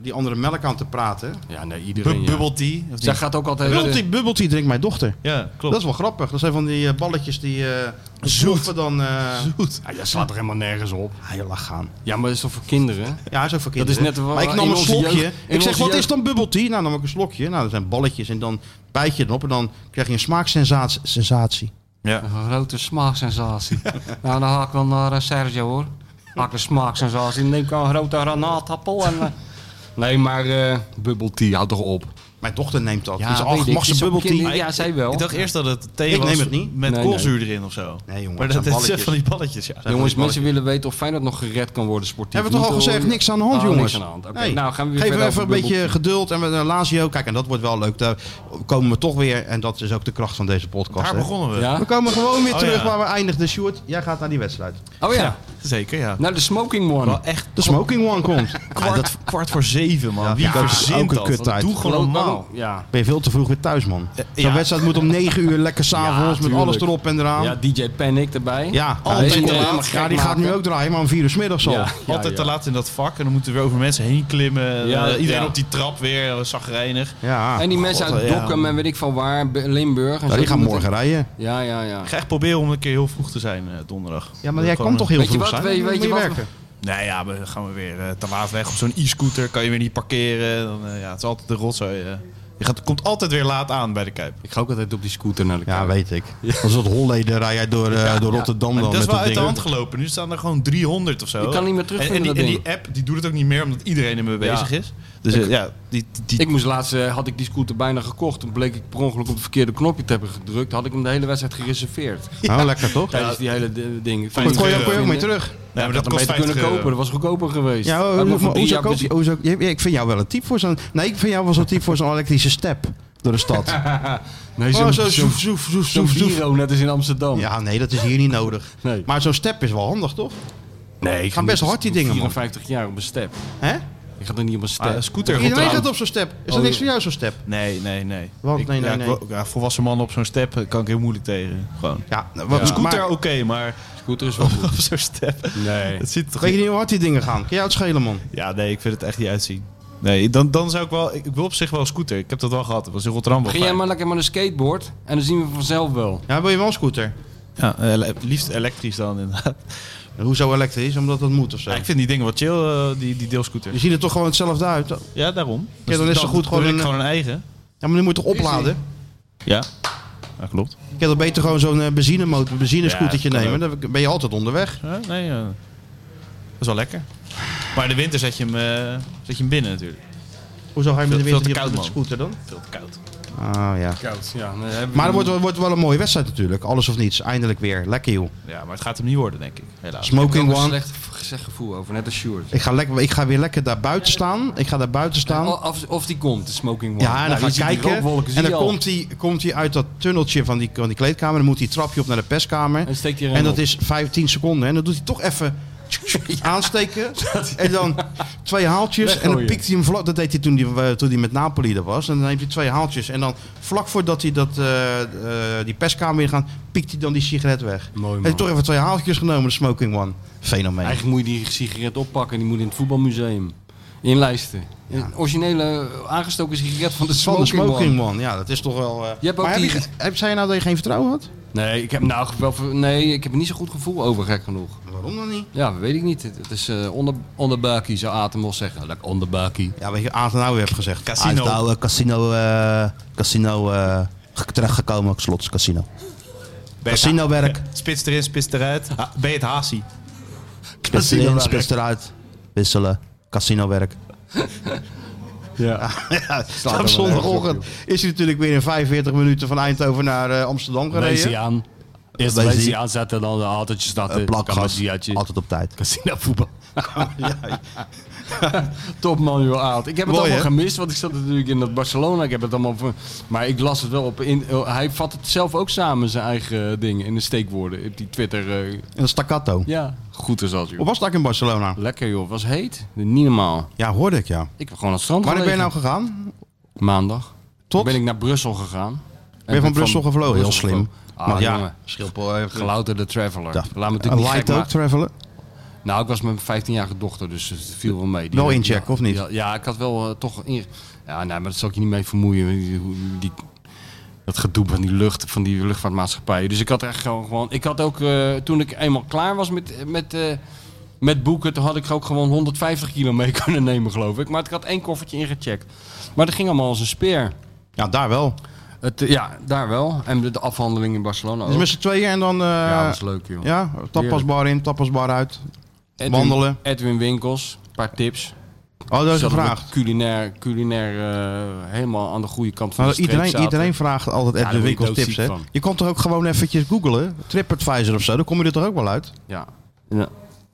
Speaker 2: Die andere melk aan te praten.
Speaker 3: ja, nee,
Speaker 4: bu-
Speaker 3: iedereen, ja. eh,
Speaker 4: Bubble tea. Of
Speaker 3: Zij
Speaker 4: niet?
Speaker 3: gaat ook altijd...
Speaker 2: Bubbeltje, bubbeltje drinkt mijn dochter.
Speaker 4: Ja, klopt.
Speaker 2: Dat is wel grappig. Dat zijn van die eh, balletjes die eh zoeven dan... eh
Speaker 4: goed.
Speaker 3: eh, ah, dat slaat er helemaal nergens op.
Speaker 2: Ah, je lacht aan.
Speaker 3: Ja, maar dat is toch voor kinderen?
Speaker 2: Ja, hij is ook voor kinderen.
Speaker 3: is net waar-
Speaker 2: maar ik nam
Speaker 3: in
Speaker 2: een
Speaker 3: onze
Speaker 2: slokje.
Speaker 3: jeugd- in
Speaker 2: ik zeg,
Speaker 3: onze
Speaker 2: wat is
Speaker 3: jeugd-
Speaker 2: dan bubble tea? Nou, nam ik een slokje. Nou, dat zijn balletjes. En dan bijt je erop en dan krijg je een smaaksensatie. sensatie.
Speaker 4: Ja.
Speaker 3: Een grote <laughs> smaaksensatie. nou, dan haak ik wel naar eh, Sergio hoor. Haak ik een smaaksensatie. Neem ik een grote granaatappel en... eh, Nee, maar eh bubble tea, houd toch op.
Speaker 2: Mijn dochter neemt dat.
Speaker 3: Ja,
Speaker 2: Die is
Speaker 3: weet
Speaker 2: acht,
Speaker 3: ik.
Speaker 2: mag ze
Speaker 3: Is op
Speaker 2: bubble tea?
Speaker 3: kinder- Ja, zij wel.
Speaker 4: Ik dacht eerst dat het thee
Speaker 2: Ik
Speaker 4: was
Speaker 2: neem het niet.
Speaker 4: met
Speaker 3: Nee,
Speaker 4: koolzuur erin of zo.
Speaker 2: Nee, jongen,
Speaker 4: Maar
Speaker 2: het
Speaker 4: dat
Speaker 2: zijn
Speaker 4: dat zijn
Speaker 2: balletjes.
Speaker 4: van die balletjes, ja.
Speaker 3: Jongens, mensen willen weten of Feyenoord nog gered kan worden sportief.
Speaker 2: Hebben we toch al
Speaker 3: Niet,
Speaker 2: gezegd,
Speaker 3: hoor.
Speaker 2: niks aan de hand,
Speaker 3: Oh,
Speaker 2: jongens.
Speaker 3: Niks aan de hand. Oké,
Speaker 2: Nee.
Speaker 3: nou gaan we weer
Speaker 2: Geef
Speaker 3: verder
Speaker 2: even een
Speaker 3: over
Speaker 2: beetje
Speaker 3: bubbel.
Speaker 2: geduld en met een Lazio. Kijk, en dat wordt wel leuk. Daar komen we toch weer. En dat is ook de kracht van deze podcast.
Speaker 4: Daar
Speaker 2: hè.
Speaker 4: begonnen we.
Speaker 3: Ja?
Speaker 2: We komen gewoon weer
Speaker 4: Oh,
Speaker 2: terug
Speaker 4: ja.
Speaker 2: waar we eindigden. Sjoerd, jij gaat naar die wedstrijd.
Speaker 3: Oh ja,
Speaker 4: Ja, zeker, ja.
Speaker 3: naar de smoking one.
Speaker 4: Wel echt
Speaker 2: De smoking one komt. Ja,
Speaker 4: <laughs> kwart,
Speaker 2: dat
Speaker 4: kwart voor zeven, man. Wie
Speaker 2: ja, dat is ook
Speaker 4: verzint
Speaker 2: een
Speaker 4: dat?
Speaker 2: kuttijd.
Speaker 4: Dat doe gewoon
Speaker 3: Geloof-
Speaker 4: normaal. Eh,
Speaker 3: waarom- Ja.
Speaker 2: ben je veel te vroeg weer thuis, man. Zo'n
Speaker 4: ja.
Speaker 2: wedstrijd moet om 9 uur
Speaker 4: <laughs>
Speaker 2: lekker s'avonds
Speaker 3: Ja,
Speaker 2: met alles
Speaker 3: tuurlijk.
Speaker 2: erop en eraan.
Speaker 3: ja, DJ Panic erbij.
Speaker 2: Ja,
Speaker 3: Ja,
Speaker 2: altijd
Speaker 3: die
Speaker 2: te
Speaker 3: moet
Speaker 2: laat.
Speaker 3: helemaal gek
Speaker 2: Ja, die gaat nu
Speaker 3: maken.
Speaker 2: ook draaien, maar om vier uur 's middags al.
Speaker 3: Ja, ja,
Speaker 4: Altijd te
Speaker 3: ja.
Speaker 4: laat in dat vak en dan moeten we weer over mensen heen klimmen.
Speaker 3: Ja,
Speaker 4: Eh, iedereen
Speaker 3: ja.
Speaker 4: op die trap weer, eh, zagrijnig.
Speaker 2: Ja.
Speaker 3: En die mensen
Speaker 2: God,
Speaker 3: uit
Speaker 2: ja.
Speaker 3: Dokkum en weet ik van waar, B- Limburg. En
Speaker 2: Ja,
Speaker 3: zo,
Speaker 2: die gaan
Speaker 3: moeten-
Speaker 2: morgen rijden.
Speaker 3: Ja, ja, ja.
Speaker 4: Ik ga echt proberen om een keer heel vroeg te zijn eh, donderdag.
Speaker 2: Ja, maar jij
Speaker 4: Gewoon,
Speaker 2: kan toch heel
Speaker 3: Weet je
Speaker 2: vroeg
Speaker 3: wat,
Speaker 2: zijn?
Speaker 3: weet je-
Speaker 2: Dan
Speaker 3: weet je
Speaker 2: moet
Speaker 3: wat?
Speaker 2: werken.
Speaker 4: Nee, ja, maar dan gaan we weer eh, te laat weg op zo'n e-scooter. Kan je weer niet parkeren. Dan, eh, ja, het is altijd de rotzooi. eh. Je gaat, komt altijd weer laat aan bij de Kuip.
Speaker 3: Ik ga ook altijd op die scooter naar de
Speaker 2: Ja,
Speaker 3: kamer.
Speaker 2: weet ik. Als het Holleden rij jij door, eh, door Rotterdam
Speaker 4: Maar
Speaker 2: dan
Speaker 4: dat is
Speaker 2: met dat
Speaker 4: wel uit de
Speaker 2: ding.
Speaker 4: hand gelopen. Nu staan er gewoon 300 of zo.
Speaker 3: Ik kan niet meer terugvinden,
Speaker 4: En, en, die,
Speaker 3: dat
Speaker 4: en die app die doet het ook niet meer omdat iedereen ermee
Speaker 3: Ja.
Speaker 4: bezig is. Dus eh, ja, die, die, die-
Speaker 3: Ik moest laatst, eh, had ik die scooter bijna gekocht. Toen bleek ik per ongeluk op het verkeerde knopje te hebben gedrukt. Had ik hem de hele wedstrijd gereserveerd.
Speaker 2: Nou, lekker toch?
Speaker 3: Tijdens die hele d- ding.
Speaker 2: Dat kon je, kon je ook
Speaker 3: Vinden.
Speaker 2: mee terug.
Speaker 4: nee, maar
Speaker 3: Dat
Speaker 4: dat
Speaker 3: had hem
Speaker 4: kost
Speaker 3: beter kunnen
Speaker 4: 50
Speaker 3: kopen,
Speaker 4: euro.
Speaker 3: dat was goedkoper geweest.
Speaker 2: Ja,
Speaker 3: Had ik
Speaker 2: maar
Speaker 3: voor drie
Speaker 2: hoezo
Speaker 3: jaar
Speaker 2: koop je-
Speaker 3: bezi-
Speaker 2: hoezo- je- Ik vind jou wel een type voor zo'n... Nee, ik vind jou wel zo'n type voor zo'n elektrische step door de stad.
Speaker 3: Nee,
Speaker 2: Oh,
Speaker 3: zo'n
Speaker 2: zo
Speaker 3: zo,
Speaker 2: zoef, zoef, zoef, zoef, zoef.
Speaker 3: net als in Amsterdam.
Speaker 2: Ja, nee, dat is hier niet nodig.
Speaker 3: Nee.
Speaker 2: Maar zo'n step is wel handig, toch?
Speaker 3: nee, ik
Speaker 2: gaan best hard die dingen, man.
Speaker 3: 54 jaar op een step.
Speaker 2: Hè?
Speaker 3: Ik ga er niet op een step.
Speaker 4: Ah, een scooter.
Speaker 2: Iedereen
Speaker 4: Rotterdam.
Speaker 2: gaat op zo'n step. Is dat
Speaker 3: Oh,
Speaker 2: niks
Speaker 3: ja.
Speaker 2: voor jou, zo'n step?
Speaker 4: Nee, nee, nee.
Speaker 2: Want-
Speaker 4: Ik-
Speaker 2: nee, nee,
Speaker 4: ja,
Speaker 2: nee.
Speaker 4: ik wil- ja, volwassen man op zo'n step eh, kan ik heel moeilijk tegen. Gewoon.
Speaker 2: Ja, nou, wat,
Speaker 4: Op scooter
Speaker 2: maar-
Speaker 4: oké, maar
Speaker 3: Scooter is wel goed.
Speaker 4: op zo'n step.
Speaker 3: Nee.
Speaker 4: Het ziet er toch
Speaker 2: Weet je niet hoe hard die dingen gaan? Kun jij het schelen, man?
Speaker 4: Ja, nee, ik vind het echt niet uitzien. Nee, dan, dan zou ik wel... Ik, ik wil op zich wel een scooter. Ik heb dat wel gehad. Dat was in Rotterdam wel
Speaker 3: Begin jij
Speaker 4: fijn.
Speaker 3: maar lekker met een skateboard en dan zien we vanzelf wel.
Speaker 2: Ja, wil je wel een scooter?
Speaker 4: Ja, eh, le- liefst elektrisch dan inderdaad.
Speaker 2: Hoezo elektrisch? Omdat dat moet of zo.
Speaker 4: Ja, ik vind die dingen wat chill, eh, die, die deelscooters.
Speaker 2: Je ziet er toch gewoon hetzelfde uit? Ja,
Speaker 4: Ja, daarom. Dus
Speaker 2: dan is het goed
Speaker 4: wil
Speaker 2: gewoon
Speaker 4: ik
Speaker 2: een-
Speaker 4: gewoon een eigen.
Speaker 2: maar nu moet je toch opladen?
Speaker 4: Ja. Ja, klopt.
Speaker 2: Ik heb dan beter gewoon zo'n eh, benzinemotor, een benzinescootertje
Speaker 4: Ja, dat kan
Speaker 2: nemen. Dan ben je altijd onderweg.
Speaker 4: Ja, nee, eh, dat is wel lekker. Maar in de winter zet je hem, eh, zet je hem binnen natuurlijk.
Speaker 2: Hoezo ga je met de
Speaker 4: Veel- veel te
Speaker 2: winter hier op
Speaker 4: koud,
Speaker 2: met de
Speaker 4: man.
Speaker 2: scooter dan?
Speaker 4: Veel te koud.
Speaker 2: Ah, ja.
Speaker 3: Koud, ja. nee, hebben we
Speaker 2: Maar het
Speaker 3: niet.
Speaker 2: wordt, wordt wel een mooie wedstrijd natuurlijk. Alles of niets. Eindelijk weer. Lekker joh.
Speaker 4: Ja, maar het gaat hem niet worden, denk ik. Helaas.
Speaker 3: Ik heb
Speaker 2: Smoking
Speaker 3: er een
Speaker 2: one.
Speaker 3: slecht gezegd gevoel over, net als Sjoerd.
Speaker 2: Ik ga, lekker, ik ga weer lekker daar buiten staan. Ik ga daar buiten
Speaker 3: O-
Speaker 4: Oh,
Speaker 2: staan.
Speaker 3: Oh, Of, of die komt, de smoking one.
Speaker 2: Ja, en dan
Speaker 3: Nou,
Speaker 2: ga
Speaker 3: je
Speaker 2: ik
Speaker 3: ziet die
Speaker 2: kijken.
Speaker 3: rookwolken, zie
Speaker 2: En
Speaker 3: je
Speaker 2: dan
Speaker 3: al.
Speaker 2: komt hij komt hij uit dat tunneltje van die, van die kleedkamer. Dan moet hij trapje op naar de perskamer.
Speaker 3: En steekt hij erin
Speaker 2: En dat
Speaker 3: op.
Speaker 2: is 15 seconden. En dan doet hij toch even
Speaker 3: <laughs>
Speaker 2: aansteken. En dan twee haaltjes. En dan pikt hij hem vlak. Dat deed hij toen hij, eh, toen hij met Napoli er was. En dan neemt hij twee haaltjes. En dan vlak voordat hij dat, eh, eh, die perskamer weer gaat, pikt hij dan die sigaret weg.
Speaker 3: Mooi, man.
Speaker 2: Heeft toch even twee haaltjes genomen, de smoking one. Fenomeen.
Speaker 3: Eigenlijk moet je die sigaret oppakken. Die moet in het voetbalmuseum. In lijsten. Een originele eh, aangestoken sigaret van de
Speaker 2: Van
Speaker 3: smoking,
Speaker 2: de smoking
Speaker 3: man.
Speaker 2: one. Ja, dat is toch wel... eh,
Speaker 3: Je hebt ook
Speaker 2: maar
Speaker 3: die-
Speaker 2: heb, je, ge- heb, zei je nou dat je geen vertrouwen had?
Speaker 3: Nee, ik heb, nou, wel, ver- nee, ik heb er niet zo'n goed gevoel over, gek genoeg.
Speaker 2: Waarom dan niet?
Speaker 3: Ja, weet ik niet. Het het is eh onder, onderbuikie, zou Atemos zeggen. Lekker onderbuikie.
Speaker 2: Ja, weet je, Adenauer heeft gezegd.
Speaker 4: Casino.
Speaker 2: Hij is nou eh, casino, eh, casino eh, ge- terechtgekomen op slots casino.
Speaker 4: Ben je het
Speaker 2: Casino
Speaker 4: <laughs>
Speaker 2: werk.
Speaker 4: ha- Spits erin, spits eruit. Ha- ben je het Hasi?
Speaker 2: Spits erin, spits eruit. Wisselen. Casino werk. Ja.
Speaker 4: <laughs>
Speaker 2: op zondagochtend is hij natuurlijk weer in 45 minuten van Eindhoven naar eh, Amsterdam
Speaker 3: Wees
Speaker 2: gereden.
Speaker 3: die aan. Eerst
Speaker 2: Wees
Speaker 3: wees
Speaker 2: die-
Speaker 3: die aanzetten, dan de autootje starten.
Speaker 2: Eh, plakgas.
Speaker 3: Kamadiatje.
Speaker 2: Altijd op tijd.
Speaker 3: Casino voetbal.
Speaker 2: Oh,
Speaker 3: <laughs> Top man, joh, Aad. Ik heb het
Speaker 2: Mooi,
Speaker 3: allemaal
Speaker 2: hè?
Speaker 3: gemist, want ik zat natuurlijk in dat Barcelona. Ik heb het allemaal voor... Maar ik las het wel op... In... eh, Hij vat het zelf ook samen, zijn eigen eh, dingen, in de steekwoorden. Op die Twitter... eh,
Speaker 2: En staccato.
Speaker 3: Ja, goed is dat,
Speaker 2: Hoe
Speaker 3: joh.
Speaker 2: was dat in Barcelona?
Speaker 3: Lekker, joh. was heet. Niet normaal.
Speaker 2: Ja, hoorde ik, ja.
Speaker 3: Ik heb gewoon aan het strand
Speaker 2: Wanneer ben je nou
Speaker 3: gelegen.
Speaker 2: gegaan?
Speaker 3: Maandag.
Speaker 2: Tot?
Speaker 3: ben ik naar Brussel gegaan. En
Speaker 2: Ben je van Brussel gevlogen? Heel
Speaker 3: Brussel
Speaker 2: slim.
Speaker 3: gevlogen. Ah,
Speaker 2: Maar ja,
Speaker 3: jongen.
Speaker 2: Schilpel heeft...
Speaker 3: Gelouterde traveler.
Speaker 2: Ja.
Speaker 3: Laat me natuurlijk
Speaker 2: Een
Speaker 3: niet gek
Speaker 2: light ook
Speaker 3: maken.
Speaker 2: travelen?
Speaker 3: Nou, ik was met mijn 15-jarige dochter, dus het viel wel mee. Die- eh,
Speaker 2: Wel inchecken, of niet?
Speaker 3: Ja, ja, ik had wel eh, toch... In... Ja, nee, maar dat zal ik je niet mee vermoeien. Die, die- dat gedoe van die, lucht, van die luchtvaartmaatschappijen. Dus ik had echt gewoon... gewoon ik had ook, eh, toen ik eenmaal klaar was met, met, eh, met boeken... toen had ik ook gewoon 150 kilo mee <laughs> kunnen nemen, geloof ik. Maar ik had één koffertje ingecheckt. Maar dat ging allemaal als een speer.
Speaker 2: Ja, daar wel.
Speaker 3: Het, eh, ja, daar wel. En de, de afhandeling in Barcelona
Speaker 2: Dus
Speaker 3: ook.
Speaker 2: met z'n tweeën en dan... eh,
Speaker 3: ja, dat is leuk, joh.
Speaker 2: Ja, tapasbar in, tapasbar uit.
Speaker 3: Edwin-
Speaker 2: wandelen.
Speaker 3: Edwin Winkels, een paar tips.
Speaker 2: Oh, dat is
Speaker 3: Zodat we
Speaker 2: gevraagd.
Speaker 3: Culinair, culinair eh, helemaal aan de goede kant van
Speaker 2: Nou,
Speaker 3: de streep
Speaker 2: iedereen,
Speaker 3: zaten.
Speaker 2: iedereen vraagt altijd Edwin
Speaker 3: daar word je
Speaker 2: Winkels tips.
Speaker 3: doodziek
Speaker 2: Hè?
Speaker 3: van.
Speaker 2: Je kan toch ook gewoon eventjes googlen, TripAdvisor of zo, dan kom je er toch ook wel uit?
Speaker 3: Ja. Ja.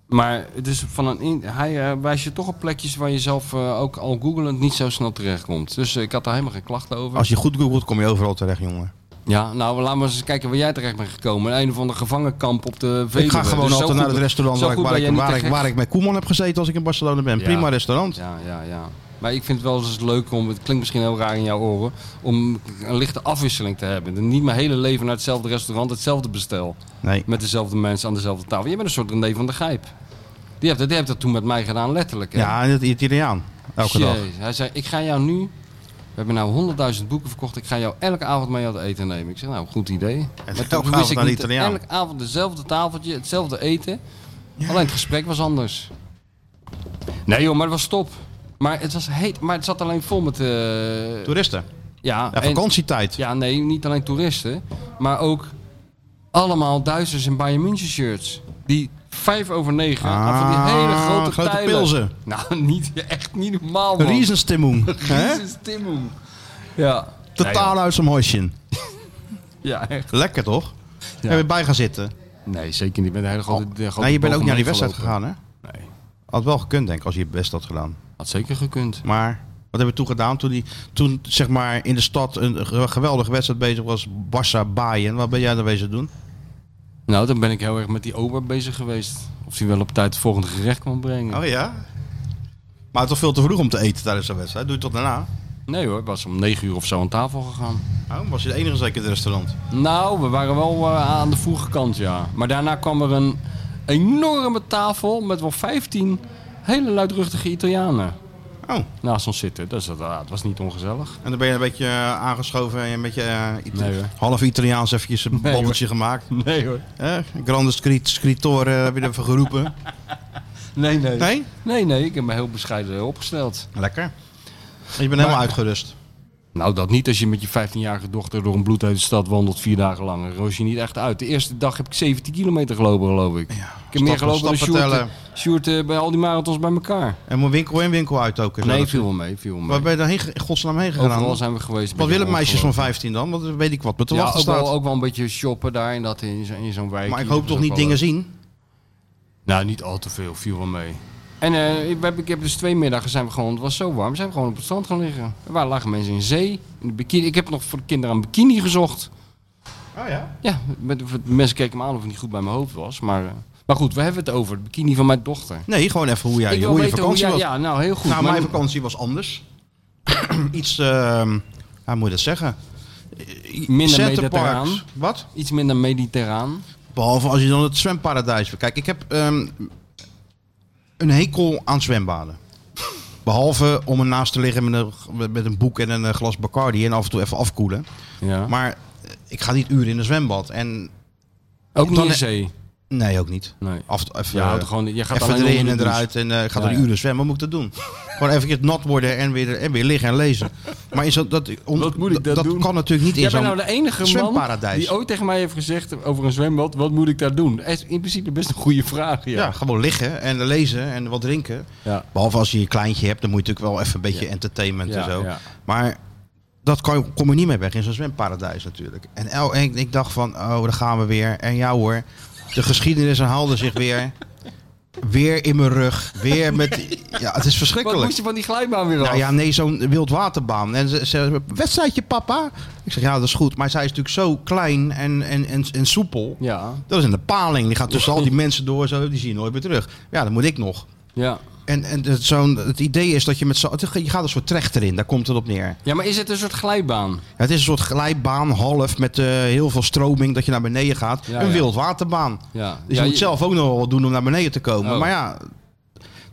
Speaker 3: Maar het is van een in- hij eh, wijst je toch op plekjes waar je zelf eh, ook al googelend niet zo snel terechtkomt. Dus eh, ik had daar helemaal geen klachten over.
Speaker 2: Als je goed googelt, kom je overal terecht, jongen.
Speaker 3: Ja, nou laten we eens kijken waar jij terecht bent gekomen. Een of ander gevangenkamp op de Veluwe.
Speaker 2: Ik ga gewoon
Speaker 3: Dus zo
Speaker 2: altijd naar
Speaker 3: goed-
Speaker 2: het restaurant
Speaker 3: zo
Speaker 2: waar ik,
Speaker 3: goed
Speaker 2: waar,
Speaker 3: ben
Speaker 2: ik,
Speaker 3: jij niet
Speaker 2: waar,
Speaker 3: te
Speaker 2: ik,
Speaker 3: gek.
Speaker 2: waar ik met Koeman heb gezeten als ik in Barcelona ben.
Speaker 3: Ja.
Speaker 2: Prima restaurant.
Speaker 3: Ja, ja, ja. Maar ik vind het wel eens leuk om, het klinkt misschien heel raar in jouw oren, om een lichte afwisseling te hebben. En niet mijn hele leven naar hetzelfde restaurant, hetzelfde bestel.
Speaker 2: Nee.
Speaker 3: Met dezelfde mensen aan dezelfde tafel. Je bent een soort René van der Gijp. Die heeft, dat- die heeft dat toen met mij gedaan, letterlijk. hè?
Speaker 2: Ja, en het Italiaan. Elke dag.
Speaker 3: Jezus. Hij zei, ik ga jou nu... We hebben nou 100.000 boeken verkocht. Ik ga jou elke avond mee aan het eten nemen. Ik zeg, nou, goed idee. Maar
Speaker 2: elke
Speaker 3: toen wist
Speaker 2: avond
Speaker 3: ik
Speaker 2: naar de
Speaker 3: niet-
Speaker 2: Italiaan.
Speaker 3: Elke avond hetzelfde tafeltje, hetzelfde eten. Alleen het gesprek was anders. Nee joh, maar het was top. Maar het, was heet, maar het zat alleen vol met... eh,
Speaker 2: Toeristen.
Speaker 3: ja,
Speaker 2: Ja,
Speaker 3: en-
Speaker 2: vakantietijd.
Speaker 3: ja, nee, niet alleen toeristen, maar ook allemaal Duitsers in Bayern München shirts. Die vijf over negen,
Speaker 2: Ah,
Speaker 3: aan van die hele grote,
Speaker 2: grote
Speaker 3: tijlen.
Speaker 2: pilsen.
Speaker 3: Nou, <laughs> niet, echt niet normaal, man.
Speaker 2: Riesenstimmung.
Speaker 3: <laughs>
Speaker 2: hè?
Speaker 3: Riesens Timmoen. Ja.
Speaker 2: Totaal uit zijn hosje.
Speaker 3: Ja, echt.
Speaker 2: Lekker toch? Heb je bij gaan zitten?
Speaker 3: Nee, zeker niet. Met een hele grote, de grote
Speaker 2: Nou, je bent
Speaker 3: boog
Speaker 2: ook niet naar die
Speaker 3: omheen
Speaker 2: wedstrijd gegaan,
Speaker 3: gelopen.
Speaker 2: hè?
Speaker 3: Nee,
Speaker 2: Had wel gekund, denk ik, als je je best had gedaan.
Speaker 3: had zeker gekund.
Speaker 2: Maar wat hebben we toen gedaan? Toen, die, toen zeg maar in de stad een ge- geweldige wedstrijd bezig was. Barça Bayern. Wat ben jij daar bezig doen?
Speaker 3: Nou, dan ben ik heel erg met die ober bezig geweest. Of die wel op tijd het volgende gerecht kon brengen.
Speaker 2: ja? Maar toch veel te vroeg om te eten tijdens zo'n wedstrijd. Doe je tot daarna.
Speaker 3: Nee hoor, ik was om negen uur of zo aan tafel gegaan.
Speaker 2: Oh, was je de enige zeker in het restaurant?
Speaker 3: Nou, we waren wel eh, aan de vroege kant, ja. Maar daarna kwam er een enorme tafel met wel 15 hele luidruchtige Italianen
Speaker 2: Oh,
Speaker 3: naast ons zitten. Dus dat, ah, het was niet ongezellig.
Speaker 2: en dan ben je een beetje eh, aangeschoven en een beetje eh, Ita-
Speaker 3: Nee, hoor.
Speaker 2: half Italiaans eventjes een
Speaker 3: <laughs> Nee,
Speaker 2: babbeltje gemaakt.
Speaker 3: <laughs> Nee hoor.
Speaker 2: Eh, grande scrit- Scrittore eh, heb je even geroepen.
Speaker 3: Nee, nee.
Speaker 2: Nee?
Speaker 3: Nee, nee, ik heb me heel bescheiden opgesteld.
Speaker 2: Lekker. En Je bent helemaal uitgerust.
Speaker 3: Nou, dat niet als je met je 15-jarige dochter door een bloedhete stad wandelt vier dagen lang. Dan roos je niet echt uit. De eerste dag heb ik 17 kilometer gelopen, geloof ik. ik heb meer gelopen dan
Speaker 2: stappen
Speaker 3: Sjoerd,
Speaker 2: tellen.
Speaker 3: eh, Sjoerd eh, bij al die marathons bij elkaar.
Speaker 2: En moet winkel in, winkel uit ook. en zo.
Speaker 3: Nee, viel wel mee, viel wel mee.
Speaker 2: Waar ben je dan heen, ge- in godsnaam heen gegaan?
Speaker 3: Overal zijn we geweest.
Speaker 2: Wat willen meisjes van
Speaker 3: Ongelooflijk.
Speaker 2: 15 dan? Want weet ik wat me te
Speaker 3: Ja,
Speaker 2: wachten
Speaker 3: ook
Speaker 2: staat.
Speaker 3: wel, ook wel een beetje shoppen daar in, dat, in, zo- in zo'n wijk.
Speaker 2: maar ik
Speaker 3: Hier,
Speaker 2: hoop
Speaker 3: dat
Speaker 2: toch
Speaker 3: is
Speaker 2: niet
Speaker 3: ook
Speaker 2: dingen
Speaker 3: wel
Speaker 2: zien?
Speaker 3: leuk. Nou, niet al te veel. Viel wel mee. En eh, ik, heb, ik heb dus twee middagen zijn we gewoon, het was zo warm, zijn we gewoon op het strand gaan liggen. Er waren lagen mensen in zee, in de bikini. Ik heb nog voor de kinderen een bikini gezocht.
Speaker 2: Oh ja?
Speaker 3: Ja, met, met- mensen keken me aan of het niet goed bij mijn hoofd was, maar... eh, Maar goed, we hebben het over het bikini van mijn dochter.
Speaker 2: Nee, gewoon even hoe, jij,
Speaker 3: ik wil
Speaker 2: hoe je
Speaker 3: weten hoe
Speaker 2: vakantie
Speaker 3: jij-
Speaker 2: was.
Speaker 3: Ja, nou heel goed.
Speaker 2: nou,
Speaker 3: Maar-
Speaker 2: mijn vakantie was anders. <clears throat> Iets, ehm hoe moet je dat zeggen?
Speaker 3: Minder
Speaker 2: Centerparks.
Speaker 3: mediterraan.
Speaker 2: Wat?
Speaker 3: Iets minder mediterraan.
Speaker 2: Behalve als je dan het zwemparadijs bekijkt. Ik heb ehm, een hekel aan zwembaden. Behalve om ernaast te liggen met een, met een boek en een eh, glas Bacardi en af en toe even afkoelen.
Speaker 3: Ja.
Speaker 2: Maar eh, ik ga niet uren in een zwembad. En
Speaker 3: ook niet
Speaker 2: dan- eh,
Speaker 3: in zee.
Speaker 2: nee, ook niet.
Speaker 3: Nee.
Speaker 2: Af, en toe even,
Speaker 3: Je houdt
Speaker 2: eh,
Speaker 3: gewoon, je gaat
Speaker 2: even
Speaker 3: alleen onder
Speaker 2: erin
Speaker 3: de
Speaker 2: en
Speaker 3: douche.
Speaker 2: eruit en eh, ik ga
Speaker 3: Ja,
Speaker 2: dan
Speaker 3: ja.
Speaker 2: uren zwemmen. Wat moet ik dat
Speaker 3: <laughs>
Speaker 2: doen? Gewoon even nat worden en weer, en weer liggen en lezen. Maar is dat, dat, on-
Speaker 3: Wat moet ik dat doen?
Speaker 2: kan natuurlijk niet in
Speaker 3: Jij bent
Speaker 2: zo'n
Speaker 3: nou de enige man
Speaker 2: zwemparadijs.
Speaker 3: die ooit tegen mij heeft gezegd over een zwembad, wat moet ik daar doen? Is in principe best een goede vraag, ja.
Speaker 2: ja. gewoon liggen en lezen en wat drinken.
Speaker 3: Ja.
Speaker 2: Behalve als je je kleintje hebt, dan moet je natuurlijk wel even een beetje
Speaker 3: Ja.
Speaker 2: entertainment
Speaker 3: Ja,
Speaker 2: en zo.
Speaker 3: ja.
Speaker 2: Maar dat kan, kom je niet meer weg in zo'n zwemparadijs natuurlijk. En, el, en ik, ik dacht van, oh, daar gaan we weer. En ja hoor, de geschiedenis herhaalde zich weer. Weer in mijn rug. Weer met... Ja, het is
Speaker 3: Wat
Speaker 2: verschrikkelijk.
Speaker 3: moest je van die glijbaan weer af?
Speaker 2: Nou ja, nee, zo'n wildwaterbaan. En ze ze wedstrijdje papa. Ik zeg, ja, dat is goed. Maar zij is natuurlijk zo klein en, en, en, en soepel.
Speaker 3: ja.
Speaker 2: Dat is een paling. Die gaat tussen al
Speaker 3: <laughs>
Speaker 2: die mensen door. Zo, die zie je nooit meer terug. Ja, dat moet ik nog.
Speaker 3: ja.
Speaker 2: En, en het, zo'n, het idee is dat je met zo, het- je gaat een soort trechter in. Daar komt het op neer.
Speaker 3: Ja, maar is het een soort glijbaan?
Speaker 2: Het is een soort glijbaan half met eh, heel veel stroming dat je naar beneden gaat.
Speaker 3: Ja,
Speaker 2: een
Speaker 3: ja.
Speaker 2: wildwaterbaan.
Speaker 3: Ja.
Speaker 2: Dus
Speaker 3: ja,
Speaker 2: je moet zelf ook nog wel wat doen om naar beneden te komen.
Speaker 3: Oh.
Speaker 2: Maar ja,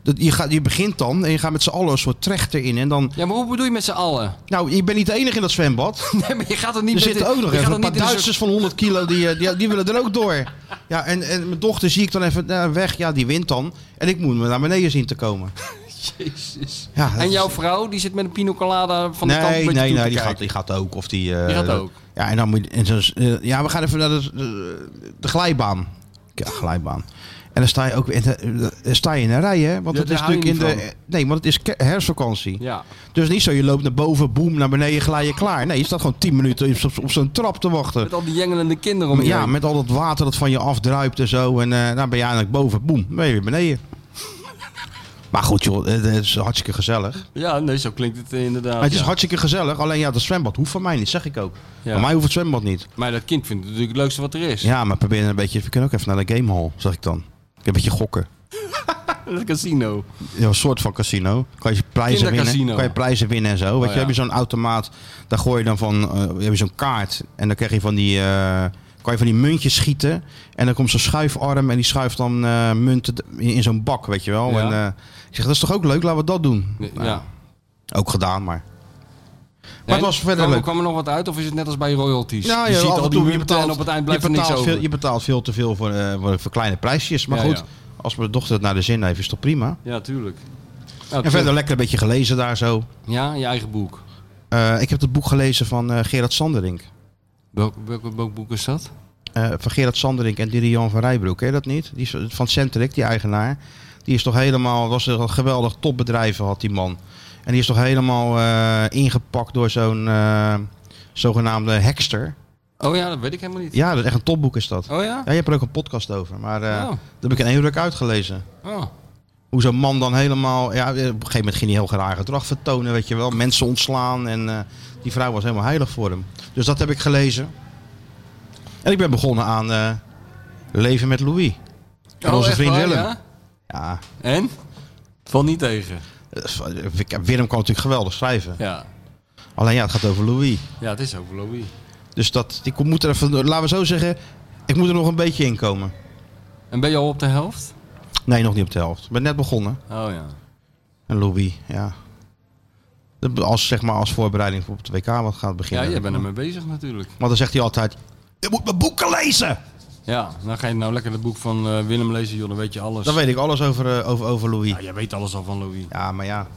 Speaker 2: dat, je, gaat, je begint dan en je gaat met z'n allen een soort trechter in. En dan,
Speaker 3: Ja, maar hoe bedoel je met z'n allen? <laughs>
Speaker 2: nou, ik ben niet de enige in dat zwembad.
Speaker 3: Nee, maar <laughs> je gaat het niet
Speaker 2: Er
Speaker 3: met
Speaker 2: zitten ook nog
Speaker 3: je gaat
Speaker 2: even
Speaker 3: het
Speaker 2: een paar
Speaker 3: niet in een soort-
Speaker 2: Duitsers van 100 kilo, die, eh, die, die willen er ook door. Ja, en, en mijn dochter zie ik dan even eh, weg. Ja, die wint dan. En ik moet me naar beneden zien te komen.
Speaker 3: <laughs> Jezus.
Speaker 2: Ja, dat
Speaker 3: En
Speaker 2: is-
Speaker 3: jouw vrouw, die zit met een pina colada van de
Speaker 2: nee,
Speaker 3: kant een beetje
Speaker 2: nee,
Speaker 3: toe
Speaker 2: nee,
Speaker 3: te
Speaker 2: die gaat,
Speaker 3: kijken.
Speaker 2: die gaat ook. Of die, eh,
Speaker 3: Die gaat
Speaker 2: dat-
Speaker 3: ook.
Speaker 2: Ja, en dan moet je- en zo, is, eh, ja, we gaan even naar de, de, de glijbaan. Ja, glijbaan. En dan sta je ook in, de- eh, sta je in een rij, hè? Want
Speaker 3: Ja,
Speaker 2: het
Speaker 3: daar
Speaker 2: is
Speaker 3: hou je
Speaker 2: natuurlijk in
Speaker 3: niet
Speaker 2: de. Nee, want het is ke- herfstvakantie.
Speaker 3: Ja.
Speaker 2: Dus niet zo, je loopt naar boven, boem, naar beneden, glij je klaar. Nee, je staat gewoon 10 minuten op, op- op zo'n trap te wachten.
Speaker 3: Met al die jengelende kinderen om je
Speaker 2: Ja,
Speaker 3: heen.
Speaker 2: met al dat water dat van je afdruipt en zo. En eh dan ben je eigenlijk boven, boem, ben je weer beneden. <laughs> maar goed, joh, het is hartstikke gezellig.
Speaker 3: Ja, nee, zo klinkt het eh, inderdaad.
Speaker 2: Maar het is
Speaker 3: ja.
Speaker 2: hartstikke gezellig. Alleen ja, dat zwembad hoeft van mij niet, zeg ik ook.
Speaker 3: Ja.
Speaker 2: Van mij hoeft het zwembad niet.
Speaker 3: Maar dat kind vindt het natuurlijk het leukste wat er is.
Speaker 2: Ja, maar probeer dan een beetje. We kunnen ook even naar de gamehall, zeg ik dan. Een beetje gokken.
Speaker 3: Het casino.
Speaker 2: Ja, een soort van casino. Kan je prijzen winnen.
Speaker 3: Kindercasino.
Speaker 2: Kan je prijzen winnen en zo. Weet je,
Speaker 3: Oh, ja.
Speaker 2: heb je zo'n automaat. Daar gooi je dan van. eh, heb je zo'n kaart. En dan krijg je van die. eh, kan je van die muntjes schieten. En dan komt zo'n schuifarm. En die schuift dan eh, munten in, in zo'n bak, weet je wel.
Speaker 3: Ja.
Speaker 2: En, eh, ik zeg, dat is toch ook leuk? Laten we dat doen.
Speaker 3: Ja.
Speaker 2: Nou, Ook gedaan, maar.
Speaker 3: En
Speaker 2: Maar het was verder
Speaker 3: kwam,
Speaker 2: leuk.
Speaker 3: kwam er nog wat uit of is het net als bij royalties?
Speaker 2: Nou,
Speaker 3: je ziet
Speaker 2: af en
Speaker 3: al die
Speaker 2: toe,
Speaker 3: munten en op het eind blijft
Speaker 2: je
Speaker 3: er niks
Speaker 2: betaalt
Speaker 3: over.
Speaker 2: Veel, je betaalt veel te veel voor, eh, voor, voor kleine prijsjes. Maar
Speaker 3: Ja,
Speaker 2: goed,
Speaker 3: ja.
Speaker 2: als mijn dochter het naar de zin heeft, is toch prima.
Speaker 3: Ja, tuurlijk.
Speaker 2: En verder lekker een beetje gelezen daar zo.
Speaker 3: Ja, je eigen boek.
Speaker 2: Eh, ik heb het boek gelezen van eh, Gerard Sanderink.
Speaker 3: Welk, welk, welk boek is dat?
Speaker 2: Eh, van Gerard Sanderink en Dirian van Rijbroek, ken je dat niet? Die is eh, van Centric, die eigenaar. Die is toch helemaal, was een geweldig topbedrijf had die man. En die is toch helemaal eh, ingepakt door zo'n eh, zogenaamde hekster.
Speaker 3: Oh ja, dat weet ik helemaal niet.
Speaker 2: Ja, dat is echt een topboek is dat.
Speaker 3: Oh ja?
Speaker 2: Ja, je hebt er ook een podcast over, maar eh
Speaker 3: Oh.
Speaker 2: dat heb ik in één ruk uitgelezen.
Speaker 3: Oh.
Speaker 2: Hoe zo'n man dan helemaal... Ja, op een gegeven moment ging hij heel raar gedrag vertonen, weet je wel. Mensen ontslaan en eh, die vrouw was helemaal heilig voor hem. Dus dat heb ik gelezen. En ik ben begonnen aan eh, Leven met Louis. Van
Speaker 3: Oh,
Speaker 2: onze
Speaker 3: echt
Speaker 2: vriend
Speaker 3: waar,
Speaker 2: Willem.
Speaker 3: ja?
Speaker 2: Ja,
Speaker 3: En? Val niet tegen.
Speaker 2: eh, ik- Willem kan natuurlijk geweldig schrijven.
Speaker 3: Ja.
Speaker 2: Alleen ja, het gaat over Louis.
Speaker 3: Ja, het is over Louis.
Speaker 2: Dus dat, ik moet er even... Laten we zo zeggen, ik moet er nog een beetje in komen.
Speaker 3: En ben je al op de helft?
Speaker 2: Nee, nog niet op de helft. Ik ben net begonnen.
Speaker 3: Oh ja.
Speaker 2: Een lobby, ja. Dat- Als, zeg maar, als voorbereiding voor op het WK wat gaat
Speaker 3: Ja,
Speaker 2: beginnen.
Speaker 3: jij bent ermee bezig natuurlijk.
Speaker 2: Want dan zegt hij altijd, je moet mijn boeken lezen!
Speaker 3: Ja, dan ga je nou lekker het boek van eh, Willem lezen, joh, dan weet je alles.
Speaker 2: Dan weet ik alles over, eh, over, over Louis.
Speaker 3: Ja, jij weet alles al van Louis.
Speaker 2: Ja, maar ja.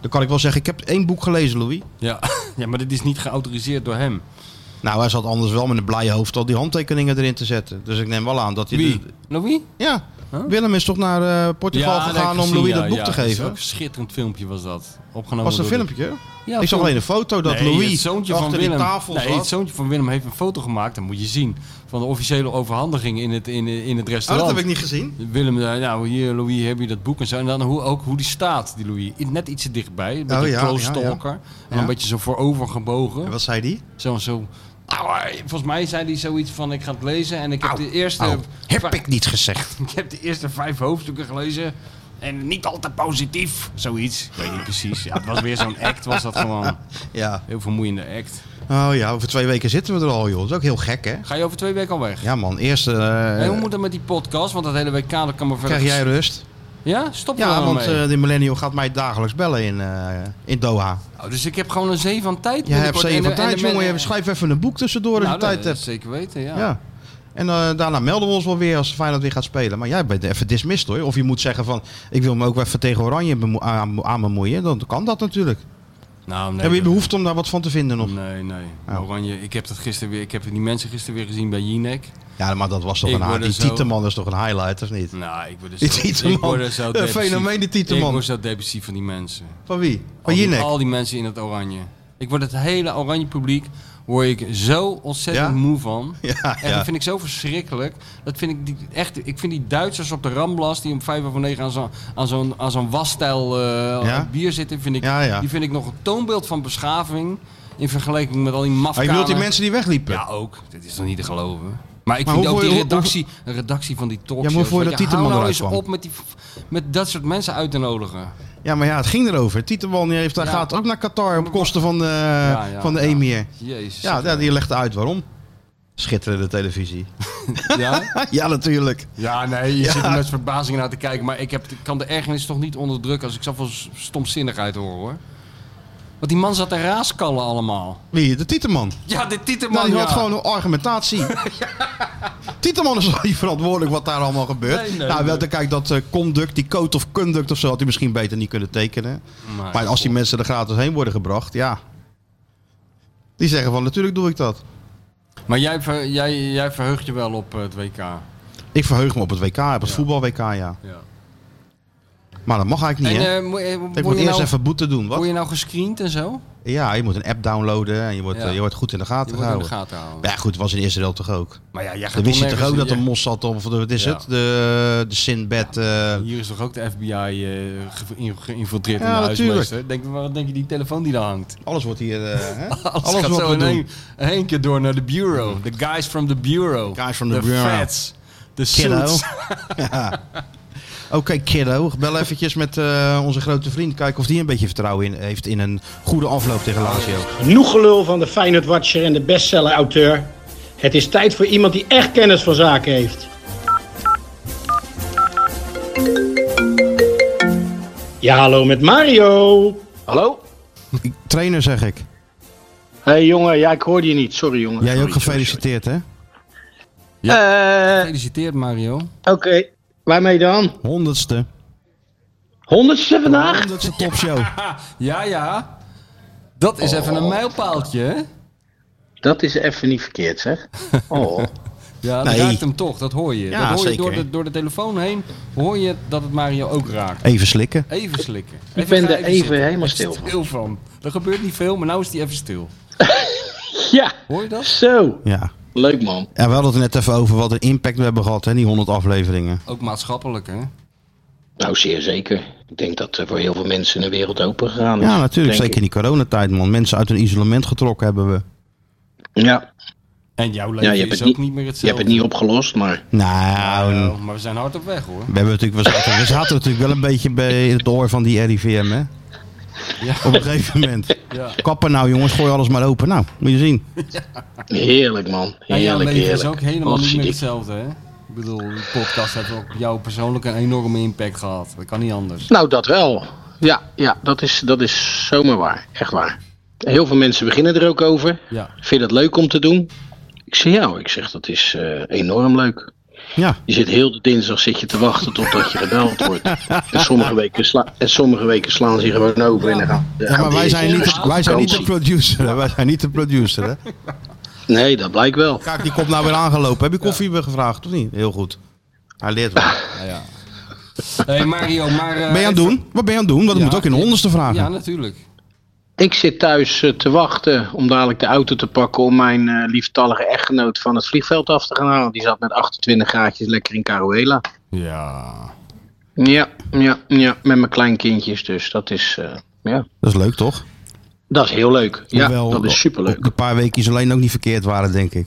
Speaker 2: Dan kan ik wel zeggen, ik heb één boek gelezen, Louis.
Speaker 3: Ja, <laughs> ja maar dit is niet geautoriseerd door hem.
Speaker 2: Nou, hij zat anders wel met een blije hoofd al die handtekeningen erin te zetten. Dus ik neem wel aan dat hij...
Speaker 3: Wie?
Speaker 2: de-
Speaker 3: Louis?
Speaker 2: ja, Willem is toch naar eh, Portugal
Speaker 3: nee,
Speaker 2: gegaan
Speaker 3: heb ik
Speaker 2: om
Speaker 3: gezien,
Speaker 2: Louis
Speaker 3: ja,
Speaker 2: dat boek
Speaker 3: ja,
Speaker 2: te
Speaker 3: dat is
Speaker 2: geven.
Speaker 3: ook een schitterend filmpje was dat. Opgenomen
Speaker 2: Was dat een
Speaker 3: door de-
Speaker 2: filmpje?
Speaker 3: Ja,
Speaker 2: ik zag
Speaker 3: film-
Speaker 2: alleen een foto dat
Speaker 3: Nee,
Speaker 2: Louis
Speaker 3: het zoontje
Speaker 2: achter
Speaker 3: van Willem,
Speaker 2: die tafel
Speaker 3: nee, het
Speaker 2: zat.
Speaker 3: zoontje van Willem heeft een foto gemaakt, dat moet je zien, van de officiële overhandiging in het, in, in het
Speaker 2: Oh, dat
Speaker 3: restaurant.
Speaker 2: heb ik niet gezien.
Speaker 3: Willem, eh, nou hier Louis, heb je dat boek en zo. En dan hoe, ook hoe die staat, die Louis. Net ietsje dichtbij, een beetje
Speaker 2: Oh ja,
Speaker 3: close
Speaker 2: ja, ja.
Speaker 3: stalker. En
Speaker 2: Ja.
Speaker 3: een beetje zo voorover gebogen.
Speaker 2: En wat zei die?
Speaker 3: Zo, zo Auw, volgens mij zei hij zoiets van: ik ga het lezen. En ik heb,
Speaker 2: Au,
Speaker 3: de, eerste,
Speaker 2: au, heb
Speaker 3: va-
Speaker 2: ik niet gezegd.
Speaker 3: <laughs> ik heb de eerste vijf hoofdstukken gelezen. En niet altijd positief, zoiets. Ik weet niet precies. Ja, het was weer zo'n act, was dat gewoon.
Speaker 2: Ja.
Speaker 3: Heel vermoeiende act.
Speaker 2: Oh ja, over twee weken zitten we er al, joh. Dat is ook heel gek, hè?
Speaker 3: Ga je over twee weken al weg?
Speaker 2: Ja, man. Eerst eh,
Speaker 3: Hey, hoe moet dat met die podcast? Want dat hele week kader kan me verder...
Speaker 2: krijg jij rust.
Speaker 3: Ja? Stop er
Speaker 2: Ja,
Speaker 3: dan
Speaker 2: want
Speaker 3: mee.
Speaker 2: eh, de millennial gaat mij dagelijks bellen in, eh, in Doha.
Speaker 3: Oh, dus ik heb gewoon een zee van tijd.
Speaker 2: Je hebt
Speaker 3: binnenkort. En
Speaker 2: zeven
Speaker 3: de-
Speaker 2: van
Speaker 3: en de
Speaker 2: tijd,
Speaker 3: men-
Speaker 2: jongen. Je schrijf even een boek tussendoor als
Speaker 3: Nou,
Speaker 2: je tijd
Speaker 3: dat is
Speaker 2: hebt.
Speaker 3: zeker weten, ja.
Speaker 2: Ja. En eh, daarna melden we ons wel weer als Feyenoord weer gaat spelen. Maar jij bent even dismissed hoor. Of je moet zeggen van, ik wil me ook wel even tegen Oranje bemo- aan, aan bemoeien. Dan kan dat natuurlijk.
Speaker 3: Nou, nee,
Speaker 2: Heb je
Speaker 3: dat-
Speaker 2: behoefte om daar wat van te vinden nog?
Speaker 3: Nee, nee. Oranje, ik heb, dat gisteren weer, ik heb die mensen gisteren weer gezien bij Jinek.
Speaker 2: Ja, maar dat was toch
Speaker 3: Ik
Speaker 2: een
Speaker 3: word
Speaker 2: hi-
Speaker 3: er
Speaker 2: Die
Speaker 3: zo-
Speaker 2: Tieteman is toch een highlight, of niet?
Speaker 3: Nou, ik word er zo,
Speaker 2: Die
Speaker 3: ik
Speaker 2: Tieteman.
Speaker 3: word er zo
Speaker 2: Een
Speaker 3: depressief.
Speaker 2: fenomeen, die Tieteman.
Speaker 3: Ik word zo depressief van die mensen.
Speaker 2: Van wie?
Speaker 3: Al
Speaker 2: Van
Speaker 3: die-
Speaker 2: Jinek?
Speaker 3: Al die mensen in het oranje. Ik word het hele oranje publiek word ik zo ontzettend
Speaker 2: Ja?
Speaker 3: moe
Speaker 2: <laughs>
Speaker 3: van.
Speaker 2: Ja,
Speaker 3: Echt,
Speaker 2: ja.
Speaker 3: dat vind ik zo verschrikkelijk. Dat vind ik, die, echt, ik vind die Duitsers op de Ramblas die om vijf over negen aan zo'n aan zo'n aan zo'n wasstijl eh,
Speaker 2: Ja?
Speaker 3: bier zitten, vind ik,
Speaker 2: Ja, ja.
Speaker 3: die vind ik nog een toonbeeld van beschaving in vergelijking met al die
Speaker 2: Maar je
Speaker 3: mafkanen.
Speaker 2: bedoelt die mensen die wegliepen?
Speaker 3: Ja, ook. Dit is toch niet te geloven. Maar ik
Speaker 2: Maar
Speaker 3: vind
Speaker 2: hoe
Speaker 3: ook
Speaker 2: voor
Speaker 3: die
Speaker 2: je- hoe-
Speaker 3: redactie, een redactie van die talkshows.
Speaker 2: Ja, maar voor
Speaker 3: weet
Speaker 2: dat
Speaker 3: je,
Speaker 2: Tieteman
Speaker 3: hou nou
Speaker 2: eruit
Speaker 3: eens
Speaker 2: kwam.
Speaker 3: op met, die, met dat soort mensen uit te nodigen.
Speaker 2: Ja, maar ja, het ging erover. Tieteman die heeft, daar
Speaker 3: Ja.
Speaker 2: gaat ook naar Qatar op kosten van de,
Speaker 3: ja,
Speaker 2: van de
Speaker 3: ja.
Speaker 2: emir.
Speaker 3: Jezus.
Speaker 2: Ja, ja, die legde uit waarom. Schitterende televisie. <laughs>
Speaker 3: ja?
Speaker 2: ja, natuurlijk.
Speaker 3: <laughs> Ja, nee, je zit er met verbazing naar te kijken. Maar ik heb, ik kan de ergernis toch niet onderdrukken als ik zoveel s- stomzinnigheid hoor, hoor. Want die man zat te raaskallen allemaal.
Speaker 2: Wie? De Tieteman.
Speaker 3: Ja, de Tieteman,
Speaker 2: Nou, die
Speaker 3: ja.
Speaker 2: had gewoon een
Speaker 3: <laughs>
Speaker 2: argumentatie. Tieteman is wel niet verantwoordelijk wat daar allemaal gebeurt.
Speaker 3: Nee, nee,
Speaker 2: nou, wel
Speaker 3: nee.
Speaker 2: te kijken dat eh, conduct, die code of conduct of zo, had hij misschien beter niet kunnen tekenen.
Speaker 3: Maar-
Speaker 2: maar als die mensen er gratis heen worden gebracht, ja. Die zeggen van, natuurlijk doe ik dat.
Speaker 3: Maar jij, ver- jij, jij verheugt je wel op eh, het WK. Ja.
Speaker 2: Ik verheug me op het WK, op het voetbal-WK, ja. Maar dat mag eigenlijk
Speaker 3: En
Speaker 2: niet, hè?
Speaker 3: eh, moet, eh,
Speaker 2: Ik
Speaker 3: word
Speaker 2: moet
Speaker 3: je
Speaker 2: eerst
Speaker 3: nou,
Speaker 2: even boete doen. Wat?
Speaker 3: word je nou gescreend en zo?
Speaker 2: Ja, je moet een app downloaden en je wordt,
Speaker 3: Ja.
Speaker 2: eh, je wordt goed in de
Speaker 3: Je
Speaker 2: gaten
Speaker 3: wordt in de
Speaker 2: gehouden.
Speaker 3: gaten houden.
Speaker 2: Ja, goed, was in eerste deel toch ook.
Speaker 3: Maar ja, jij gaat
Speaker 2: Dan wist je
Speaker 3: toch
Speaker 2: toch
Speaker 3: nergens-
Speaker 2: ook dat
Speaker 3: jij-
Speaker 2: er mos zat op, of de- wat is
Speaker 3: Ja.
Speaker 2: het? De, de Sinbad. eh,
Speaker 3: Hier is toch ook de FBI eh, ge- in- geïnfiltreerd
Speaker 2: Ja,
Speaker 3: in de
Speaker 2: natuurlijk.
Speaker 3: huismeester? Denk, wat denk je die telefoon die daar hangt?
Speaker 2: Alles wordt hier. eh, hè?
Speaker 3: <laughs> Alles,
Speaker 2: Alles
Speaker 3: gaat
Speaker 2: wat
Speaker 3: zo
Speaker 2: we
Speaker 3: in
Speaker 2: doen.
Speaker 3: één, één keer door naar de bureau. The guys from the bureau.
Speaker 2: Guys from the bureau.
Speaker 3: Feds. De
Speaker 2: Kiddo.
Speaker 3: suits.
Speaker 2: Ja. Oké, kiddo. Bel eventjes met eh, onze grote vriend. Kijken of die een beetje vertrouwen in, heeft in een goede afloop tegen Lazio.
Speaker 7: Genoeg gelul van de Feyenoord Watcher en de bestseller auteur. Het is tijd voor iemand die echt kennis van zaken heeft. Ja, hallo met Mario.
Speaker 8: Hallo?
Speaker 2: Trainer zeg ik.
Speaker 7: Hé hey, jongen, ja, ik hoorde je niet. Sorry jongen.
Speaker 2: Jij ook
Speaker 7: Sorry, sorry,
Speaker 2: gefeliciteerd hè?
Speaker 7: sorry. Eh,
Speaker 3: Gefeliciteerd Mario.
Speaker 7: Oké, waarmee dan?
Speaker 2: Honderdste.
Speaker 7: Honderdste vandaag?
Speaker 2: Honderdste topshow.
Speaker 3: <laughs> Ja, ja. Dat is even een mijlpaaltje. hè?
Speaker 7: Nou, Dat is even niet
Speaker 3: <laughs>
Speaker 7: verkeerd zeg. Oh.
Speaker 3: Ja, dat
Speaker 2: Nee.
Speaker 3: raakt hem toch. Dat hoor je.
Speaker 2: Ja,
Speaker 3: dat hoor je
Speaker 2: zeker.
Speaker 3: Door, de, door de telefoon heen hoor je dat het Mario ook raakt.
Speaker 2: Even slikken.
Speaker 3: Even slikken.
Speaker 7: Ik ben
Speaker 3: ga
Speaker 7: er even
Speaker 3: zitten.
Speaker 7: helemaal stil van.
Speaker 3: Stil van. Er gebeurt niet veel, maar nou is hij even stil.
Speaker 7: Ja,
Speaker 3: Hoor je dat?
Speaker 7: zo.
Speaker 2: Ja.
Speaker 7: Leuk man.
Speaker 2: En we hadden het net even over wat een impact we hebben gehad, hè? Die 100 afleveringen.
Speaker 3: Ook maatschappelijk, hè?
Speaker 7: Nou, zeer zeker. Ik denk dat er voor heel veel mensen de wereld open gegaan is.
Speaker 2: Ja, natuurlijk.
Speaker 7: denk
Speaker 2: Zeker in die coronatijd, man. Mensen uit hun isolement getrokken hebben we.
Speaker 7: ik. Ja,
Speaker 3: En jouw
Speaker 7: ja
Speaker 3: leven
Speaker 7: je, hebt
Speaker 3: is
Speaker 7: het
Speaker 3: ook niet,
Speaker 7: niet,
Speaker 3: meer
Speaker 7: je hebt
Speaker 3: hetzelfde.
Speaker 7: het niet opgelost, maar...
Speaker 2: Nou,
Speaker 3: Nou, maar we zijn hard op weg, hoor.
Speaker 2: We, hebben natuurlijk, we, zaten, we zaten natuurlijk wel een beetje bij het oor van die RIVM, hè?
Speaker 3: Ja.
Speaker 2: Op een gegeven moment.
Speaker 3: Ja.
Speaker 2: Kappen nou, jongens, gooi alles maar open. Nou, moet je zien.
Speaker 7: Heerlijk man,
Speaker 3: En jouw
Speaker 7: heerlijk,
Speaker 3: Nou leven
Speaker 7: heerlijk.
Speaker 3: is ook helemaal
Speaker 7: Wat
Speaker 3: niet meer
Speaker 7: zie ik.
Speaker 3: hetzelfde, hè? Ik bedoel, de podcast heeft op jou persoonlijk een enorme impact gehad. Dat kan niet anders.
Speaker 7: Nou, dat wel. Ja, ja dat, is, dat is zomaar waar. Echt waar. Heel veel mensen beginnen er ook over.
Speaker 3: Ja.
Speaker 7: Vind je dat leuk om te doen? Ik zeg ja, hoor. ik zeg dat is eh, enorm leuk.
Speaker 2: Ja,
Speaker 7: Je zit heel de dinsdag zit je te wachten totdat je gebeld wordt. En sommige weken, sla en sommige weken slaan ze je gewoon over. En dan gaan, dan
Speaker 2: ja maar
Speaker 7: gaan
Speaker 2: wij
Speaker 7: die-
Speaker 2: zijn niet, wij zijn niet de
Speaker 7: vakantie.
Speaker 2: producer. Hè? Wij zijn niet de producer, hè?
Speaker 7: Nee, dat blijkt wel.
Speaker 2: Kijk, die komt nou weer aangelopen. Heb je koffie weer gevraagd, of niet? Heel goed. Hij leert wel.
Speaker 3: Nou ja. hey Mario, maar... eh,
Speaker 2: Ben je aan het doen? Wat ben je aan het doen? Want dat
Speaker 3: Ja,
Speaker 2: moet ook in de
Speaker 3: ik-
Speaker 2: honderdste
Speaker 3: Ja,
Speaker 2: vragen.
Speaker 3: natuurlijk.
Speaker 7: Ik zit thuis eh, te wachten om dadelijk de auto te pakken om mijn eh, lieftallige echtgenoot van het vliegveld af te gaan halen. Die zat met 28 graadjes lekker in Caruela.
Speaker 3: Ja.
Speaker 7: Ja, ja, ja, met mijn kleinkindjes dus. Dat is, eh, ja.
Speaker 2: Dat is leuk, toch?
Speaker 7: Dat is heel leuk. Ja,
Speaker 2: Hoewel
Speaker 7: dat is superleuk.
Speaker 2: ook Een paar weekjes alleen ook niet verkeerd waren, denk ik.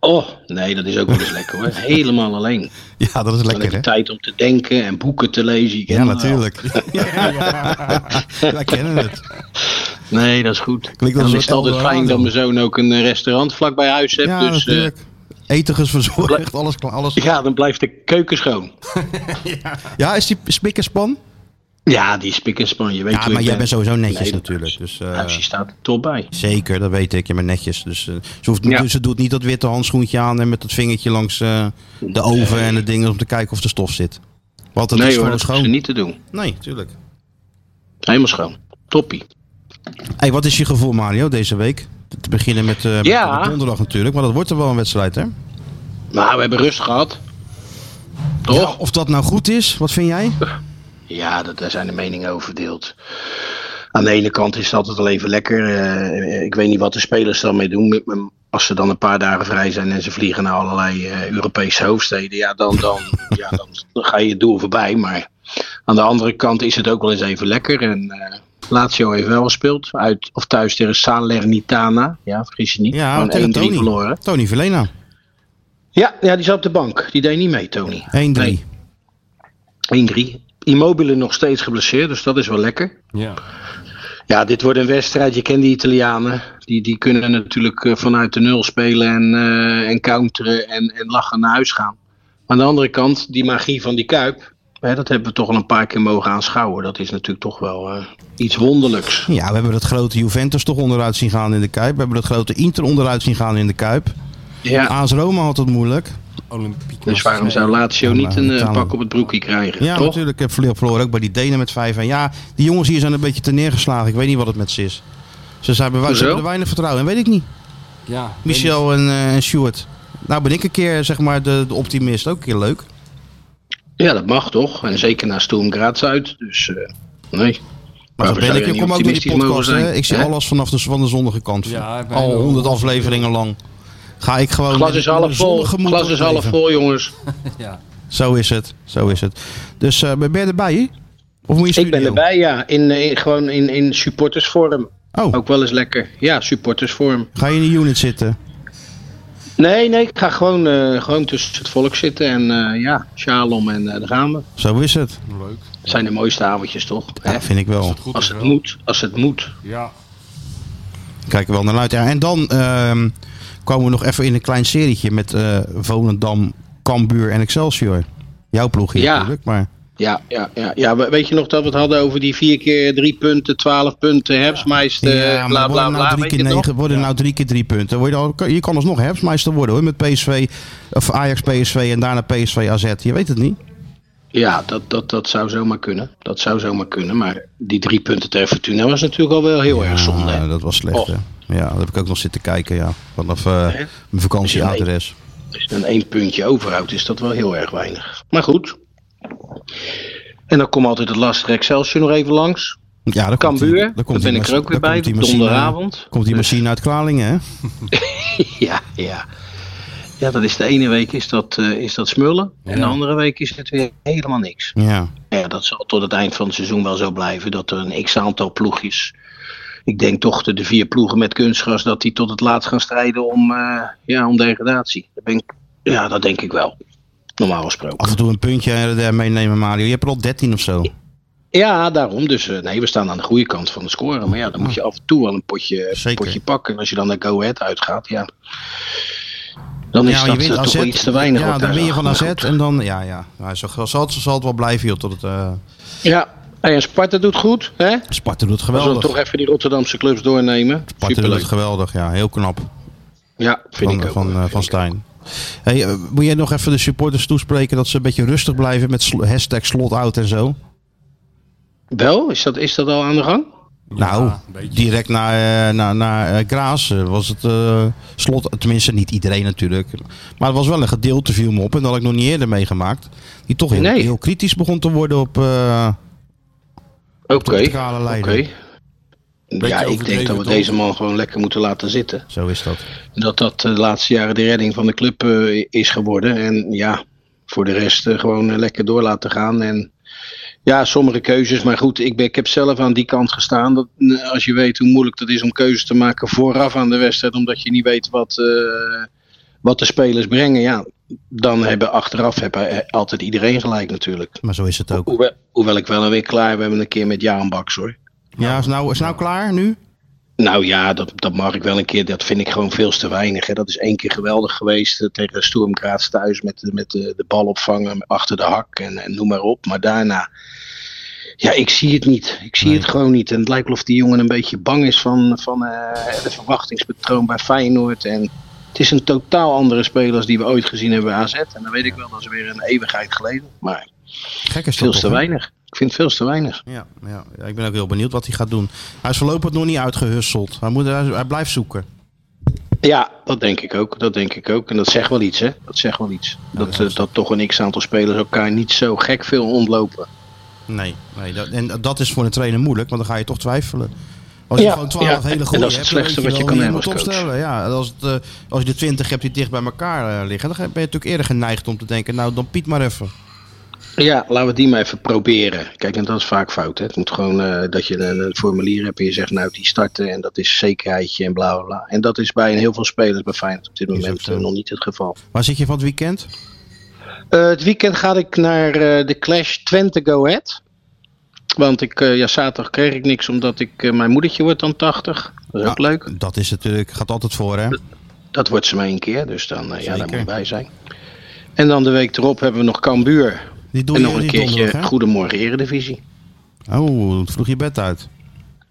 Speaker 7: Oh, nee, dat is ook wel eens
Speaker 2: <laughs>
Speaker 7: lekker hoor. Helemaal alleen.
Speaker 2: Ja, dat is
Speaker 7: Dan heb
Speaker 2: lekker,
Speaker 7: je
Speaker 2: hè?
Speaker 7: tijd om te denken en boeken te lezen. Ik
Speaker 2: Ja,
Speaker 7: ken dat
Speaker 2: natuurlijk. <laughs> Wij kennen het.
Speaker 7: wel. Nee, dat is goed.
Speaker 2: Klinkt als
Speaker 7: dan
Speaker 2: een
Speaker 7: is het altijd
Speaker 2: Eldorado.
Speaker 7: fijn dat mijn zoon ook een eh, restaurant vlakbij huis heeft.
Speaker 2: Ja,
Speaker 7: dus eh,
Speaker 2: natuurlijk. Eten is <laughs> verzorgd, alles klaar. Alles.
Speaker 7: ja, dan blijft de keuken schoon.
Speaker 2: Ja, is die spik en span?
Speaker 7: Ja, die spik en span. Je weet
Speaker 2: Ja,
Speaker 7: hoe
Speaker 2: maar
Speaker 7: ik
Speaker 2: jij
Speaker 7: ben.
Speaker 2: bent sowieso netjes
Speaker 7: Nee, dat-
Speaker 2: natuurlijk. Dus, eh,
Speaker 7: Huisje staat er top bij.
Speaker 2: zeker, dat weet ik. Je bent netjes. Dus, eh, ze, hoeft,
Speaker 7: Ja.
Speaker 2: ze doet niet dat witte handschoentje aan en met dat vingertje langs eh, de oven en het ding om te kijken of er stof zit. Want dat
Speaker 7: nee
Speaker 2: is
Speaker 7: hoor,
Speaker 2: gewoon
Speaker 7: dat hoeft ze
Speaker 2: schoon.
Speaker 7: niet te doen.
Speaker 2: Nee, tuurlijk.
Speaker 7: Helemaal schoon. Toppie.
Speaker 2: Hey, wat is je gevoel, Mario, deze week? Te beginnen met, eh,
Speaker 7: Ja.
Speaker 2: met donderdag natuurlijk, maar dat wordt er wel een wedstrijd, hè?
Speaker 7: Maar we hebben rust gehad.
Speaker 2: Ja,
Speaker 7: Toch?
Speaker 2: of dat nou goed is, wat vind jij?
Speaker 7: Ja, dat, daar zijn de meningen over verdeeld. Aan de ene kant is het altijd wel even lekker. Eh, ik weet niet wat de spelers dan mee doen. Met- met- Als ze dan een paar dagen vrij zijn en ze vliegen naar allerlei eh, Europese hoofdsteden, ja dan, dan, ja, dan ga je het doel voorbij. Maar aan de andere kant is het ook wel eens even lekker. En eh Lazio heeft wel gespeeld. Uit, of thuis tegen Salernitana. Ja, vergis je niet.
Speaker 2: Ja,
Speaker 7: Gewoon
Speaker 2: tegen
Speaker 7: 1-3
Speaker 2: Tony.
Speaker 7: verloren.
Speaker 2: Tony Verlena, 1-3.
Speaker 7: Ja, ja, die zat op de bank. Die deed niet mee, Tony. Nee. 1-3. Immobile nog steeds geblesseerd, dus dat is wel lekker.
Speaker 3: Ja.
Speaker 7: Ja, dit wordt een wedstrijd. Je kent die Italianen. Die, die kunnen natuurlijk eh, vanuit de nul spelen en, eh, en counteren en, en lachen naar huis gaan. Maar aan de andere kant, die magie van die Kuip, hè, dat hebben we toch al een paar keer mogen aanschouwen. Dat is natuurlijk toch wel eh, iets wonderlijks.
Speaker 2: Ja, we hebben dat grote Juventus toch onderuit zien gaan in de Kuip. We hebben dat grote Inter onderuit zien gaan in de Kuip.
Speaker 7: Ja.
Speaker 2: AS Roma had het moeilijk.
Speaker 3: Olympiek.
Speaker 7: Dus waarom zou Lazio
Speaker 2: Ja,
Speaker 7: niet
Speaker 2: maar
Speaker 7: een eh,
Speaker 2: Italië-
Speaker 7: pak op het broekje krijgen?
Speaker 2: Ja,
Speaker 7: toch?
Speaker 2: natuurlijk. Ik heb verloren- verloren ook bij die Denen met 5 en ja, die jongens hier zijn een beetje te neergeslagen. Ik weet niet wat het met ze is. Ze, zijn bewa- ze
Speaker 7: Hoezo?
Speaker 2: hebben er weinig vertrouwen in, weet ik niet.
Speaker 3: Ja.
Speaker 2: Michel en, eh, en Stuart. Nou ben ik een keer zeg maar de, de optimist. Ook een keer leuk.
Speaker 7: Ja, dat mag toch? En zeker naar Sturm Graz uit. Dus eh, nee.
Speaker 2: Maar zo
Speaker 7: Waarom
Speaker 2: ben
Speaker 7: zou
Speaker 2: ik.
Speaker 7: je
Speaker 2: Ik kom
Speaker 7: niet
Speaker 2: ook door die
Speaker 7: optimistisch mogen
Speaker 2: podcast. hè.
Speaker 7: zijn?
Speaker 2: Ik zie
Speaker 7: Hè?
Speaker 2: alles vanaf de, van de zonnige kant.
Speaker 3: Ja, bijna
Speaker 2: Al
Speaker 3: wel.
Speaker 2: honderd afleveringen lang. Ga ik gewoon.
Speaker 7: Glas
Speaker 2: met-
Speaker 7: is
Speaker 2: met
Speaker 7: half
Speaker 2: een
Speaker 7: vol.
Speaker 2: zonnig gemoed
Speaker 7: Glas
Speaker 2: door
Speaker 7: is
Speaker 2: het
Speaker 7: half
Speaker 2: leven.
Speaker 7: vol, jongens.
Speaker 3: Ja.
Speaker 2: Zo is het. Zo is het. Dus eh, ben je erbij? hè? Of moet je
Speaker 7: Ik
Speaker 2: studio?
Speaker 7: ben erbij, ja. In, eh, in- gewoon in, in supportersvorm.
Speaker 2: Oh,
Speaker 7: Ook wel eens lekker. Ja, supportersvorm.
Speaker 2: ga je in de unit zitten?
Speaker 7: Nee, nee, ik ga gewoon, eh, gewoon tussen het volk zitten. En eh, ja, shalom en eh daar gaan we.
Speaker 2: Zo is het.
Speaker 3: Leuk.
Speaker 7: Dat zijn de mooiste avondjes, toch? Hè?
Speaker 2: Ja, vind ik wel.
Speaker 3: Goed
Speaker 7: Als
Speaker 3: is
Speaker 7: het
Speaker 3: wel.
Speaker 7: moet, als het moet.
Speaker 3: Ja.
Speaker 2: Kijk er wel naar uit. Ja, en dan ehm, komen we nog even in een klein serietje met eh, Volendam, Cambuur en Excelsior. Jouw ploeg hier
Speaker 7: Ja.
Speaker 2: natuurlijk. Maar
Speaker 7: Ja, ja, ja, ja. We- Weet je nog dat we het hadden over die vier keer drie punten, twaalf punten, herfstmeister,
Speaker 2: Ja, maar
Speaker 7: bla bla
Speaker 2: worden nou
Speaker 7: bla.
Speaker 2: drie
Speaker 7: Weet
Speaker 2: keer
Speaker 7: je nog?
Speaker 2: negen, worden nou drie keer drie punten. Word je, al, je kan alsnog herfstmeister worden hoor, met PSV, of Ajax PSV en daarna PSV AZ. Je weet het niet.
Speaker 7: Ja, dat, dat, dat zou zomaar kunnen. Dat zou zomaar kunnen. Maar die drie punten ter Fortuna was natuurlijk al wel heel erg Oh, zonde. Oh. hè?
Speaker 2: Ah, dat was slecht
Speaker 7: Och.
Speaker 2: hè. Ja, dat heb ik ook nog zitten kijken ja. Vanaf eh, mijn vakantieadres.
Speaker 7: Als je dan één puntje overhoudt, is dat wel heel erg weinig. Maar goed. En dan komt altijd het lastige Excelsior nog even langs. <laughs>
Speaker 2: Ja, daar komt die-
Speaker 7: Cambuur,
Speaker 2: daar
Speaker 7: daar
Speaker 2: komt die
Speaker 7: ben ik
Speaker 2: mas-
Speaker 7: er ook weer
Speaker 2: daar
Speaker 7: bij,
Speaker 2: komt die
Speaker 7: op
Speaker 2: machine-
Speaker 7: donderdagavond.
Speaker 2: Komt die
Speaker 7: Dus-
Speaker 2: machine uit Kralingen hè?
Speaker 7: Ja, ja. Ja, dat is de ene week is dat, eh, is dat smullen. En de andere week is het weer helemaal niks.
Speaker 2: Ja.
Speaker 7: Ja, dat zal tot het eind van het seizoen wel zo blijven. Dat er een x-aantal ploegjes... Ik denk toch de, de vier ploegen met kunstgras... dat die tot het laatst gaan strijden om, eh, ja, om degradatie. Dat ben ik, ja, dat denk ik wel. Normaal gesproken.
Speaker 2: Af en toe een puntje her en daar meenemen, Mario. Je hebt er al 13 of zo.
Speaker 7: Ja, daarom. Dus eh, nee, we staan aan de goede kant van de scoren. Maar ja, dan moet je af en toe wel een potje,
Speaker 2: Zeker.
Speaker 7: potje pakken. En als je dan naar Go Ahead uitgaat, ja. Dan is
Speaker 2: ja,
Speaker 7: dat eh, toch wel iets te weinig.
Speaker 2: Ja,
Speaker 7: wat
Speaker 2: dan
Speaker 7: daar
Speaker 2: ben je
Speaker 7: zag.
Speaker 2: van
Speaker 7: Maar
Speaker 2: AZ
Speaker 7: goed.
Speaker 2: en dan... Ja, ja. Nou, zo, zo- zal, het- zo zal het wel blijven, joh. Tot het, eh
Speaker 7: Ja, hey, en Sparta doet goed, hè?
Speaker 2: Sparta doet het
Speaker 7: We zullen
Speaker 2: geweldig.
Speaker 7: toch even die Rotterdamse clubs doornemen.
Speaker 2: Sparta doet
Speaker 7: Superleuk.
Speaker 2: het geweldig, ja. Heel knap
Speaker 7: Ja, vind
Speaker 2: van,
Speaker 7: ik ook.
Speaker 2: van, eh,
Speaker 7: hoor.
Speaker 2: van Stijn. Hey, eh, moet jij nog even de supporters toespreken dat ze een beetje rustig blijven met sl- hashtag slotout en zo?
Speaker 7: Wel, is dat, is dat al aan de gang?
Speaker 2: nou,
Speaker 3: een beetje.
Speaker 2: direct naar, eh, naar, naar eh, Graas eh, was het eh, slot. Tenminste, niet iedereen natuurlijk. Maar er was wel een gedeelte viel me op. En dat had ik nog niet eerder meegemaakt. Die toch heel,
Speaker 7: Nee.
Speaker 2: heel kritisch begon te worden op... eh,
Speaker 7: Oké.
Speaker 2: verticale lijn.
Speaker 7: oké. Ja, ik denk dat we deze man gewoon lekker moeten laten zitten.
Speaker 2: zo is dat.
Speaker 7: dat dat eh, de laatste jaren de redding van de club eh, is geworden. En ja, voor de rest eh, gewoon eh, lekker door laten gaan. En Ja, sommige keuzes. Maar goed, ik, ben, ik heb zelf aan die kant gestaan. Dat, eh, als je weet hoe moeilijk dat is om keuzes te maken vooraf aan de wedstrijd. Omdat je niet weet wat, eh, wat de spelers brengen. Ja, dan hebben achteraf hebben, eh, altijd iedereen gelijk natuurlijk.
Speaker 2: Maar zo is het ook.
Speaker 7: Hoewel, hoewel ik wel weer klaar ben een keer met Jaan Baks hoor.
Speaker 2: Ja, is nou, is nou klaar nu?
Speaker 7: Nou ja, dat, dat mag ik wel een keer. Dat vind ik gewoon veel te weinig. Hè. Dat is één keer geweldig geweest eh, tegen Sturm Graz thuis met, de- met de, de bal opvangen achter de hak en, en noem maar op. Maar daarna, ja, ik zie het niet. Ik zie het gewoon niet. En het lijkt wel of die jongen een beetje bang is van, van eh de verwachtingspatroon bij Feyenoord. En het is een totaal andere speler als die we ooit gezien hebben bij AZ. En dan weet ik wel, dat is weer een eeuwigheid geleden. Maar
Speaker 2: Gek is dat
Speaker 7: veel
Speaker 2: toch,
Speaker 7: te
Speaker 2: hè?
Speaker 7: weinig. Ik vind het veel te weinig.
Speaker 2: Ja, ja, ja, ik ben ook heel benieuwd wat hij gaat doen. Hij is voorlopig nog niet uitgehusseld. Hij, moet, hij, hij blijft zoeken.
Speaker 7: Ja, dat denk ik ook. Dat denk ik ook. En dat zegt wel iets, hè? Dat zegt wel iets. dat, eh, dat toch een x-aantal spelers elkaar niet zo gek veel ontlopen.
Speaker 2: Nee, nee dat, en dat is voor een trainer moeilijk, want dan ga je toch twijfelen. Als je
Speaker 7: Ja,
Speaker 2: gewoon 12
Speaker 7: ja,
Speaker 2: hele
Speaker 7: en
Speaker 2: goede
Speaker 7: dat is
Speaker 2: hebt,
Speaker 7: het slechtste
Speaker 2: dan
Speaker 7: wat je
Speaker 2: weet
Speaker 7: kan
Speaker 2: wel
Speaker 7: hebben
Speaker 2: wie je moet
Speaker 7: als coach.
Speaker 2: opstellen. Ja, en als, het, eh, als je de 20 hebt die dicht bij elkaar eh, liggen, dan ben je natuurlijk eerder geneigd om te denken, nou dan Piet maar even.
Speaker 7: Ja, laten we die maar even proberen. Kijk, en dat is vaak fout, hè? Het moet gewoon eh, dat je een, een formulier hebt en je zegt, nou, die starten en dat is zekerheidje en bla bla bla. En dat is bij een heel veel spelers bij Feyenoord op dit
Speaker 2: ook
Speaker 7: moment
Speaker 2: zo.
Speaker 7: eh, nog niet het geval.
Speaker 2: Waar zit je van het weekend?
Speaker 7: Eh, het weekend ga ik naar eh, de Clash Twente Go Ahead. Want ik, eh, ja, zaterdag kreeg ik niks omdat ik, eh, mijn moedertje wordt dan 80. Dat is ook
Speaker 2: Ah,
Speaker 7: leuk.
Speaker 2: Dat is natuurlijk, gaat altijd voor hè.
Speaker 7: Dat wordt ze maar één keer, dus dan eh, ja, daar
Speaker 2: Zeker.
Speaker 7: moet ik bij zijn. En dan de week erop hebben we nog Cambuur.
Speaker 2: Die doen
Speaker 7: en nog
Speaker 2: je
Speaker 7: een
Speaker 2: die
Speaker 7: keertje
Speaker 2: donderdag hè?
Speaker 7: Goedemorgen Eredivisie.
Speaker 2: Oh, het vroeg je bed uit.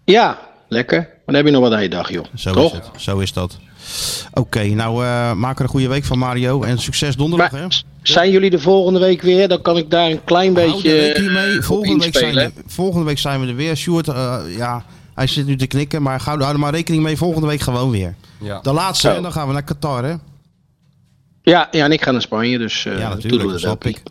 Speaker 7: Ja, lekker. Maar dan heb je nog wat aan je dag, joh.
Speaker 2: Zo
Speaker 7: Toch?
Speaker 2: is het, zo is dat. Oké, nou eh, maak er een goede week van Mario en succes donderdag hè.
Speaker 7: Maar s- zijn jullie de volgende week weer? Dan kan ik daar een klein
Speaker 2: Houd de
Speaker 7: beetje
Speaker 2: week hiermee.
Speaker 7: eh, op
Speaker 2: Volgende week, zijn
Speaker 7: inspelen.
Speaker 2: we, volgende week zijn we er weer. Sjoerd, eh, ja, hij zit nu te knikken, maar hou, hou er maar rekening mee. Volgende week gewoon weer.
Speaker 3: Ja.
Speaker 2: De laatste,
Speaker 7: Zo.
Speaker 2: en dan gaan we naar Qatar, hè?
Speaker 7: Ja, ja, en ik ga naar Spanje, dus eh
Speaker 2: ja, natuurlijk, dat
Speaker 7: toedeledokie.
Speaker 2: snap ik.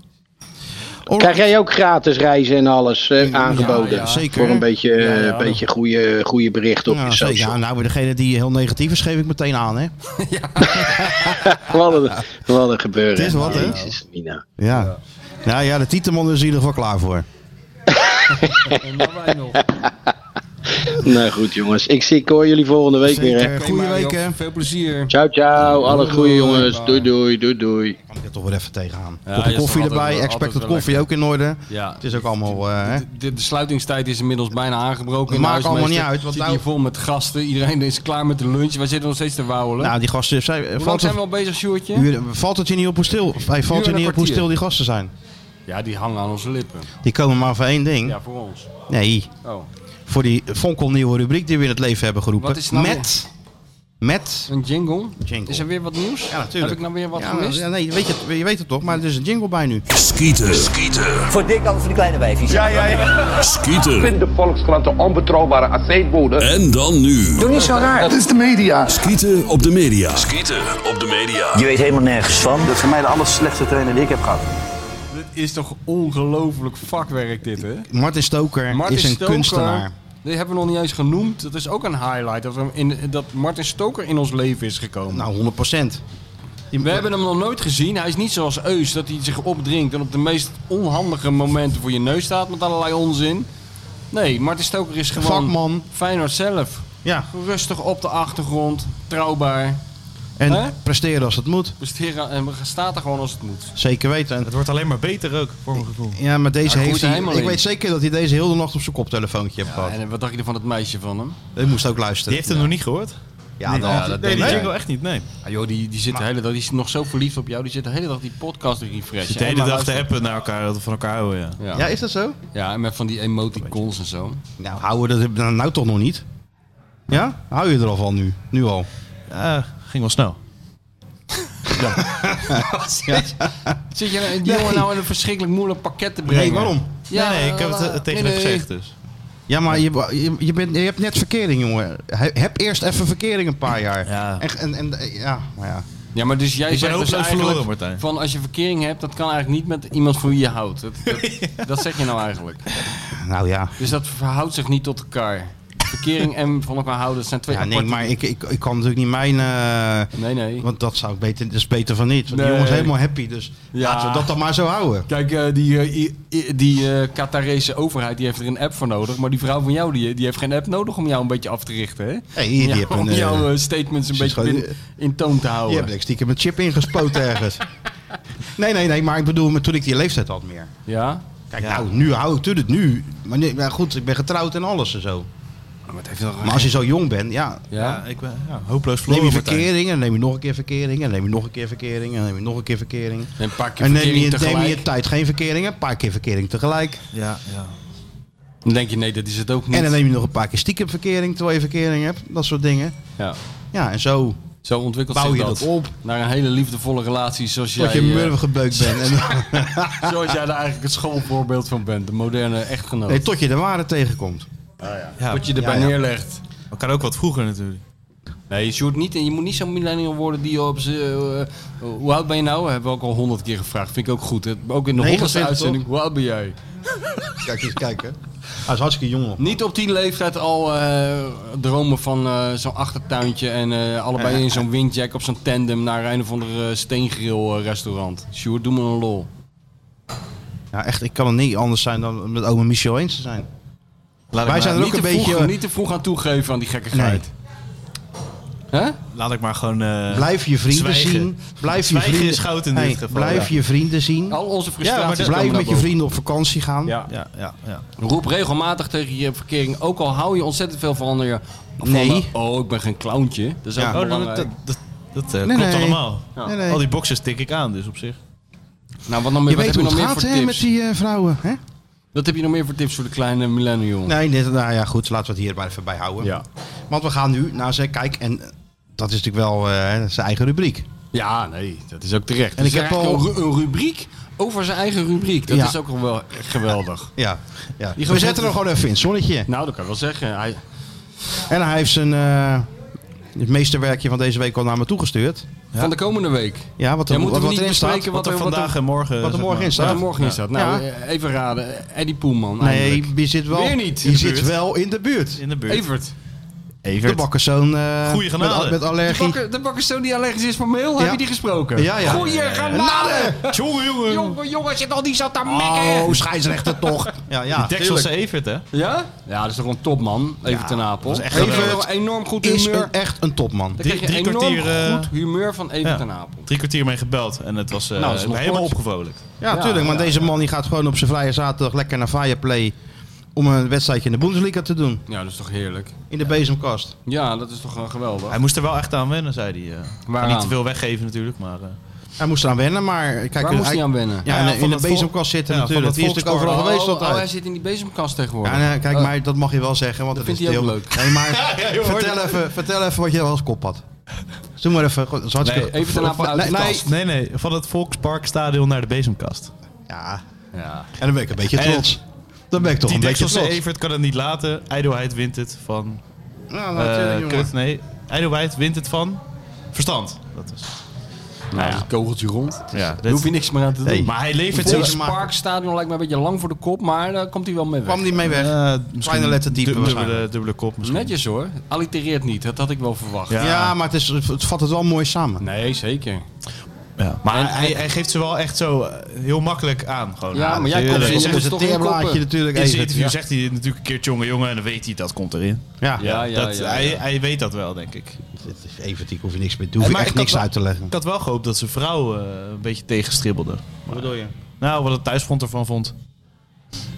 Speaker 7: Krijg jij ook gratis reizen en alles eh, aangeboden?
Speaker 2: ja, zeker.
Speaker 7: Voor een beetje,
Speaker 2: Ja, ja,
Speaker 7: eh,
Speaker 2: dat-
Speaker 7: beetje goede, goede berichten op
Speaker 2: Ja,
Speaker 7: je
Speaker 2: zeker.
Speaker 7: social.
Speaker 2: Ja, nou, weer degene die heel negatief is, geef ik meteen aan, hè?
Speaker 7: Wat, een, wat een gebeuren.
Speaker 2: nou, Het is wat, hè?
Speaker 7: Jezus, Mina.
Speaker 2: Ja. ja. Nou ja, de Tieteman is in ieder geval klaar voor.
Speaker 3: En dan wij nog.
Speaker 7: <laughs> Nou goed, jongens. Ik, zie, ik hoor jullie volgende week weer, hè?
Speaker 2: Zeker. Goeie
Speaker 3: Mario,
Speaker 2: week, hè?
Speaker 3: Veel plezier.
Speaker 7: Ciao, ciao. Alles goede
Speaker 3: doei.
Speaker 7: jongens. Doei, doei, doei, doei.
Speaker 2: Kan ik er toch weer even tegenaan.
Speaker 3: Ja,
Speaker 2: Kopje
Speaker 3: ja, is
Speaker 2: koffie
Speaker 3: toch altijd
Speaker 2: erbij,
Speaker 3: wel-
Speaker 2: expected
Speaker 3: altijd wel
Speaker 2: koffie ook in orde.
Speaker 3: Ja.
Speaker 2: Het is ook allemaal, eh, hè?
Speaker 3: De, de sluitingstijd is inmiddels bijna aangebroken.
Speaker 2: Maakt
Speaker 3: in de huismeester.
Speaker 2: allemaal niet uit, want
Speaker 3: Zit
Speaker 2: nou-
Speaker 3: hier vol met gasten. Iedereen is klaar met de lunch. Wij zitten nog steeds te wauwelen.
Speaker 2: Nou, die gasten... zij-
Speaker 3: Hoe lang
Speaker 2: valt,
Speaker 3: zijn
Speaker 2: het-
Speaker 3: we al bezig, Sjoerdje?
Speaker 2: uur- valt het je niet op hoe stil, hij
Speaker 3: Uur
Speaker 2: valt
Speaker 3: en
Speaker 2: je niet op
Speaker 3: een
Speaker 2: hoe
Speaker 3: kwartier.
Speaker 2: stil die gasten zijn?
Speaker 3: Ja, die hangen aan onze lippen.
Speaker 2: Die komen maar voor één ding.
Speaker 3: Ja, voor ons.
Speaker 2: Nee,
Speaker 3: Oh,
Speaker 2: voor die fonkelnieuwe rubriek die we in het leven hebben geroepen.
Speaker 3: Wat is nou
Speaker 2: met, met...
Speaker 3: een jingle?
Speaker 2: Jingle.
Speaker 3: Is er weer wat nieuws?
Speaker 2: Ja, natuurlijk.
Speaker 3: Heb ik nou weer wat
Speaker 2: ja,
Speaker 3: gemist?
Speaker 2: ja, nee, weet je, het- je weet het toch, maar er is een jingle bij nu.
Speaker 5: Skieten. Skieten.
Speaker 8: Voor dik als voor de kleine wijfjes.
Speaker 5: Skieten.
Speaker 9: de Volkskrant de onbetrouwbare aceetbode.
Speaker 5: En dan nu.
Speaker 8: Doe niet zo raar.
Speaker 9: is de media.
Speaker 5: Skieten op de media. Skieten op de media.
Speaker 8: Je weet helemaal nergens van.
Speaker 9: Dat is voor mij de aller slechtste trainer die ik heb gehad.
Speaker 3: Dit is toch ongelooflijk vakwerk dit, hè?
Speaker 2: Martin Stoker is een
Speaker 3: Stoker,
Speaker 2: kunstenaar.
Speaker 3: Die hebben we nog niet eens genoemd. Dat is ook een highlight. Dat, we hem in, dat Martin Stoker in ons leven is gekomen.
Speaker 2: Nou, 100 procent.
Speaker 3: we hebben hem nog nooit gezien. Hij is niet zoals Eus, dat hij zich opdringt en op de meest onhandige momenten voor je neus staat met allerlei onzin. Nee, Martin Stoker is gewoon
Speaker 2: Vakman.
Speaker 3: Feyenoord zelf.
Speaker 2: Ja,
Speaker 3: Rustig op de achtergrond, trouwbaar.
Speaker 2: en
Speaker 3: Hè?
Speaker 2: presteren als het moet.
Speaker 3: Presteren en staat er gewoon als het moet.
Speaker 2: Zeker weten. En-
Speaker 4: Het wordt alleen maar beter ook, voor mijn gevoel.
Speaker 2: Ja, maar deze
Speaker 3: Hij
Speaker 2: heeft
Speaker 3: groeit er
Speaker 2: hij...
Speaker 3: helemaal
Speaker 2: Ik
Speaker 3: in.
Speaker 2: weet zeker dat hij deze heel de nacht op zijn koptelefoontje heeft gehad.
Speaker 3: En wat dacht je van dat meisje van hem?
Speaker 2: Ik moest ook
Speaker 4: Die
Speaker 2: luisteren.
Speaker 4: heeft het nog niet gehoord?
Speaker 2: Ja,
Speaker 4: nee,
Speaker 2: dan-
Speaker 3: ja, dat
Speaker 4: nee,
Speaker 3: deed
Speaker 4: die
Speaker 3: hij.
Speaker 4: jingle echt niet, nee.
Speaker 3: Ah, joh, die, die zit de hele dag, die is nog zo verliefd op jou, die zit de hele dag die podcast te refreshen.
Speaker 4: Zit de hele
Speaker 3: En maar
Speaker 4: dag te
Speaker 3: luisteren.
Speaker 4: appen naar elkaar, dat we van elkaar houden, ja.
Speaker 3: Ja.
Speaker 2: ja,
Speaker 3: Ja,
Speaker 2: is dat zo?
Speaker 3: en met van die emoticons en zo.
Speaker 2: Nou, houden we dat nou toch nog niet? Ja? Hou je er al van nu? Nu al?
Speaker 4: Ja, ging wel snel.
Speaker 3: Zit je die
Speaker 2: Nee.
Speaker 3: jongen nou in een verschrikkelijk moeilijk pakket te brengen?
Speaker 2: Nee, waarom?
Speaker 3: Ja,
Speaker 4: nee, nee, ik heb het eh,
Speaker 3: eh,
Speaker 4: tegen
Speaker 3: nee,
Speaker 4: hem
Speaker 3: nee.
Speaker 4: gezegd, dus.
Speaker 2: Ja, maar je, je, je, bent, je hebt net verkering, jongen. He- Heb eerst even verkering een paar jaar.
Speaker 4: Ja.
Speaker 2: En, en, en- ja, maar ja.
Speaker 3: Ja, maar dus jij
Speaker 4: ben
Speaker 3: zegt dus
Speaker 4: hopeloos
Speaker 3: eigenlijk
Speaker 4: verloren, Martijn.
Speaker 3: van als je verkering hebt, dat kan eigenlijk niet met iemand van wie je <laughs> houdt. Dat, dat, dat zeg je nou eigenlijk.
Speaker 2: Nou ja.
Speaker 3: Dus dat verhoudt zich niet tot elkaar. verkering en van elkaar houden. Dat zijn twee
Speaker 2: Ja, nee,
Speaker 3: aparte-
Speaker 2: maar ik, ik, ik kan natuurlijk niet mijn... eh,
Speaker 3: Nee, nee.
Speaker 2: want dat zou ik beter, dat is beter van niet. Want
Speaker 3: Nee.
Speaker 2: die jongen is helemaal happy, dus
Speaker 3: Ja.
Speaker 2: laten we dat dan maar zo houden.
Speaker 3: Kijk, eh, die, eh, i- i- die eh Qatarese overheid die heeft er een app voor nodig. Maar die vrouw van jou die, die heeft geen app nodig om jou een beetje af te richten. Hè?
Speaker 2: Nee, die
Speaker 3: om jou-
Speaker 2: heeft een,
Speaker 3: om
Speaker 2: eh,
Speaker 3: jouw eh, statements een
Speaker 2: precies gewoon-
Speaker 3: beetje binnen- in toon te
Speaker 2: Je
Speaker 3: houden.
Speaker 2: hebt ik stiekem een chip ingespoten
Speaker 3: <laughs>
Speaker 2: ergens. Nee, nee, nee, maar ik bedoel, maar toen ik die leeftijd had meer.
Speaker 3: Ja?
Speaker 2: Kijk, nou, nu hou ik het nu. Maar, nee, maar goed, ik ben getrouwd en alles en zo. Maar als je zo jong bent, ja,
Speaker 3: Ja?
Speaker 4: ik ben ja, hopeloos
Speaker 2: neem je
Speaker 4: verloren. Martijn.
Speaker 2: verkeringen, dan neem je nog een keer verkeringen, dan neem je nog een keer verkeringen, dan neem je nog een keer verkeringen.
Speaker 3: En pak je
Speaker 2: En neem
Speaker 3: verkering
Speaker 2: je, neem
Speaker 3: tegelijk.
Speaker 2: je tijd geen verkeringen, een paar keer verkering tegelijk.
Speaker 4: Ja, ja.
Speaker 3: Dan denk je, nee, dat is het ook niet.
Speaker 2: En dan neem je nog een paar keer stiekem verkering terwijl je verkering hebt. Dat soort dingen.
Speaker 3: ja.
Speaker 2: Ja, en zo.
Speaker 3: Zo ontwikkelt
Speaker 2: Bouw
Speaker 3: zich
Speaker 2: je
Speaker 3: dat.
Speaker 2: dat op.
Speaker 3: Naar een hele liefdevolle relatie zoals jij,
Speaker 2: Tot je
Speaker 3: eh,
Speaker 2: murwengebeukt bent.
Speaker 4: <laughs>
Speaker 2: En, <laughs>
Speaker 3: zoals jij daar eigenlijk het schoolvoorbeeld van bent. De moderne echtgenoot.
Speaker 2: nee, tot je de waarde tegenkomt.
Speaker 4: ja.
Speaker 3: Wat je erbij
Speaker 2: Ja, ja.
Speaker 3: neerlegt.
Speaker 4: Maar kan ook wat vroeger natuurlijk.
Speaker 3: Nee, Sjoerd niet. En je moet niet zo'n millennial worden die op zijn... hoe oud ben je nou? Hebben we ook al honderd keer gevraagd. Vind ik ook goed. hè. Ook in de
Speaker 2: 29
Speaker 3: honderdste
Speaker 2: toch?
Speaker 3: uitzending. Hoe oud ben jij?
Speaker 2: Kijk eens kijken. Hij is hartstikke jong nog.
Speaker 3: Niet op die leeftijd al eh, dromen van eh, zo'n achtertuintje en eh, allebei in zo'n windjack op zo'n tandem naar een of ander eh, steengrill eh, restaurant. Sjoerd, doe me een lol.
Speaker 2: Ja, echt, ik kan het niet anders zijn dan met oma Michel eens te zijn.
Speaker 4: Laat
Speaker 2: Wij
Speaker 4: ik,
Speaker 2: zijn
Speaker 4: maar,
Speaker 2: er ook
Speaker 3: niet,
Speaker 2: een
Speaker 3: te vroeg,
Speaker 2: beetje-
Speaker 3: niet te vroeg aan toegeven aan die gekkigheid. Hè?
Speaker 4: laat ik maar gewoon... eh,
Speaker 2: Blijf je vrienden
Speaker 4: Zwijgen.
Speaker 2: zien. Blijf je
Speaker 4: Zwijgen
Speaker 2: vrienden,
Speaker 4: is goud in dit geval,
Speaker 2: Blijf
Speaker 4: ja.
Speaker 2: je vrienden zien.
Speaker 3: Al onze
Speaker 4: Ja, maar
Speaker 3: frustraties
Speaker 4: dat-
Speaker 3: komen
Speaker 2: Blijf
Speaker 3: naar
Speaker 2: met je
Speaker 3: boven.
Speaker 2: vrienden op vakantie gaan.
Speaker 3: Ja.
Speaker 4: Ja, ja, ja.
Speaker 3: Roep regelmatig tegen je verkering, ook al hou je ontzettend veel van je... van
Speaker 2: Nee.
Speaker 3: me, oh, ik ben geen clowntje. Dus, Dat is
Speaker 2: Ja.
Speaker 3: ook
Speaker 4: Oh, dat,
Speaker 3: belangrijk.
Speaker 4: dat, dat, dat, eh,
Speaker 2: Nee,
Speaker 4: klopt
Speaker 2: nee.
Speaker 4: allemaal.
Speaker 2: Nee, nee.
Speaker 4: Al die boxes tik ik aan, dus op zich.
Speaker 3: nou, wat, dan meer,
Speaker 2: Je weet
Speaker 3: wat heb je
Speaker 2: hoe
Speaker 3: nog
Speaker 2: het
Speaker 3: meer
Speaker 2: gaat
Speaker 3: voor
Speaker 2: hè,
Speaker 3: tips?
Speaker 2: met die eh, vrouwen. Hè?
Speaker 3: Wat heb je nog meer voor tips voor de kleine millennial?
Speaker 2: Nee, dit, nou ja, goed. Laten we het hier maar even bij houden.
Speaker 3: Ja.
Speaker 2: Want we gaan nu naar ze. Kijk, en eh, dat is natuurlijk wel eh, zijn eigen rubriek.
Speaker 3: Ja, nee, dat is ook terecht.
Speaker 2: En ik
Speaker 3: Het is
Speaker 2: heb
Speaker 3: eigenlijk
Speaker 2: al-
Speaker 3: een ru- een rubriek over zijn eigen rubriek. Dat
Speaker 2: Ja.
Speaker 3: is ook al wel echt geweldig.
Speaker 2: Ja. ja.
Speaker 3: Die
Speaker 2: We zetten
Speaker 3: gezet-
Speaker 2: hem gewoon even in het zonnetje.
Speaker 3: Nou, dat kan ik wel zeggen. Hij,
Speaker 2: En hij heeft zijn eh, het meesterwerkje van deze week al naar me toegestuurd.
Speaker 3: Van de komende week.
Speaker 2: Ja, wat,
Speaker 3: Ja,
Speaker 2: er,
Speaker 3: moeten
Speaker 2: wat,
Speaker 3: we
Speaker 2: wat
Speaker 3: niet
Speaker 2: erin staat.
Speaker 3: bespreken
Speaker 4: Wat er
Speaker 3: er-
Speaker 4: vandaag en morgen...
Speaker 2: wat er
Speaker 4: zeg
Speaker 2: morgen
Speaker 4: maar.
Speaker 2: in
Speaker 3: Wat
Speaker 2: staat.
Speaker 3: er morgen in staat. Nou,
Speaker 2: Ja.
Speaker 3: eh, even raden. Eddie Poelman.
Speaker 2: Nee,
Speaker 3: eindelijk.
Speaker 2: die zit wel,
Speaker 3: Weer niet in
Speaker 2: die
Speaker 3: de
Speaker 2: zit
Speaker 3: buurt.
Speaker 2: wel in de buurt.
Speaker 4: In de buurt.
Speaker 3: Evert.
Speaker 2: De bakkerszoon eh met,
Speaker 4: Goeie genade.
Speaker 2: al- met
Speaker 3: De
Speaker 2: allergie.
Speaker 3: bakker, de bakkerszoon die allergisch is voor meel, heb
Speaker 2: Ja.
Speaker 3: je die gesproken?
Speaker 2: Ja, ja.
Speaker 3: Goeie genade!
Speaker 4: Jongen, jongen.
Speaker 3: Jongen, jongen, zit al die zat daar mekken.
Speaker 2: Oh, scheidsrechter toch. Ja, ja.
Speaker 4: Texelse Evert, Ah, hè?
Speaker 3: Ja? Ja, dat is toch een topman. Even ten Apel.
Speaker 4: echt
Speaker 3: Even
Speaker 2: geweldig.
Speaker 3: enorm goed
Speaker 2: Is
Speaker 3: humeur.
Speaker 2: een, echt een topman.
Speaker 3: Dan
Speaker 4: Drie-
Speaker 3: krijg je
Speaker 4: drie
Speaker 3: enorm
Speaker 4: kwartier, eh,
Speaker 3: goed humeur van Even ten Apel.
Speaker 4: Drie kwartier mee gebeld en het was eh,
Speaker 3: Nou, dat is nog
Speaker 4: helemaal
Speaker 3: kort.
Speaker 4: opgevrolijkt.
Speaker 2: Ja,
Speaker 3: Ja,
Speaker 2: tuurlijk. Maar
Speaker 3: ja,
Speaker 2: deze man die gaat gewoon op zijn vrije zaterdag lekker naar Fireplay. Om een wedstrijdje in de Bundesliga te doen.
Speaker 3: Ja, dat is toch heerlijk.
Speaker 2: In de bezemkast.
Speaker 3: Ja, dat is toch eh, geweldig.
Speaker 4: Hij moest er wel echt aan wennen, zei hij. eh.
Speaker 3: Waaraan?
Speaker 4: Niet te veel weggeven natuurlijk, maar... eh,
Speaker 2: Hij moest eraan wennen, maar... Kijk,
Speaker 3: Waar moest hij aan wennen?
Speaker 2: Ja,
Speaker 4: Ja,
Speaker 2: in,
Speaker 4: van
Speaker 2: in de
Speaker 4: het volk-
Speaker 2: bezemkast zitten
Speaker 4: Ja, van
Speaker 2: natuurlijk.
Speaker 4: het
Speaker 2: Die is natuurlijk
Speaker 4: volkspark.
Speaker 2: overal
Speaker 3: oh,
Speaker 2: geweest
Speaker 3: oh,
Speaker 2: altijd.
Speaker 3: hij zit in die bezemkast tegenwoordig.
Speaker 2: Ja, nee, kijk,
Speaker 3: Oh,
Speaker 2: maar dat mag je wel zeggen, want
Speaker 3: Dat
Speaker 2: dat,
Speaker 3: vindt
Speaker 2: is
Speaker 3: hij ook
Speaker 2: heel-
Speaker 3: leuk.
Speaker 2: Nee,
Speaker 3: <laughs>
Speaker 2: maar vertel, even, vertel even wat je als kop had. Doe maar even. goed, Dat is hartstikke...
Speaker 3: even ten aanvang uit de
Speaker 2: Nee, nee.
Speaker 3: kast.
Speaker 4: Nee, nee, van het Volksparkstadion naar de bezemkast.
Speaker 2: Ja,
Speaker 3: Ja.
Speaker 2: en dan ben ik een beetje
Speaker 4: En-
Speaker 2: trots. Dan ben ik toch
Speaker 4: Die
Speaker 2: een beetje
Speaker 4: Texelse
Speaker 2: trots.
Speaker 4: Evert kan het niet laten. Ijdelheid wint het van...
Speaker 2: Ja,
Speaker 4: eh,
Speaker 2: natuurlijk, jongen.
Speaker 4: kut, nee. Ijdelheid wint het van... Verstand. Dat is...
Speaker 3: Nou, een kogeltje rond.
Speaker 4: Ja,
Speaker 3: Daar hoef je niks meer aan te doen.
Speaker 2: Nee.
Speaker 4: Dus Maar hij levert
Speaker 3: het
Speaker 4: zijn...
Speaker 2: maar-
Speaker 3: Parkstadion lijkt me een beetje lang voor de kop, maar daar komt hij wel mee
Speaker 2: Kwam
Speaker 3: weg.
Speaker 2: die mee weg?
Speaker 4: Eh,
Speaker 2: Kleine letter diepe
Speaker 4: dubbele,
Speaker 2: waarschijnlijk.
Speaker 4: dubbele kop misschien.
Speaker 3: Netjes hoor. Allitereert niet, dat had ik wel verwacht.
Speaker 4: Ja.
Speaker 2: ja. maar het, is, het vat het wel mooi samen.
Speaker 3: Nee, zeker.
Speaker 4: Ja. Maar
Speaker 3: En-
Speaker 4: hij, hij geeft ze wel echt zo eh, heel makkelijk aan. Gewoon.
Speaker 3: Ja, maar jij
Speaker 4: natuurlijk.
Speaker 3: komt ze
Speaker 4: In zijn-
Speaker 3: dus
Speaker 2: Dus het
Speaker 3: toch in
Speaker 2: teerblaadje
Speaker 3: koppen.
Speaker 2: natuurlijk
Speaker 4: in zijn
Speaker 2: even.
Speaker 4: interview
Speaker 2: Ja.
Speaker 4: zegt hij natuurlijk een keer jongen jongen en dan weet hij dat komt erin.
Speaker 2: Ja.
Speaker 3: Ja, ja,
Speaker 4: dat,
Speaker 3: ja, ja.
Speaker 4: Hij, hij weet dat wel, denk ik.
Speaker 2: Het is Evert, ik hoef je niks meer te hoef je
Speaker 4: Maar
Speaker 2: echt
Speaker 4: ik had
Speaker 2: niks
Speaker 4: wel-
Speaker 2: uit te leggen.
Speaker 4: Ik had wel gehoopt dat zijn vrouw eh, een beetje tegenstribbelde. Wat bedoel je? Nou, wat het thuisfront ervan vond.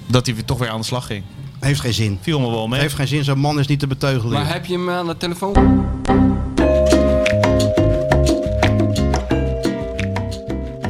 Speaker 4: Dat hij weer- toch weer aan de slag ging.
Speaker 2: Heeft geen zin.
Speaker 4: Viel me wel mee.
Speaker 2: Heeft geen zin, zo'n man is niet te beteugelen.
Speaker 3: Maar heb je hem aan de telefoon?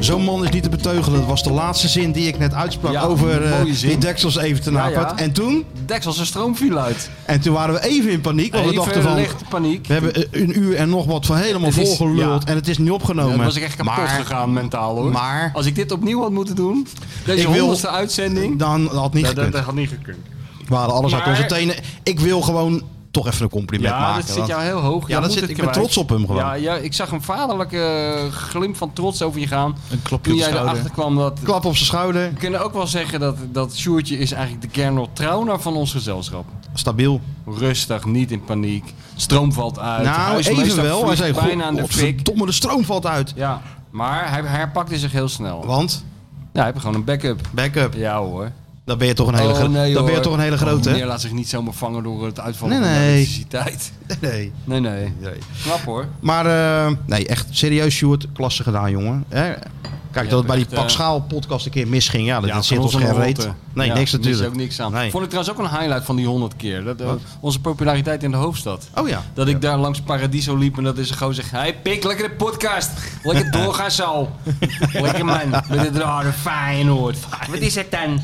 Speaker 2: Zo'n man is niet te beteugelen. Dat was de laatste zin die ik net uitsprak
Speaker 3: Ja,
Speaker 2: over eh,
Speaker 3: mooie zin.
Speaker 2: die deksels even te
Speaker 3: Ja, ja.
Speaker 2: napert. En toen?
Speaker 3: Deksel, zijn stroom viel uit.
Speaker 2: En toen waren we even in paniek. Want we dachten
Speaker 3: Even
Speaker 2: Oh, van,
Speaker 3: lichte paniek.
Speaker 2: we hebben eh, een uur en nog wat van helemaal
Speaker 3: Het is-
Speaker 2: volgeluld.
Speaker 3: ja.
Speaker 2: En het is niet opgenomen.
Speaker 3: Dan was ik echt kapot
Speaker 2: Maar
Speaker 3: gegaan mentaal hoor.
Speaker 2: maar-
Speaker 3: Als ik dit opnieuw had moeten doen, deze
Speaker 2: Ik wil-
Speaker 3: honderdste uitzending,
Speaker 2: Dan dat had niet
Speaker 3: dat, dat,
Speaker 2: gekund.
Speaker 3: dat had niet gekund.
Speaker 2: We waren alles uit
Speaker 3: Maar-
Speaker 2: onze tenen. Ik wil gewoon toch even een compliment
Speaker 3: Ja,
Speaker 2: maken.
Speaker 3: dat zit
Speaker 2: want-
Speaker 3: jou heel hoog.
Speaker 2: Ja,
Speaker 3: Jij
Speaker 2: dat
Speaker 3: moet
Speaker 2: zit-
Speaker 3: het
Speaker 2: ik ben
Speaker 3: kwijt.
Speaker 2: trots op hem gewoon.
Speaker 3: Ja, ja, ik zag een vaderlijke eh, glimp van trots over je gaan.
Speaker 4: Een klopje
Speaker 3: Toen
Speaker 4: op de
Speaker 3: jij
Speaker 4: schouder.
Speaker 3: erachter kwam eh, dat...
Speaker 2: Klap op zijn schouder.
Speaker 3: We kunnen ook wel zeggen dat, dat Sjoertje is eigenlijk de kernel trouwner van ons gezelschap.
Speaker 2: stabiel.
Speaker 3: Rustig, niet in paniek. Stroom valt uit.
Speaker 2: nou,
Speaker 3: Huis
Speaker 2: even
Speaker 3: meestal
Speaker 2: wel. Hij
Speaker 3: vliegt
Speaker 2: zei,
Speaker 3: bijna aan
Speaker 2: "God-
Speaker 3: de fik.
Speaker 2: godverdomme, de stroom valt uit.
Speaker 3: Ja, maar hij hij herpakte zich heel snel. Ja,
Speaker 2: Want,
Speaker 3: hij heeft gewoon een backup.
Speaker 2: backup,
Speaker 3: Ja hoor.
Speaker 2: dan ben je toch een hele,
Speaker 3: Oh,
Speaker 2: gro-
Speaker 3: nee,
Speaker 2: dan ben je
Speaker 3: hoor.
Speaker 2: toch een hele grote,
Speaker 3: Oh,
Speaker 2: hè? <laughs>
Speaker 3: meneer laat zich niet zomaar vangen door het uitvallen
Speaker 2: Nee,
Speaker 3: van de
Speaker 2: nee.
Speaker 3: elektriciteit.
Speaker 2: Nee.
Speaker 3: Nee, nee. Knap hoor.
Speaker 2: Maar eh, nee, echt serieus, Sjoerd. Klasse gedaan, jongen. Hè? Kijk, dat het bij die
Speaker 3: echt, eh,
Speaker 2: Pak Schaal podcast een keer misging. Ja, dat, dat
Speaker 3: Ja, van
Speaker 2: zit ons
Speaker 3: ons
Speaker 2: geen
Speaker 3: allemaal
Speaker 2: reet.
Speaker 3: rotte.
Speaker 2: Nee,
Speaker 3: Ja,
Speaker 2: niks
Speaker 3: daar
Speaker 2: natuurlijk.
Speaker 3: Is ook niks aan.
Speaker 2: Nee.
Speaker 3: Vond ik trouwens ook een highlight van die 100 keer. Dat, eh, onze populariteit in de hoofdstad.
Speaker 2: Oh ja.
Speaker 3: Dat ik daar langs Paradiso liep en dat is een gozer zegt... Hey pik, lekker de podcast.
Speaker 2: <laughs>
Speaker 3: Lekker doorgaan zo. lekker man. Met het rare Feyenoord. Wat is het dan?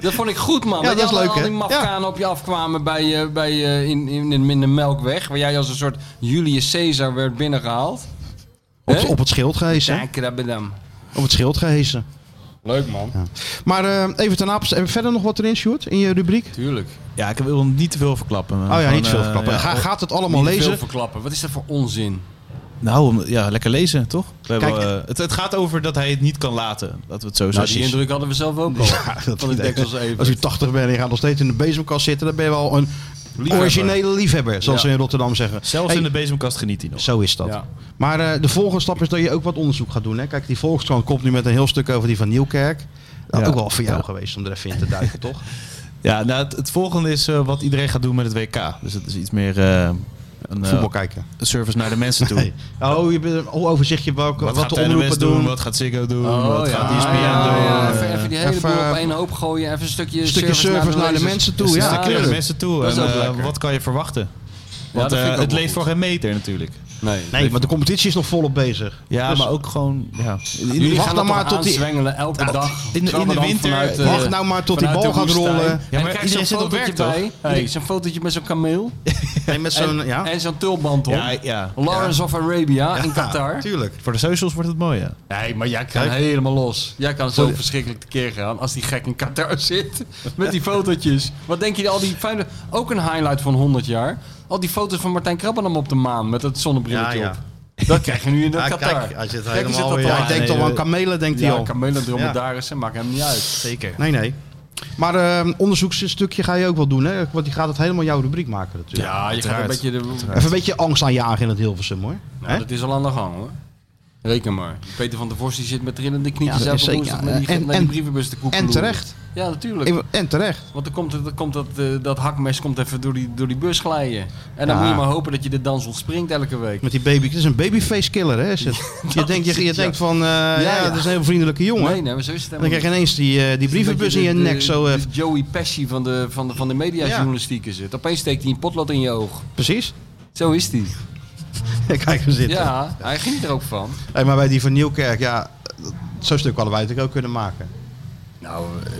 Speaker 3: Dat vond ik goed, man.
Speaker 2: Ja,
Speaker 3: Weet je,
Speaker 2: dat is
Speaker 3: al-
Speaker 2: leuk,
Speaker 3: Al
Speaker 2: hè?
Speaker 3: die mafkanen op je afkwamen bij, eh, bij, eh, in, in, in, in de Melkweg. Waar jij als een soort Julius Caesar werd binnengehaald.
Speaker 2: Op,
Speaker 3: Hè?
Speaker 2: op het schild gehezen. hè?
Speaker 3: Takrabadam.
Speaker 2: Op het schild gehezen.
Speaker 3: Leuk, man.
Speaker 2: Maar eh, even ten apels, heb je verder nog wat erin, Sjoerd? In je rubriek?
Speaker 3: Tuurlijk.
Speaker 4: Ja, ik wil niet te veel verklappen. eh,
Speaker 2: Oh ja, niet veel verklappen. Ga, gaat het allemaal
Speaker 3: eh, Niet
Speaker 2: lezen?
Speaker 3: veel verklappen. Wat is dat voor onzin?
Speaker 4: Nou, om- ja, lekker lezen, toch? We hebben,
Speaker 2: Kijk,
Speaker 4: eh, het, het gaat over dat hij het niet kan laten. Laten we het zo
Speaker 3: Nou,
Speaker 4: zeggen.
Speaker 3: die indruk hadden we zelf ook al.
Speaker 2: dat
Speaker 3: van de
Speaker 2: idee.
Speaker 3: deksels even.
Speaker 2: Als u 80 bent en je gaat nog steeds in de bezemkast zitten, dan ben je wel een
Speaker 3: Liefhebber.
Speaker 2: originele liefhebber, zoals
Speaker 3: Ja.
Speaker 2: ze in Rotterdam zeggen.
Speaker 4: Zelfs
Speaker 2: Hey,
Speaker 4: in de bezemkast geniet hij nog.
Speaker 2: Zo is dat.
Speaker 3: Ja.
Speaker 2: Maar eh, de volgende stap is dat je ook wat onderzoek gaat doen. Hè? Kijk, die Volkskrant komt nu met een heel stuk over die van Nieuwkerk. Dat
Speaker 4: Ja.
Speaker 2: ook wel voor jou geweest om er even in te duiken, toch?
Speaker 4: <laughs> Ja, nou, het, het volgende is eh, wat iedereen gaat doen met het WK. Dus het is iets meer eh, een eh,
Speaker 2: Voetbal kijken.
Speaker 4: een service naar de mensen toe.
Speaker 2: Nee. Oh, je bent oh, overzichtje welke, wat,
Speaker 4: Wat, gaat
Speaker 2: de omroepen
Speaker 4: NOS doen,
Speaker 2: doen.
Speaker 4: Wat gaat Ziggo doen?
Speaker 3: Oh,
Speaker 4: wat
Speaker 3: ja.
Speaker 4: gaat E ESPN doen?
Speaker 3: ja,
Speaker 4: eh,
Speaker 3: even, even die hele
Speaker 2: Even,
Speaker 3: boel op
Speaker 2: eh,
Speaker 3: één hoop gooien. Even een stukje,
Speaker 2: stukje service naar de
Speaker 3: lezers.
Speaker 2: mensen toe,
Speaker 4: dus
Speaker 2: ja,
Speaker 4: het is naar de
Speaker 2: tuurlijk.
Speaker 4: mensen toe.
Speaker 3: Dat is
Speaker 4: en,
Speaker 3: ook
Speaker 4: eh,
Speaker 3: lekker.
Speaker 4: wat kan je verwachten?
Speaker 3: Ja,
Speaker 4: Want
Speaker 3: dat
Speaker 4: eh,
Speaker 3: vind ik ook
Speaker 4: het
Speaker 3: wel
Speaker 4: leeft
Speaker 3: goed.
Speaker 4: voor geen meter natuurlijk.
Speaker 3: Nee.
Speaker 2: Nee, want de competitie is nog volop bezig.
Speaker 4: Ja,
Speaker 2: Dus
Speaker 4: maar ook gewoon... Ja.
Speaker 3: Jullie
Speaker 2: Wacht nou
Speaker 3: gaan dat
Speaker 2: maar
Speaker 3: maar
Speaker 2: tot die-
Speaker 3: zwengelen elke dag.
Speaker 4: in de
Speaker 3: Trappen dan
Speaker 4: winter,
Speaker 3: vanuit, eh,
Speaker 2: wacht nou maar tot die
Speaker 3: vanuit
Speaker 2: bal
Speaker 3: de
Speaker 2: gaat
Speaker 3: woestijn.
Speaker 2: rollen. Ja,
Speaker 3: en dan
Speaker 4: maar
Speaker 3: krijg je
Speaker 4: iedereen
Speaker 3: zo'n
Speaker 4: zit op
Speaker 3: fotootje
Speaker 4: werk, toch?
Speaker 3: bij. Hey, zo'n fotootje met zo'n kameel.
Speaker 2: Nee, met zo'n...
Speaker 3: En,
Speaker 2: Ja,
Speaker 3: en zo'n tulband, hoor.
Speaker 4: Ja, ja.
Speaker 3: Lawrence of Arabia in
Speaker 2: Ja,
Speaker 3: Qatar.
Speaker 2: Tuurlijk.
Speaker 4: Voor de socials wordt het mooi, ja.
Speaker 3: Nee, maar jij kan
Speaker 2: Kijk.
Speaker 3: helemaal los. Jij kan zo verschrikkelijk tekeer gaan als die gek in Qatar zit. Met die fotootjes. Wat denk je, al die fijne... Ook een highlight van 100 jaar. Al die foto's van Martijn Krabbenam op de maan met het zonnebrilletje
Speaker 2: Ja, ja.
Speaker 3: op. Dat krijg je nu in de
Speaker 2: Ja,
Speaker 3: Qatar.
Speaker 2: kijk, hij zit
Speaker 3: Kijk, hij
Speaker 2: helemaal... ja,
Speaker 3: zit dat
Speaker 2: hij
Speaker 3: al aan.
Speaker 2: denkt
Speaker 4: Nee,
Speaker 2: al aan
Speaker 4: eh,
Speaker 2: kamelen, denkt hij
Speaker 3: Ja,
Speaker 2: al.
Speaker 3: kamelen, dromedarissen, maakt hem niet uit.
Speaker 4: Zeker.
Speaker 2: Nee, nee. Maar eh, onderzoeksstukje ga je ook wel doen, hè? Want die gaat het helemaal jouw rubriek maken natuurlijk.
Speaker 3: Ja, je gaat een
Speaker 4: uiteraard.
Speaker 3: beetje... De,
Speaker 2: Even een beetje angst aanjagen in het Hilversum, hoor.
Speaker 3: Nou,
Speaker 2: Hè?
Speaker 3: dat is al aan de gang, hoor. Reken maar. Peter van der Vos die zit met trillende knietjes
Speaker 2: Ja, dat
Speaker 3: elke
Speaker 2: is zeker,
Speaker 3: woensdag
Speaker 2: ja.
Speaker 3: met die,
Speaker 2: En-
Speaker 3: met die
Speaker 2: en-
Speaker 3: brievenbus te koekeloeren.
Speaker 2: En terecht.
Speaker 3: Ja, natuurlijk.
Speaker 2: Ik- En terecht.
Speaker 3: Want dan komt, het- dan komt dat, eh, dat hakmes komt even door die, door die bus glijden. En dan
Speaker 2: Ja.
Speaker 3: moet je maar hopen dat je de dans ontspringt elke week.
Speaker 2: Met die baby. Het is een babyface killer, hè? Is het? je denkt, je, je
Speaker 3: <laughs> ja.
Speaker 2: denkt van, eh, ja,
Speaker 3: ja.
Speaker 2: dat is een heel vriendelijke jongen.
Speaker 3: Nee, nee, maar zo is het
Speaker 2: Dan
Speaker 3: helemaal
Speaker 2: krijg je
Speaker 3: niet.
Speaker 2: ineens die, eh, die brievenbus in
Speaker 3: Dat
Speaker 2: je
Speaker 3: de-
Speaker 2: nek
Speaker 3: de-
Speaker 2: zo. eh,
Speaker 3: de Joey Pesci van de, van de, van de mediajournalistieken zit. Opeens steekt hij een potlood in je oog.
Speaker 2: precies. <laughs>
Speaker 3: Zo is die.
Speaker 2: Kijk, we zitten.
Speaker 3: Ja, hij ging er ook van.
Speaker 2: Hey, maar bij die van Nieuwkerk, ja, dat- zo'n stuk hadden wij natuurlijk ook kunnen maken. <laughs>
Speaker 3: Nou, eh,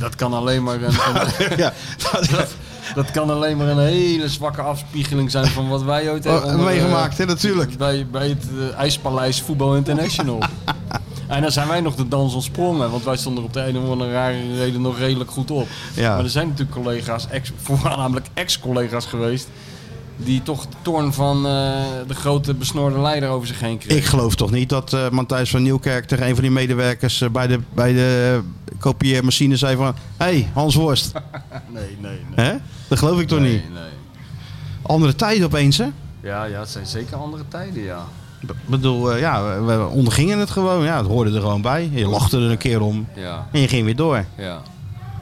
Speaker 3: dat kan alleen maar een, <laughs> een-
Speaker 2: ja, <laughs>
Speaker 3: dat, dat kan alleen maar een hele zwakke afspiegeling zijn van wat wij ooit hebben
Speaker 2: Oh,
Speaker 3: onder, eh,
Speaker 2: meegemaakt, hè, natuurlijk.
Speaker 3: Bij, bij het eh, IJspaleis
Speaker 2: <laughs>
Speaker 3: Voetbal International. en dan zijn wij nog de dans ontsprongen, want wij stonden er op de een of andere rare reden nog redelijk goed op.
Speaker 2: Ja.
Speaker 3: Maar er zijn natuurlijk collega's, ex, <laughs> voornamelijk ex-collega's geweest, die toch de toorn van eh, de grote besnoorde leider over zich heen kregen.
Speaker 2: Ik geloof toch niet dat eh Matthijs van Nieuwkerk tegen een van die medewerkers eh, bij de, bij de eh, kopieermachine zei van... Hé, hey, Hans
Speaker 3: <laughs>
Speaker 2: Worst.
Speaker 3: Nee, nee, nee.
Speaker 2: hè? Dat geloof ik toch niet.
Speaker 3: Nee, nee.
Speaker 2: Andere tijden opeens, hè?
Speaker 3: Ja, ja, het zijn zeker andere tijden, ja.
Speaker 2: Ik bedoel, eh, ja, we- we ondergingen het gewoon. Ja, het hoorde er gewoon bij. Je lachte er een keer om
Speaker 3: Ja,
Speaker 2: en je ging weer door.
Speaker 3: ja.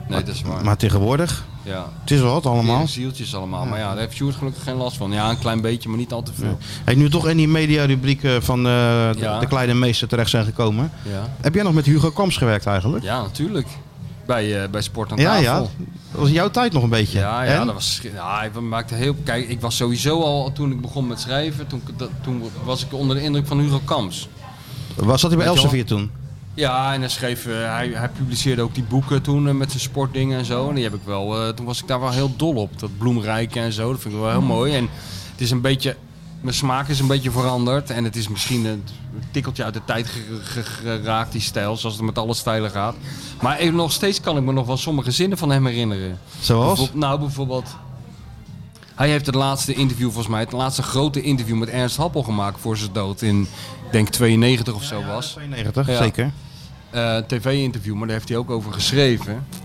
Speaker 3: Nee, dat is waar.
Speaker 2: Maar tegenwoordig,
Speaker 3: ja.
Speaker 2: het is wel wat allemaal.
Speaker 3: Allemaal? zieltjes allemaal. Maar ja, daar heeft Sjoerd gelukkig geen last van. Ja, een klein beetje, maar niet al te veel.
Speaker 2: Hey, nu toch in die mediarubrieken van eh, de,
Speaker 3: Ja.
Speaker 2: de kleine meester terecht zijn gekomen.
Speaker 3: Ja,
Speaker 2: Heb jij nog met Hugo Kams gewerkt eigenlijk?
Speaker 3: ja natuurlijk. Bij, eh, bij Sport aan
Speaker 2: Ja,
Speaker 3: tafel.
Speaker 2: ja. Dat was jouw tijd nog een beetje.
Speaker 3: Ja, ja,
Speaker 2: En?
Speaker 3: dat was, ja, we maakten heel... Kijk, ik was sowieso al, toen ik begon met schrijven, toen, ik dat- toen was ik onder de indruk van Hugo Kamps.
Speaker 2: Was dat hij bij
Speaker 3: Weet je
Speaker 2: Elsevier toen?
Speaker 3: Ja, en hij schreef, eh, hij, hij publiceerde ook die boeken toen eh, met zijn sportdingen en zo. En die heb ik wel, eh, toen was ik daar wel heel dol op. Dat bloemrijke en zo, dat vind ik wel heel mooi. En het is een beetje, mijn smaak is een beetje veranderd. En het is misschien een tikkeltje uit de tijd ge- ge- geraakt, die stijl, zoals het met alle stijlen gaat. Maar even nog steeds kan ik me nog wel sommige zinnen van hem herinneren.
Speaker 2: Zoals?
Speaker 3: Bijvoorbeeld- nou, bijvoorbeeld... Hij heeft het laatste interview, volgens mij, het laatste grote interview met Ernst Happel gemaakt voor zijn dood in, ik denk 92 of zo was.
Speaker 2: 92,
Speaker 3: Ja.
Speaker 2: zeker.
Speaker 3: Eh, tv-interview, maar daar heeft hij ook over geschreven. Eh,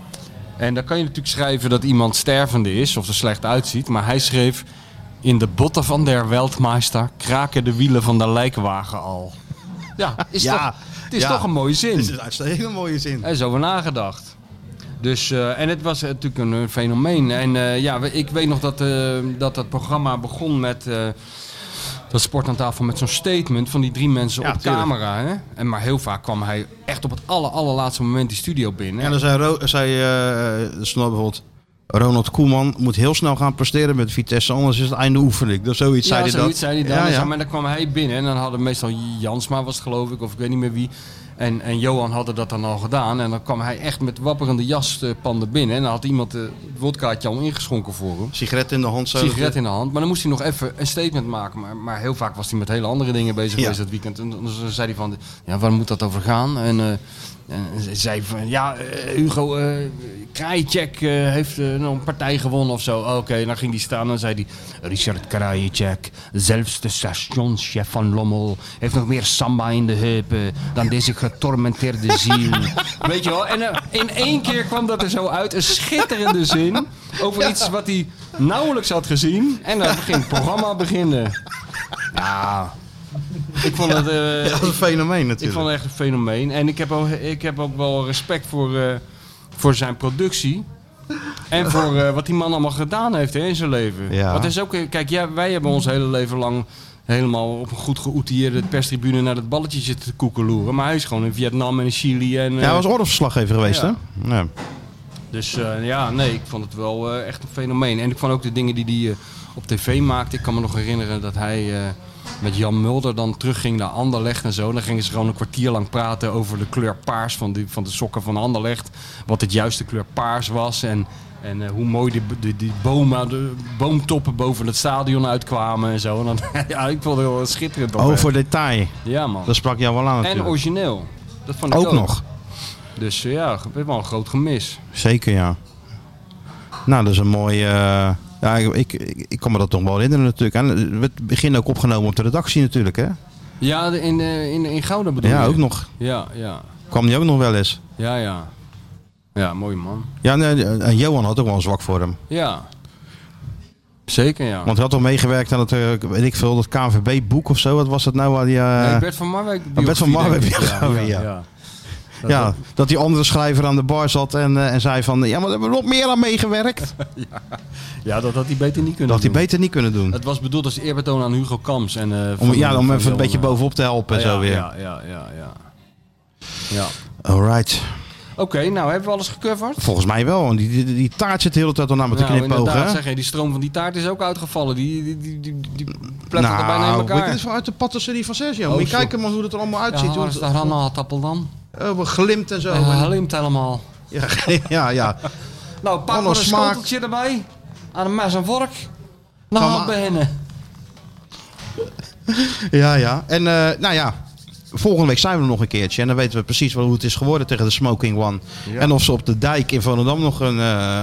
Speaker 3: En dan kan je natuurlijk schrijven dat iemand stervende is of er slecht uitziet. Maar hij schreef... In de botten van der Weltmeister kraken de wielen van de lijkwagen al. Ja, is
Speaker 2: Ja,
Speaker 3: Toch, het is
Speaker 2: ja.
Speaker 3: toch een mooie zin.
Speaker 2: Dit is een hele mooie zin.
Speaker 3: Er is over nagedacht. Dus, eh, en het was natuurlijk een, eh, fenomeen. En eh, ja, we- ik weet nog dat, eh, dat dat programma begon met... eh, dat sport aan tafel met zo'n statement van die drie mensen
Speaker 2: Ja,
Speaker 3: op
Speaker 2: tuurlijk.
Speaker 3: camera. Hè? En maar heel vaak kwam hij echt op het aller, allerlaatste moment die studio binnen.
Speaker 2: En dan zei, Ro- zei eh, er stond bijvoorbeeld... Ronald Koeman moet heel snel gaan presteren met Vitesse, anders is het einde oefening. Dat zoiets zei
Speaker 3: ja,
Speaker 2: hij
Speaker 3: zoiets
Speaker 2: dat.
Speaker 3: zei hij dan. Dus
Speaker 2: Ja, ja.
Speaker 3: Maar dan kwam hij binnen en dan hadden meestal Jansma was het, geloof ik, of ik weet niet meer wie. En, en Johan hadden dat dan al gedaan. En dan kwam hij echt met wapperende jaspanden binnen. En dan had iemand eh, het wodkaatje al ingeschonken voor hem.
Speaker 2: Sigaret in de hand. Zo
Speaker 3: sigaret in de hand. Maar dan moest hij nog even een statement maken. Maar, maar heel vaak was hij met hele andere dingen bezig
Speaker 2: Ja.
Speaker 3: geweest dat weekend. En dan zei hij van, ja, waar moet dat over gaan? En, eh, en ze- zei van, ja, eh, Hugo eh Krajicek eh, heeft eh, nog een partij gewonnen of zo. Oh, Oké, en dan ging hij staan en dan zei hij, Richard Krajicek, zelfs de stationschef van Lommel, heeft nog meer samba in de heupen dan deze getormenteerde ziel. Weet je wel, en eh, in één keer kwam dat er zo uit, een schitterende zin over iets wat hij nauwelijks had gezien. En dan ging het programma beginnen. Ja, ik vond het... eh,
Speaker 2: dat is een fenomeen
Speaker 3: ik
Speaker 2: natuurlijk.
Speaker 3: vond het echt een fenomeen. En ik heb ook, ik heb ook wel respect voor, eh, voor zijn productie. En voor eh, wat die man allemaal gedaan heeft hè, in zijn leven.
Speaker 2: Ja.
Speaker 3: Want het is ook, eh, kijk, ja, wij hebben ons hele leven lang helemaal op een goed geoutilleerde perstribune naar dat balletje zitten te koekeloeren. Maar hij is gewoon in Vietnam en in Chili. En,
Speaker 2: Ja,
Speaker 3: eh,
Speaker 2: hij was oorlogsverslaggever geweest,
Speaker 3: Ja.
Speaker 2: hè? Ja.
Speaker 3: Dus eh, ja, nee, ik vond het wel eh, echt een fenomeen. En ik vond ook de dingen die hij eh, op tv maakte. Ik kan me nog herinneren dat hij eh, met Jan Mulder dan terugging naar Anderlecht en zo. Dan gingen ze gewoon een kwartier lang praten over de kleur paars van, die, van de sokken van Anderlecht. Wat het juiste kleur paars was en, en eh, hoe mooi die, die, die bomen, de boomtoppen boven het stadion uitkwamen en zo. En dan, <laughs> ja, ik vond het wel schitterend.
Speaker 2: Oh, voor detail.
Speaker 3: Ja, man.
Speaker 2: Dat sprak jou wel aan
Speaker 3: En
Speaker 2: natuurlijk.
Speaker 3: origineel. Dat vond ik ook.
Speaker 2: ook nog.
Speaker 3: Dus eh, ja, we wel een groot gemis.
Speaker 2: Zeker, ja. Nou, dat is een mooie... eh, Ja, ik, ik, ik kan me dat toch wel herinneren natuurlijk. En het werd begin ook opgenomen op de redactie natuurlijk, hè?
Speaker 3: Ja, de- in, eh, in, in Gouda bedoel
Speaker 2: Ja,
Speaker 3: je?
Speaker 2: ook nog.
Speaker 3: Ja, ja.
Speaker 2: Kwam die ook nog wel eens.
Speaker 3: Ja, ja. Ja, mooi man.
Speaker 2: Ja, nee, en Johan had ook wel een zwak voor hem.
Speaker 3: Ja. Zeker, ja.
Speaker 2: Want hij had al meegewerkt aan het, eh, weet ik veel, dat KNVB-boek of zo. Wat was dat nou? Waar die, eh,
Speaker 3: nee, Bert van Marwijk.
Speaker 2: Bert van Marwijk
Speaker 3: denk ik.
Speaker 2: biografie, <laughs> ja. ja, dat die andere schrijver aan de bar zat en, eh, en zei van... Ja, maar daar hebben we nog meer aan meegewerkt.
Speaker 3: Ja, dat had hij beter niet kunnen
Speaker 2: Dat had hij
Speaker 3: doen.
Speaker 2: beter niet kunnen doen.
Speaker 3: Het was bedoeld als eerbetoon aan Hugo Kams. En, eh,
Speaker 2: Om,
Speaker 3: van-
Speaker 2: ja, om
Speaker 3: van
Speaker 2: even een
Speaker 3: Johan,
Speaker 2: beetje
Speaker 3: eh.
Speaker 2: bovenop te helpen en
Speaker 3: ja,
Speaker 2: zo weer.
Speaker 3: Ja, ja, ja, ja. Ja.
Speaker 2: Alright.
Speaker 3: Oké, nou hebben we alles gecoverd?
Speaker 2: Volgens mij wel. want Die, die, die taart zit de hele tijd al naar me te
Speaker 3: nou,
Speaker 2: knipogen.
Speaker 3: inderdaad,
Speaker 2: hè?
Speaker 3: zeg je, die stroom van die taart is ook uitgevallen. Die, die, die, die, die plettert er bijna in
Speaker 2: Nou, dit
Speaker 3: elkaar.
Speaker 2: is vanuit de patisserie van Sergio.
Speaker 3: Oh,
Speaker 2: Moet je
Speaker 3: zo.
Speaker 2: kijken maar hoe het er allemaal
Speaker 3: Ja,
Speaker 2: uitziet.
Speaker 3: waar
Speaker 2: hoor.
Speaker 3: is de granaatappel dan?
Speaker 2: Oh, glimt en zo.
Speaker 3: Ja, limt helemaal.
Speaker 2: Ja, ja, <laughs> ja.
Speaker 3: Nou, pak
Speaker 2: Alle
Speaker 3: maar een
Speaker 2: smaak.
Speaker 3: schoteltje erbij. Aan een mes en vork. Nou,
Speaker 2: Van
Speaker 3: aan beginnen.
Speaker 2: ja, ja. En eh, nou ja, volgende week zijn we er nog een keertje. En dan weten we precies wel hoe het is geworden tegen de Smoking One. En of ze op de dijk in Volendam nog een... eh,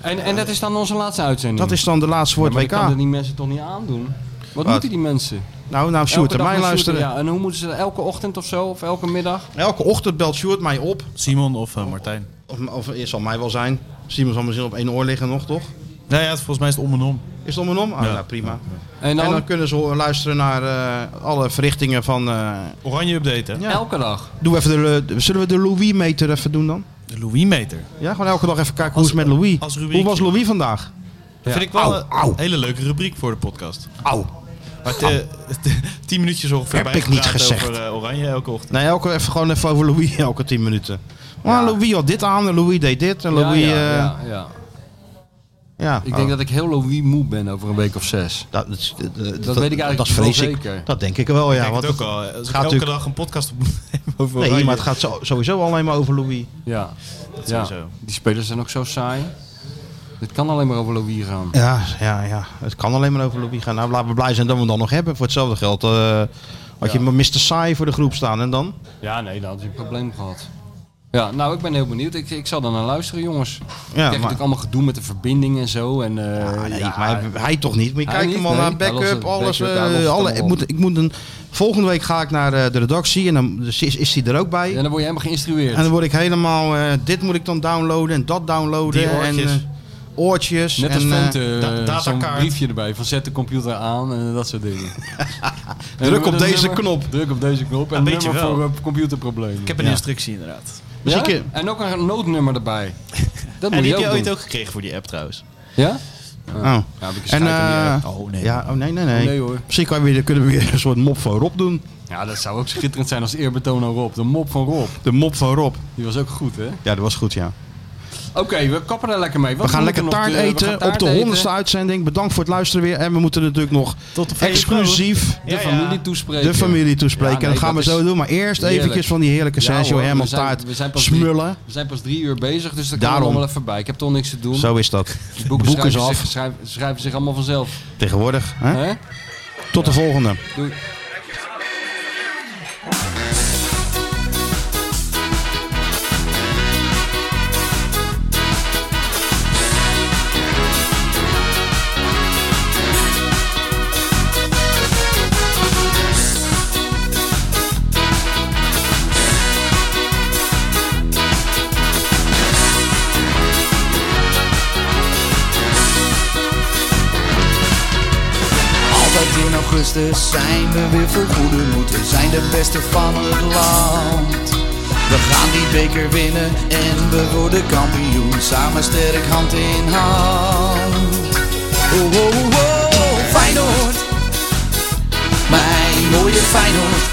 Speaker 3: En, en dat is dan onze laatste uitzending.
Speaker 2: dat is dan de laatste woord
Speaker 3: maar ik
Speaker 2: WK.
Speaker 3: kan dat die mensen toch niet aandoen? Wat, moeten die mensen?
Speaker 2: Nou, nou
Speaker 3: Elke
Speaker 2: Sjoerd en
Speaker 3: dag
Speaker 2: mij
Speaker 3: naar Sjoerd,
Speaker 2: luisteren.
Speaker 3: Ja, en hoe moeten ze dat? elke ochtend of zo? Of elke middag?
Speaker 2: Elke ochtend belt Sjoerd mij op.
Speaker 4: Simon of eh, Martijn?
Speaker 2: Of, of het zal mij wel zijn. Simon zal misschien op één oor liggen nog, toch?
Speaker 4: Nou ja, het- volgens mij is het om en om.
Speaker 2: Is het om en om? Ah, nou, prima.
Speaker 3: En dan,
Speaker 2: En dan kunnen ze luisteren naar eh, alle verrichtingen van... eh,
Speaker 4: Oranje updaten.
Speaker 2: ja.
Speaker 3: elke dag.
Speaker 2: Doe even de, eh, zullen we de Louis-meter even doen dan?
Speaker 4: De Louis-meter.
Speaker 2: Ja, gewoon elke dag even kijken hoe
Speaker 4: Als-
Speaker 2: is het met Louis.
Speaker 4: als rubriekje.
Speaker 2: hoe was Louis vandaag?
Speaker 4: Vind ik wel
Speaker 2: Au,
Speaker 4: een
Speaker 2: au.
Speaker 4: hele leuke rubriek voor de podcast.
Speaker 2: Au.
Speaker 4: Maar het, <laughs> eh, het- tien minuutjes ongeveer
Speaker 2: Heb ik niet
Speaker 4: bijgepraat
Speaker 2: gezegd.
Speaker 4: over eh, Oranje elke ochtend.
Speaker 2: Nee, elke, even, gewoon even over Louis <laughs> elke tien minuten. Maar Louis had dit aan en Louis deed dit. En Louis...
Speaker 3: ja,
Speaker 2: eh,
Speaker 3: ja,
Speaker 2: Ja,
Speaker 3: ja, ja. Ik denk dat ik heel Louis moe ben over een week of zes.
Speaker 2: Dat, dat, dat-
Speaker 3: weet ik eigenlijk
Speaker 2: dat
Speaker 3: wel
Speaker 2: vrees ik.
Speaker 3: zeker.
Speaker 2: Dat denk ik wel, ja.
Speaker 4: Ja,
Speaker 2: want
Speaker 4: het ook
Speaker 2: het-
Speaker 4: al. Als ik
Speaker 2: gaat
Speaker 4: elke
Speaker 2: natuurlijk-
Speaker 4: dag een podcast opnemen <laughs> over Oranje.
Speaker 2: Nee, maar het gaat zo- sowieso alleen maar over Louis.
Speaker 3: Ja. ja.
Speaker 4: sowieso.
Speaker 3: Die spelers zijn ook zo saai. Dit kan alleen maar over Louis gaan.
Speaker 2: Ja, ja, ja. Het kan alleen maar over Louis gaan. Nou, laten we blij zijn dat we hem dan nog hebben. Voor hetzelfde geld eh, had je Mr. Sai voor de groep staan. En dan?
Speaker 3: Ja, nee, dan had je een probleem gehad. Ja, nou, ik ben heel benieuwd. Ik, ik zal er naar luisteren, jongens. ik krijg
Speaker 2: maar-
Speaker 3: natuurlijk allemaal gedoe met de verbinding en zo. En, eh,
Speaker 2: Ah, nee,
Speaker 3: ja,
Speaker 2: maar hij, hij toch niet. Maar je
Speaker 3: Hij
Speaker 2: kijkt
Speaker 3: niet,
Speaker 2: hem al
Speaker 3: nee.
Speaker 2: naar
Speaker 3: Hij lost
Speaker 2: backup,
Speaker 3: het-
Speaker 2: alles.
Speaker 3: backup, hij
Speaker 2: eh,
Speaker 3: lost het
Speaker 2: alle,
Speaker 3: allemaal
Speaker 2: ik, moet, ik moet een, volgende week ga ik naar eh, de redactie en dan dus is, is hij er ook bij.
Speaker 3: En dan word je helemaal geïnstrueerd.
Speaker 2: En dan word ik helemaal, eh, dit moet ik dan downloaden en dat downloaden.
Speaker 4: Die oortjes.
Speaker 2: En, eh, oortjes.
Speaker 3: Net als
Speaker 2: en, eh,
Speaker 3: Vente,
Speaker 4: da-
Speaker 3: eh, zo'n
Speaker 4: datakaart.
Speaker 3: briefje erbij van zet de computer aan en dat soort dingen. En
Speaker 2: Druk op
Speaker 3: een
Speaker 2: deze
Speaker 3: nummer-
Speaker 2: knop.
Speaker 3: Druk op deze knop en een
Speaker 4: weet je
Speaker 3: nummer
Speaker 4: wel.
Speaker 3: voor eh, computerproblemen.
Speaker 4: Ik heb een
Speaker 2: Ja.
Speaker 4: instructie inderdaad.
Speaker 2: dus
Speaker 3: Ja?
Speaker 2: ik, eh,
Speaker 3: En ook een noodnummer erbij. Dat moet
Speaker 4: en die
Speaker 3: je
Speaker 4: heb je
Speaker 3: ook
Speaker 4: ooit
Speaker 3: doen.
Speaker 4: ook gekregen voor die app trouwens.
Speaker 3: Ja?
Speaker 2: oh.
Speaker 3: Ja, heb ik
Speaker 2: En,
Speaker 3: en,
Speaker 2: eh,
Speaker 4: Oh nee.
Speaker 2: ja, oh nee, nee, nee.
Speaker 3: Nee, hoor.
Speaker 2: Misschien kan je weer, kunnen we weer een soort mop van Rob doen.
Speaker 3: ja, dat zou ook schitterend zijn als eerbetoon aan Rob. De mop van Rob.
Speaker 2: De mop van Rob.
Speaker 3: Die was ook goed, hè?
Speaker 2: Ja, dat was goed, ja.
Speaker 3: Oké, we kappen er lekker mee. Wat
Speaker 2: We gaan lekker
Speaker 3: moeten nog
Speaker 2: taart
Speaker 3: de- we gaan
Speaker 2: eten
Speaker 3: taart
Speaker 2: op de
Speaker 3: eten.
Speaker 2: honderdste uitzending. Bedankt voor het luisteren weer. En we moeten natuurlijk nog
Speaker 4: Tot de volgende
Speaker 2: exclusief
Speaker 3: De familie toespreken.
Speaker 2: de familie toespreken.
Speaker 3: Ja, nee,
Speaker 2: dat gaan we
Speaker 3: dat is-
Speaker 2: zo doen. Maar eerst
Speaker 3: Heerlijk.
Speaker 2: eventjes van die heerlijke
Speaker 3: Ja,
Speaker 2: Sergio
Speaker 3: hoor,
Speaker 2: Herman
Speaker 3: we zijn-
Speaker 2: taart
Speaker 3: we zijn pas drie-
Speaker 2: smullen.
Speaker 3: We zijn pas drie uur bezig, dus daar
Speaker 2: Daarom.
Speaker 3: komen we wel even bij. Ik heb toch niks te doen.
Speaker 2: Zo is dat.
Speaker 3: Die boeken,
Speaker 2: boeken
Speaker 3: schrijven,
Speaker 2: ze af.
Speaker 3: Zich, schrijven, schrijven zich allemaal vanzelf.
Speaker 2: Tegenwoordig. Hè?
Speaker 3: Hè?
Speaker 2: Tot de volgende.
Speaker 3: Doei.
Speaker 1: Altijd in augustus zijn we weer volgoede moed. We zijn de beste van het land. We gaan die beker winnen en we worden kampioen. Samen sterk hand in hand. Oh, oh, oh, oh Feyenoord. Mijn mooie Feyenoord.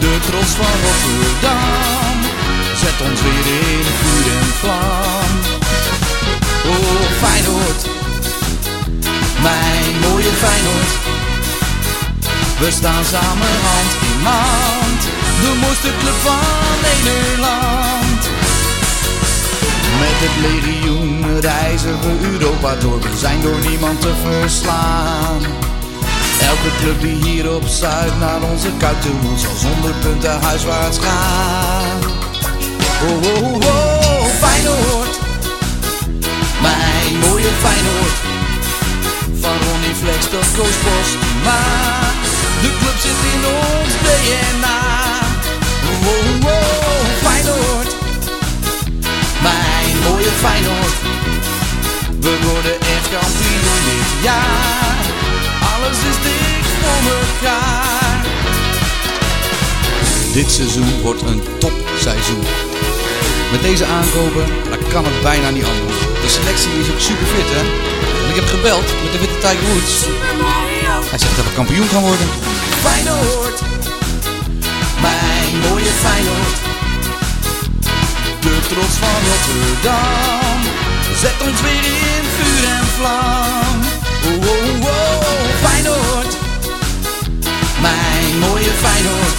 Speaker 1: De trots van Rotterdam. Zet ons weer in vuur en vlam. Oh, Feyenoord mijn mooie Feyenoord. We staan samen hand in hand, de mooiste club van Nederland. Met het legioen reizen we Europa door, we zijn door niemand te verslaan. Elke club die hier op Zuid naar onze kuit toe moet, zal zonder punten huiswaarts gaan. Oh, oh, oh, oh, Feyenoord, mijn mooie Feyenoord. Van Ronnie Flex tot Koos Bos. Maar de club zit in ons DNA. Wow, wow, Feyenoord. Mijn mooie Feyenoord. We worden echt kampioen dit jaar. Alles is dik voor elkaar. Dit seizoen wordt een topseizoen. Met deze aankopen, dan kan het bijna niet anders. De selectie is ook super fit, hè? En ik heb gebeld met de witte Tiger Woods. Hij zegt dat we kampioen gaan worden. Feyenoord, mijn mooie Feyenoord. De trots van Rotterdam, zet ons weer in vuur en vlam. Oh, oh, oh, Feyenoord, mijn mooie Feyenoord.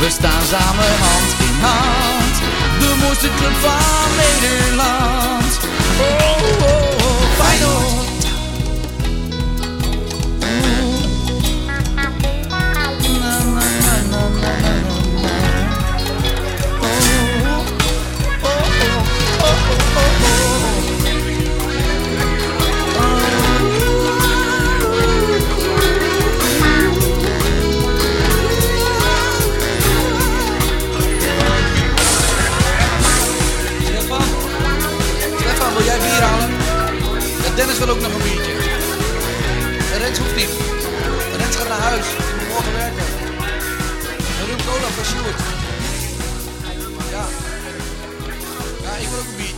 Speaker 1: We staan samen hand in hand, de mooiste club van Nederland. Oh, oh, oh Feyenoord. Na, na, na, na, na, na, na. Oh, oh, oh, oh, oh, oh, oh. Stefan? Stefan, wil jij bier halen? Ja, Dennis wil ook nog een biertje. En Rens hoeft niet. Rens gaat naar huis. Die moet morgen werken. En Ruud Cola van Sjoerd. Ja. Ja, ik wil ook een biertje.